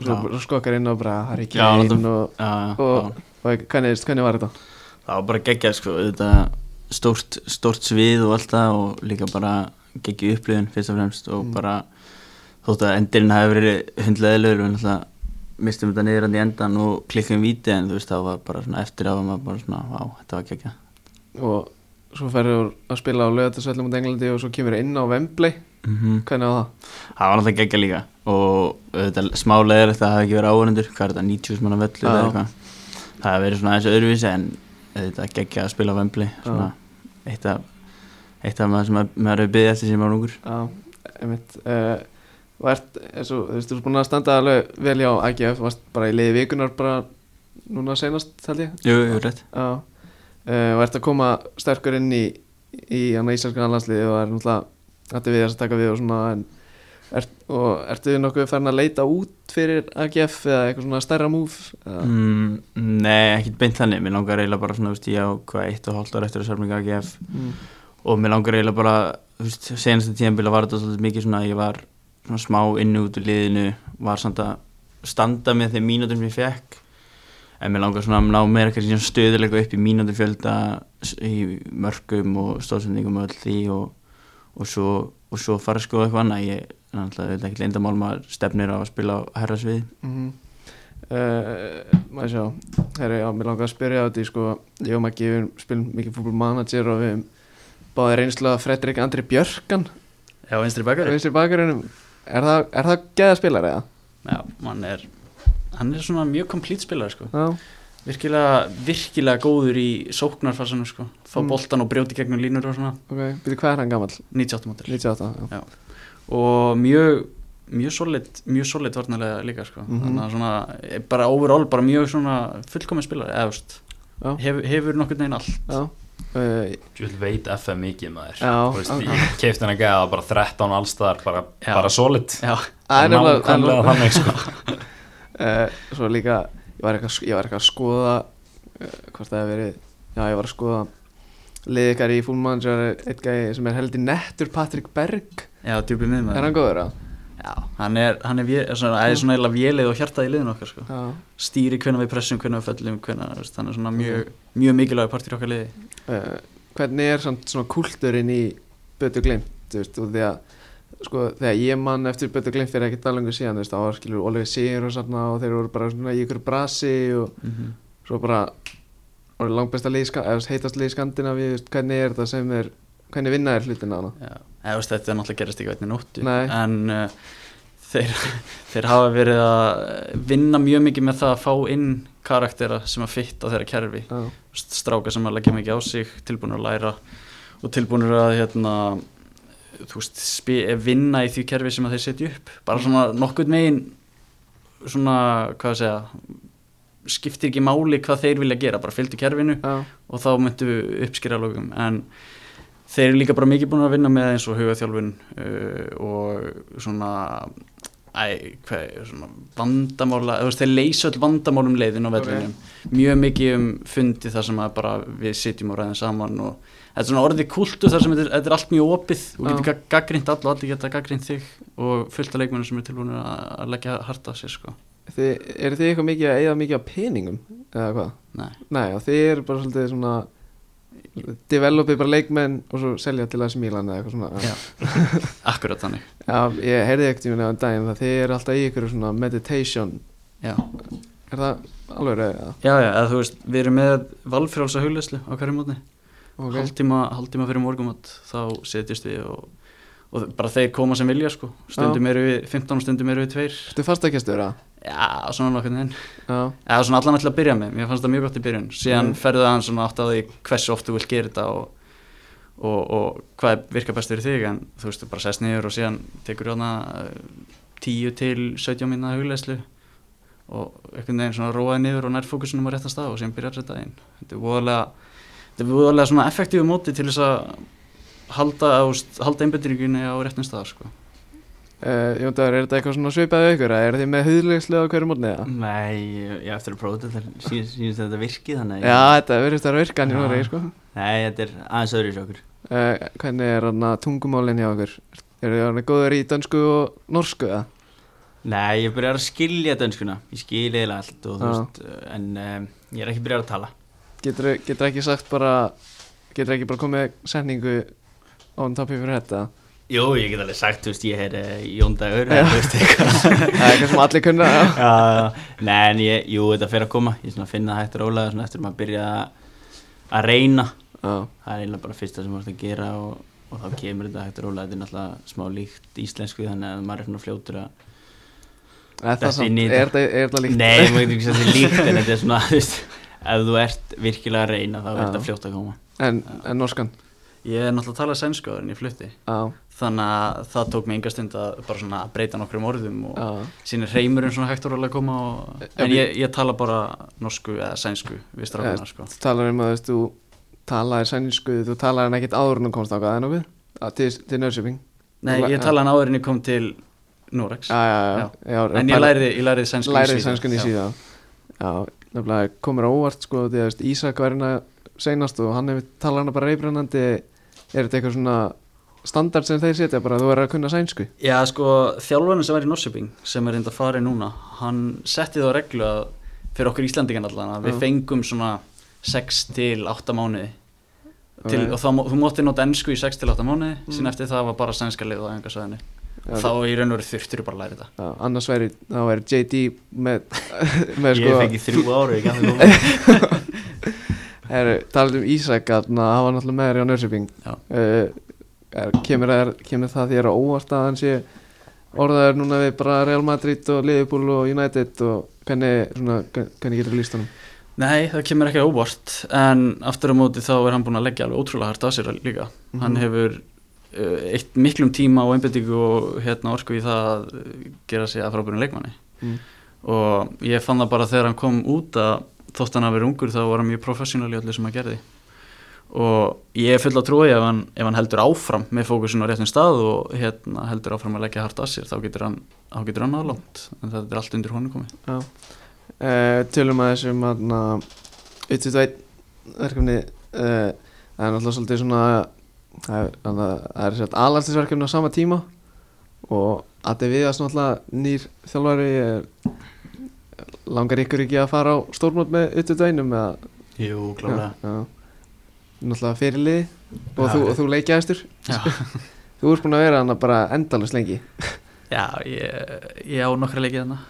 svo
Já.
bara skokkar inn og bara "Ah, Harry
Já,
Kane
náttúrulega.
og,
Já, já.
og, og hvernig, hvernig var þetta?
Það var bara geggjað sko, þetta stórt, stórt svið og allt það og líka bara geggju upplifun fyrst og fremst
Mm.
og bara þótt að endurinn hafi verið hundleðilegur við náttúrulega mistum þetta niður hann í endan og klikkum víti en þú veist það var bara svona eftir að maður bara svona, vá, þetta var geggjað
Og svo ferður að spila á laugatasvelli á mati Englandi og svo kemur inn á Wembley
-hmm.
Hvernig var það?
Það var náttúrulega geggjað líka og þetta smá leður þetta hafi ekki verið áhörundur, hvað er þetta, 90 manna vellu eða
Já.
eitthvað Það hafi verið svona aðeins öðruvísi en þetta geggjað að spila á vembli, svona eitt af, eitt af maður sem maður- maður hefur byggðið eftir sem maður var ungur
Já, einmitt uh, og ert, er svo, þú veist, þú ert búin að standa alveg vel hjá AGF, varst bara í liði vikunar bara núna senast, held ég
Jú, jú, rétt
Já, uh, og ert að koma sterkur inn í, í hann íslenskana landsliði og er náttúrulega ætti við þess að taka við og svona en Ert, og ertu þið nokkuð farin að leita út fyrir AGF eða eitthvað svona stærra múf mm.
mm, Nei, ekkert beint þannig Mér langar eiginlega bara svona, þú veist, ég á hvað eitt og hálft ára eftir að samlinga AGF
Mm.
og mér langar eiginlega bara, þú veist, senast að tíðanbila var þetta svolítið mikið svona að ég var svona smá inni út úr liðinu var samt að standa með þeim mínútum sem ég fekk en mér langar svona að ná meira kannski svona stöðuleika upp í mínútum fjölda í mörgum og stóðsendingum og öll því og, og, svo, og svo fara að skoða eitthvað annað ég er náttúrulega ekki lindamál maður stefnir á að spila á herrasvið
Mm -hmm. maður sjá herri, já, mér langar að spyrja á því sko, ég og Maggi, við spilum mikið fútbolmanager og við höfum báði reynslu að Fredrik Andri Björkan
Já, vinstri bakari
vinstri bakurinnum er það, er það geða spilar eða?
Já, hann er, hann er svona mjög komplít spilar sko.
Já,
virkilega, virkilega góður í sóknarfarsanum sko. fá
Mm.
boltan og brjóti gegnum línur og svona
ok, byrju hvað er hann gamall?
98 mótil
98, já,
og mjög mjög solid, mjög solid varnarlega líka sko.
Mhm.
þannig að svona, eh, bara overall bara mjög svona fullkomið spilari eða, þú veist,
Já.
hefur, hefur nokkur neginn allt
já. Uh,
Ég vil veit FM mikið maður
Já,
Þú veist, Ég keipti henni að gæða bara 13 allstaðar bara,
Já.
bara solid
já,
að er nefnilega að nú-
Nákvæmlega þannig sko
Eh, svo líka ég var eitthvað, ég var eitthvað að skoða uh, hvort það hefur verið já, ég var að skoða liðið ykkar í fútbolmanager eitt gæði sem er heldur nettur Patrik Berg,
já djúpið miðmaður
er hann góður að?
já, hann er, hann er, vé, er svona, er svona eila vélið og hjartað í liðin okkar sko.
Já,
stýri hvernig við pressum, hvernig við föllum hvernig, þú veist, hann er svona mjög,
Mm.
mjög mikilvæg partur í okkar liði
uh, hvernig er samt svona kulturinn í Bötu Glimt þú veist, og því að sko, þegar ég mann eftir Bötu Glimt fyrir ekkert dalengu síðan þú veist, þá var skilur Oliver Sigur og svona og þeir voru bara svona í ykkur brasi og
mm
svo bara og langbesta lið, í Ska- eða þú veist, heitast lið í Skandinavíu, þú veist, hvernig er þetta sem er hvernig vinna er hlutina hana
Já, eða, þú veist, þetta er náttúrulega gerist ekki veitni nóttu
Nei.
en uh, þeir, þeir hafa verið að vinna mjög mikið með það að fá inn karaktera sem að fitta þeirra kerfi
já,
stráka sem að leggja mikið á sig tilbúinur að læra og tilbúinur að hérna, þú veist, spi, vinna í því kerfi sem að þeir setja upp bara svona nokkurn megin svona, hvað að segja skiptir ekki máli hvað þeir vilja gera bara fylgdu kerfinu
já,
og þá myndu uppskýra lókum en þeir eru líka bara mikið búin að vinna með eins og hugaþjálfun uh, og svona æ, hvað, er, svona vandamála, þú veist, þeir leysa öll vandamálum leiðin á vellinum, mjög mikið um fundi þar sem að bara við sitjum og ræðum saman og þetta er svona orðið kultu þar sem þetta er, þetta er allt mjög opið og
Já.
getur gaggrínt all og allir geta gaggrínt þig og fullt af leikmennum sem er tilbúin að að leggja hart að sér sko,
þið, eru þið eitthvað mikið að eigða mikið á peningum eða hvað?
nei
Nei, og þið eru bara svolítið svona developið bara leikmenn og svo selja til að smílan eða eitthvað svona
Já. akkurat þannig,
Já, ég heyrði ekkert í mér nefn daginn að þið eru alltaf í ykkur svona meditation
já
Er það alveg reyðið það?
Já, já, eða þú veist, við erum með valfrjálsa hugleyslu á hverju mótni
Ok,
hálftíma, hálftíma fyrir morgumat þá setjast við og, og bara þeir koma sem vilja sko stundum eru við, 15 stundum eru við tveir
Þú fast ekki að störa?
Já, svona nokkurn veginn
Já,
eða svona allan alltaf að byrja með, mér fannst það mjög gott í byrjun síðan
Mm.
ferðu aðeins svona átt að því hversu oft þú vilt gera þetta og, og, og hvað virkar best fyrir þig en þú veist, þú bara sest niður og síðan tekur hana 10 til 17 minna hugleyslu og einhvern veginn svona róaði niður og nær fókusunum á réttan stað og síðan byrjar þetta einn þetta er voðalega þetta er voðalega svona effektífu móti til þess að halda, á, halda einbendingunni á réttan stað sko.
uh, Jóndagur, er þetta eitthvað svona svipað við ykkur? eða Eru þið með huðlegslega á hverju mótni það?
Nei, ég ég á eftir að prófa þetta þar síðan síðan þetta virkið þannig að
Já,
ég-
þetta verðist að virka hann í
Já.
Noregi, sko
Nei, þetta er aðeins öðru í sjókur
uh, Hvernig er hann tungumálinn hjá ykkur? Eru þið hann góður í dönsku og norsku eða?
Nei, ég byrjar að skilja dönskuna Ég skil eða allt og
Já.
þú veist eh, En um, ég er ekki byrjar að tala
Getur, getur ekki sagt bara Getur ekki bara komið setningu on top of your head eða?
Jó, ég get alveg sagt, þú veist, ég er uh, Jóndagur
Já.
eða, þú veist, eitthvað
Það er eitthvað sem allir kunna já.
Já, Nei, en ég, jú, þetta fer að koma Ég svona finna það hægt rólega svona eftir að maður byrja að- að reyna
Já,
Það er eiginlega bara fyrsta sem maður að gera og, og þá kemur þetta hægt rólega Þetta er náttúrulega smá líkt íslensku þannig að maður er svona fljótur að
Er
Þetta
það
er
samt,
nýtt.
er það, er það líkt?
Nei, maður getur ekki að þetta er líkt en þetta er svona, þú veist Ef þú ert virkilega að reyna þá er
Já.
þetta fljótt að koma
En, en norskan?
ég er náttúrulega að tala sænsku áður en ég flutti
Já,
þannig að það tók mig enga stund að bara svona breyta nokkrum orðum og
já
síðan er reymurinn svona hægt og rólega að koma og,
Ef
en
við-
ég, ég tala bara norsku eða sænsku við strákunar sko
Þú talar um að þú veist, þú talaðir sænsku, þú talaðir hann ekkert áður en þú komst ákvað, það er nokkuð? Að, Til, til Nörsjöping?
nei ég tala hann áður en ég kom til Norex
Já, já, já, já.
en ég læriði, ég læriði sænsku
lærið sænskunni í
Já.
síðan. Já, nefnilega komur á óvart, sko, því að þú veist, Ísak var hérna seinast og hann hefur talað hana bara reybrennandi, er þetta eitthvað svona standard sem þeir setja bara, þú er að kunna sænsku?
Já, sko, þjálfarinn sem var í Norsjöping sem er reynda að fara í núna hann setti þá reglu að fyrir okkur Íslandingan allan að við
Já.
fengum svona 6 til 8 mánuði
Ok.
til,
Mm.
og þá, má- þú mótti nota ennsku í 6 til 8 mánuði síðan eftir það var bara sænska lið á engasvæðinu
Já,
þá í raun og veru þurftur bara að læra þetta
Já, annars væri, þá er JD með, með sko
Ég fengi þrjú ári, ekki að það koma
Herru, talað um Ísak að hafa hann alltaf með þér á Nörsjöping
Já.
uh, er, kemur, er, kemur það þér á óvart að hann sé orðaður núna við bara Real Madrid og Liverpool og United og hvernig, svona, hvernig getur líst honum
Nei, það kemur ekki á óvart en aftur á móti þá er hann búin að leggja alveg ótrúlega hart á sér líka
Mhm.
hann hefur uh, eitt miklum tíma og einbendingu og hérna orku í það að uh, gera sig að frábærum leikmanni
Mm.
og ég fann það bara þegar hann kom út að þótt hann að vera ungur þá var hann mjög professional í öllu sem hann gerði og ég er full að trúi ef hann, ef hann heldur áfram með fókusun á réttum stað og hérna heldur áfram að leggja hart að sér þá getur hann, þá getur hann aðlónt en það er allt undir honum komið
Já uh, Tölum að þessum aðna 121 verkefni uh, það er náttúrulega svolítið svona það er, þarna- það er sett alastisverkefni á sama tíma og að þið við að náttúrulega nýr þjálfari eh, langar ykkur ekki að fara á stórmót með 121 um eða
Jú, klálega
Já, já. Náttúrulega fyrirliði og,
Já.
þú, og þú leikjaðistur
Já.
Þú ert búin að vera hann bara endalist lengi
Já, ég, ég á nokkra leikið hana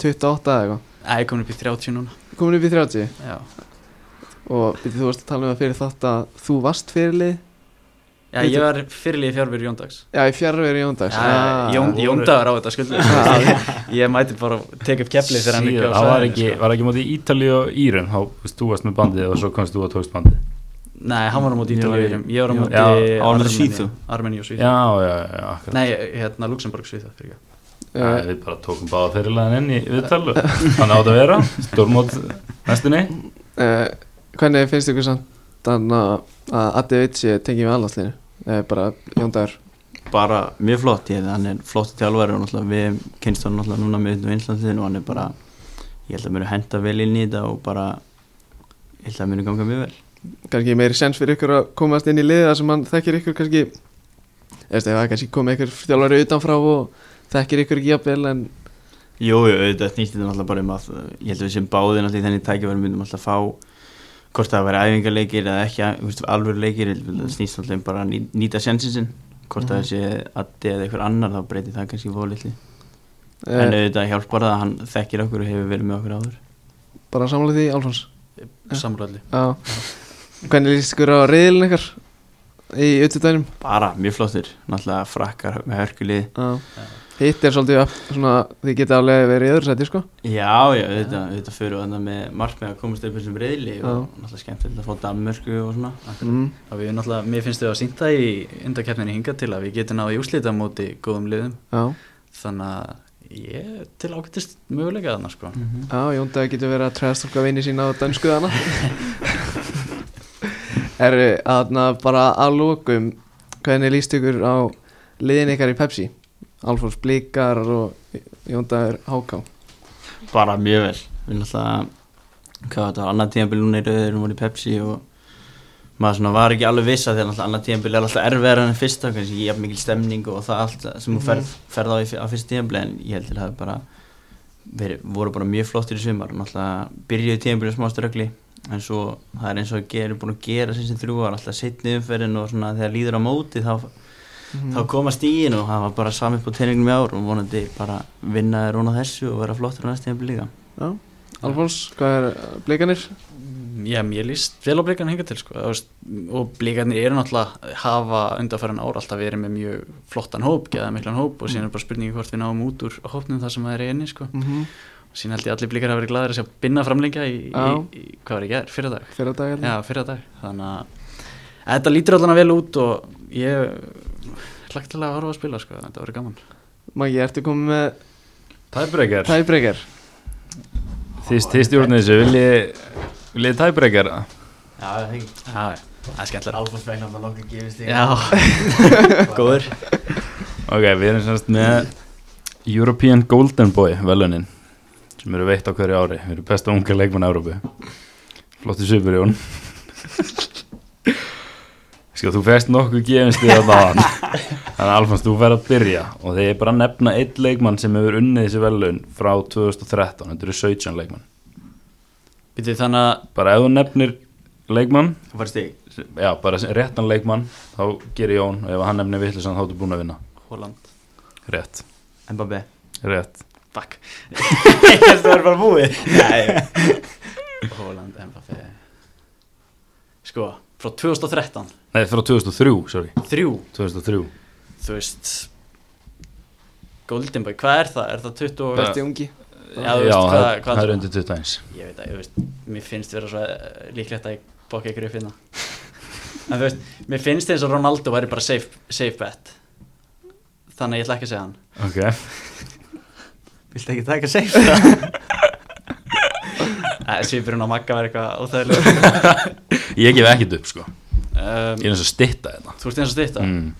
28 eða eitthvað
Æ, ég komin upp í 30 núna
Komin upp í 30
Já,
Og byrju, þú varst að tala um að fyrir þátt að þú varst fyrirlið
Já, ég var fyrirlið fjárfyrir Jóndags
Já, í Ah. fjárveri Jóndags
Já, Jón, Jóndagur á þetta skuldu Ég mæti bara teka upp keflið fyrir hann
Síðan,
á
það var
svæðinu,
ekki,
sko.
var ekki móti Ítali og Írun þá þú veist, þú varst með bandið og svo komst þú og tókst bandið
Nei, hann var á móti
Ég var í-
Ítalíu Ég var á
Já,
móti
á
móti
Armeníu-
Svíþjóð.
Armeníu og Svíþjóð
já, já, já, akkurat
Nei, hérna Luxemburg Svíþjóð fyrir ekki
Eh,
Æ, við bara tókum báða fyrirlegan inn í viðtalu þannig átt að vera, stórmót næstunni
uh, Hvernig finnst ykkur samt þannig að að Addi Vitsi tengið við allaslinu? Uh, bara Jóndagur
bara mjög flott ég, hann er flott tjálfæri og náttúrulega við kynst hann náttúrulega núna með utan einslandsliðin og hann er bara ég held að mér henda vel inn í þetta og bara ég held að mér ganga mjög vel
kannski meiri sens fyrir ykkur að komast inn í liða sem hann þekkir ykkur kannski eftir það er kannski komið ykkur þjálfari utanfrá og þekkir ykkur ekki jafnvel en
Jú, jú, auðvitað snýst þetta náttúrulega bara um að ég held að við sem báðir náttúrulega í þenni tækifæri myndum alltaf fá hvort það að vera æfingarleikir eða ekki þú veist, alvöru leikir, ég held að það snýst náttúrulega um bara að ný- nýta sensinsinn hvort það sé addi eða einhver annar þá breytir það kannski fólitli
uh,
en
eh,
auðvitað hjálpar það að hann þekkir okkur og hefur verið með okkur áður
bara samlega því Álfons
Samröðli
Já. Hvernig líst ykkur á reyðilin ykkar í utudænum?
bara mjög flottur, náttúrulega frakkar með hörkulið
Hitt er svolítið upp, svona, þið geta alveg verið í öðru sæti, sko.
Já, já, auðvitað, auðvitað fyrir við þarna með markmið að komast upp þessum reyðli og
Já.
náttúrulega skemmtilegt að fá Danmörku og svona
Mm.
Og við náttúrulega, mér finnst þau að sýnta í undakeppninni hingað til að við getum náðu í úslita móti góðum liðum
Já,
Þannig að ég til ágættist möguleika þarna sko
já Jóndaði getur verið að træðstólka vini sína á danskuðana. Herru, aðna bara að lókum, hvernig líst ykkur á liðin ykkar í Pepsi? Alfons Blikar og Jóndaður Háká.
Bara mjög vel Við náttúrulega, hvað var þetta, annar tíðanbíl núna í rauður og voru í Pepsi og maður svona var ekki alveg viss að því að náttúrulega annar tíðanbíl er alltaf erfiðar en fyrsta kannski ég haf mikil stemning og það allt sem þú ferð, ferð á í fyr- á fyrsta tíðanbíl en ég held til að hafa bara verið, voru bara mjög flottir í sumar náttúrulega byrjuði tíðanbíl smá ströggli en svo það er eins og gerur búin að gera sem sem þrjú var alltaf setni umferðin og svona þegar líður á móti þá, þá
Mhm.
komast í inn og það var bara sami upp á teiningum í ár og vonandi bara vinna er á þessu og vera flottur á næst tíðanbíl líka
Já, Alfons, hvað er uh, Blikanir?
Já, mér líst vel á blíkarni hingað til sko. Þú veist, og blíkarnir eru náttúrulega hafa undarfæran ár alltaf verið með mjög flottan hóp, geða miklan hóp og síðan er bara spurningi hvort við náum út úr hópnum þar sem það er einni sko.
Mm -hmm.
og síðan held ég allir blíkar hafa verið gladur að sjá binna framlengja í, í,
Já.
í hvað var ég gerð, fyrir dag
Fyrir að dagarni?
Já, fyrir dag, þannig að þetta lítur allan vel út og ég hlagt til að horfa að spila sko, þetta verið gaman
Maggi, ertu komið með
Tæbreykar,
tæbreykar?
þið stjórnir þessu viljið vilji tæbreykar
Já, það er ekki
Já, já, það er skemmtilega
Alfons Becknam að lokka gefist þig
Já, góður
ok, við erum semst með European Golden Boy velunin sem eru veitt á hverju ári við erum besta unga leikmann Európu flott í Superjón sko, þú fæst nokkuð gefinst því að það þannig Alfons, þú verð að byrja og þið er bara að nefna eitt leikmann sem hefur unnið þessi velun frá 2013 þetta eru 17 leikmann
Býttu þannig að
bara ef þú nefnir leikmann
Þú fær stig
já, bara sem- réttan leikmann þá gerir Jón og ef hann nefnir vittlisann þá ertu búin að vinna
Holland,
rétt,
Mbappé
rétt
fuck
Það er bara búið Nei
Holland, Mbappé Sko, frá 2013
nei, frá 2003, sorry
Þrjú,
2003
þú veist Golden Boy, hvað er það? Er það 20 og
Besti ungi?
Já, þú veist, hvað-
það,
hvað-
það er undir 21
Ég veit að, ég veist, mér finnst vera svo eh, líklegt að ég bóki ykkur upp hérna En þú veist, mér finnst eins og Ronaldo væri bara safe, safe bet Þannig að ég ætla ekki að segja hann
ok,
Viltu ekki taka safe það?
Eh, Svipurinn á Magga var eitthvað óþægilega
ég gef ekkert upp sko
um,
ég er eins og hérna. stitta þetta
Þú ert eins og stýtt að
mm,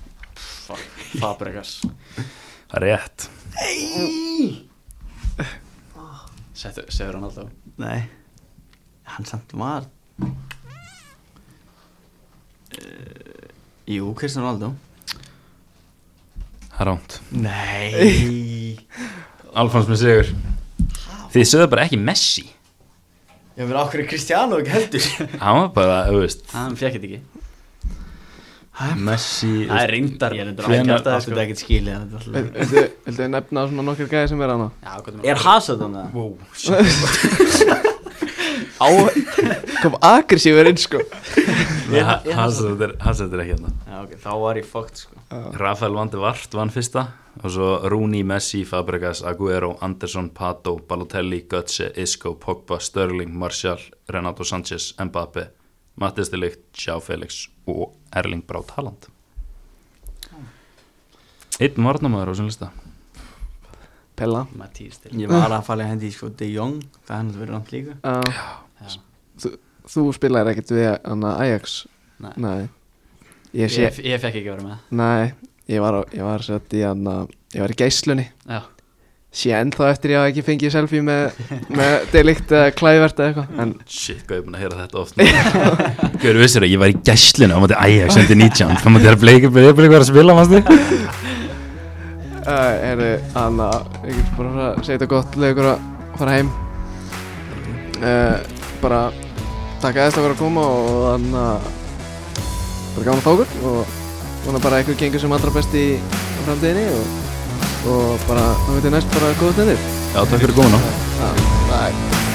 Fabregas
það er rétt
Settu, segur hann alltaf
Nei Hann samt var uh, Eh, Jú, Kristján Ronaldo
það er ránt
Nei
Alfons með sigur þið sögðu bara ekki Messi
Ég verði okkur í Kristjánu ekki heldur
hann var bara, þú veist
Hann fekk þetta ekki
Messi þú
Það er
veist,
reyndar
Ég er endur
Hvenær-
ákvæmt að sko.
það
þetta er ekkert skilið þetta er alltaf-
Vildu vildu nefna
Eh,
svona nokkur gæði sem er hana?
Já, hvað
Er Hazard hann það?
wow, shit.
á, kom aggressífur inn sko
Hans þetta er ekki hérna
Já, ok, þá var ég fókt sko
Rafael Vandi Vart vann fyrsta og svo Rooney, Messi, Fabregas, Aguero Anderson, Pato, Balotelli, Götze Isco, Pogba, Sterling, Martial Renato Sanchez, Mbappe Mattis Delikt, Sjá Felix og Erling Braut Haaland Einn varnamæður á þessum lista
Pella
Matís til
Ég var að fara að hendi í sko De Jong Það hann verið langt líka
uh,
Já.
þú, þú spilaðir ekkert við hana, Ajax
Nei.
ég sé
ég, ég fekk ekki að vera með
Nei, ég var, á- ég var, satt, í, hana, ég var í geislunni
Já,
sé ennþá eftir ég hafa ekki fengið selfie með, með delikt eða klævert eða eitthvað en
Shit, hvað ég er búin að heyra þetta oft Hver vissir að ég var í gæslinu á móti Ajax undir 19 þá móti þér bleikir bleikir bleikir að spila mannstu
uh, er hana, ég get bara að fara að segja þetta gott leikur að fara heim uh, bara takk aðeins okkur að koma og þannig að bara gaman að fá okkur og vona bara að ykkur gengur sem allra best í framtíðinni og, og bara þá veit ég næst bara góða stendir
Já, takk fyrir góðan á
Já, bye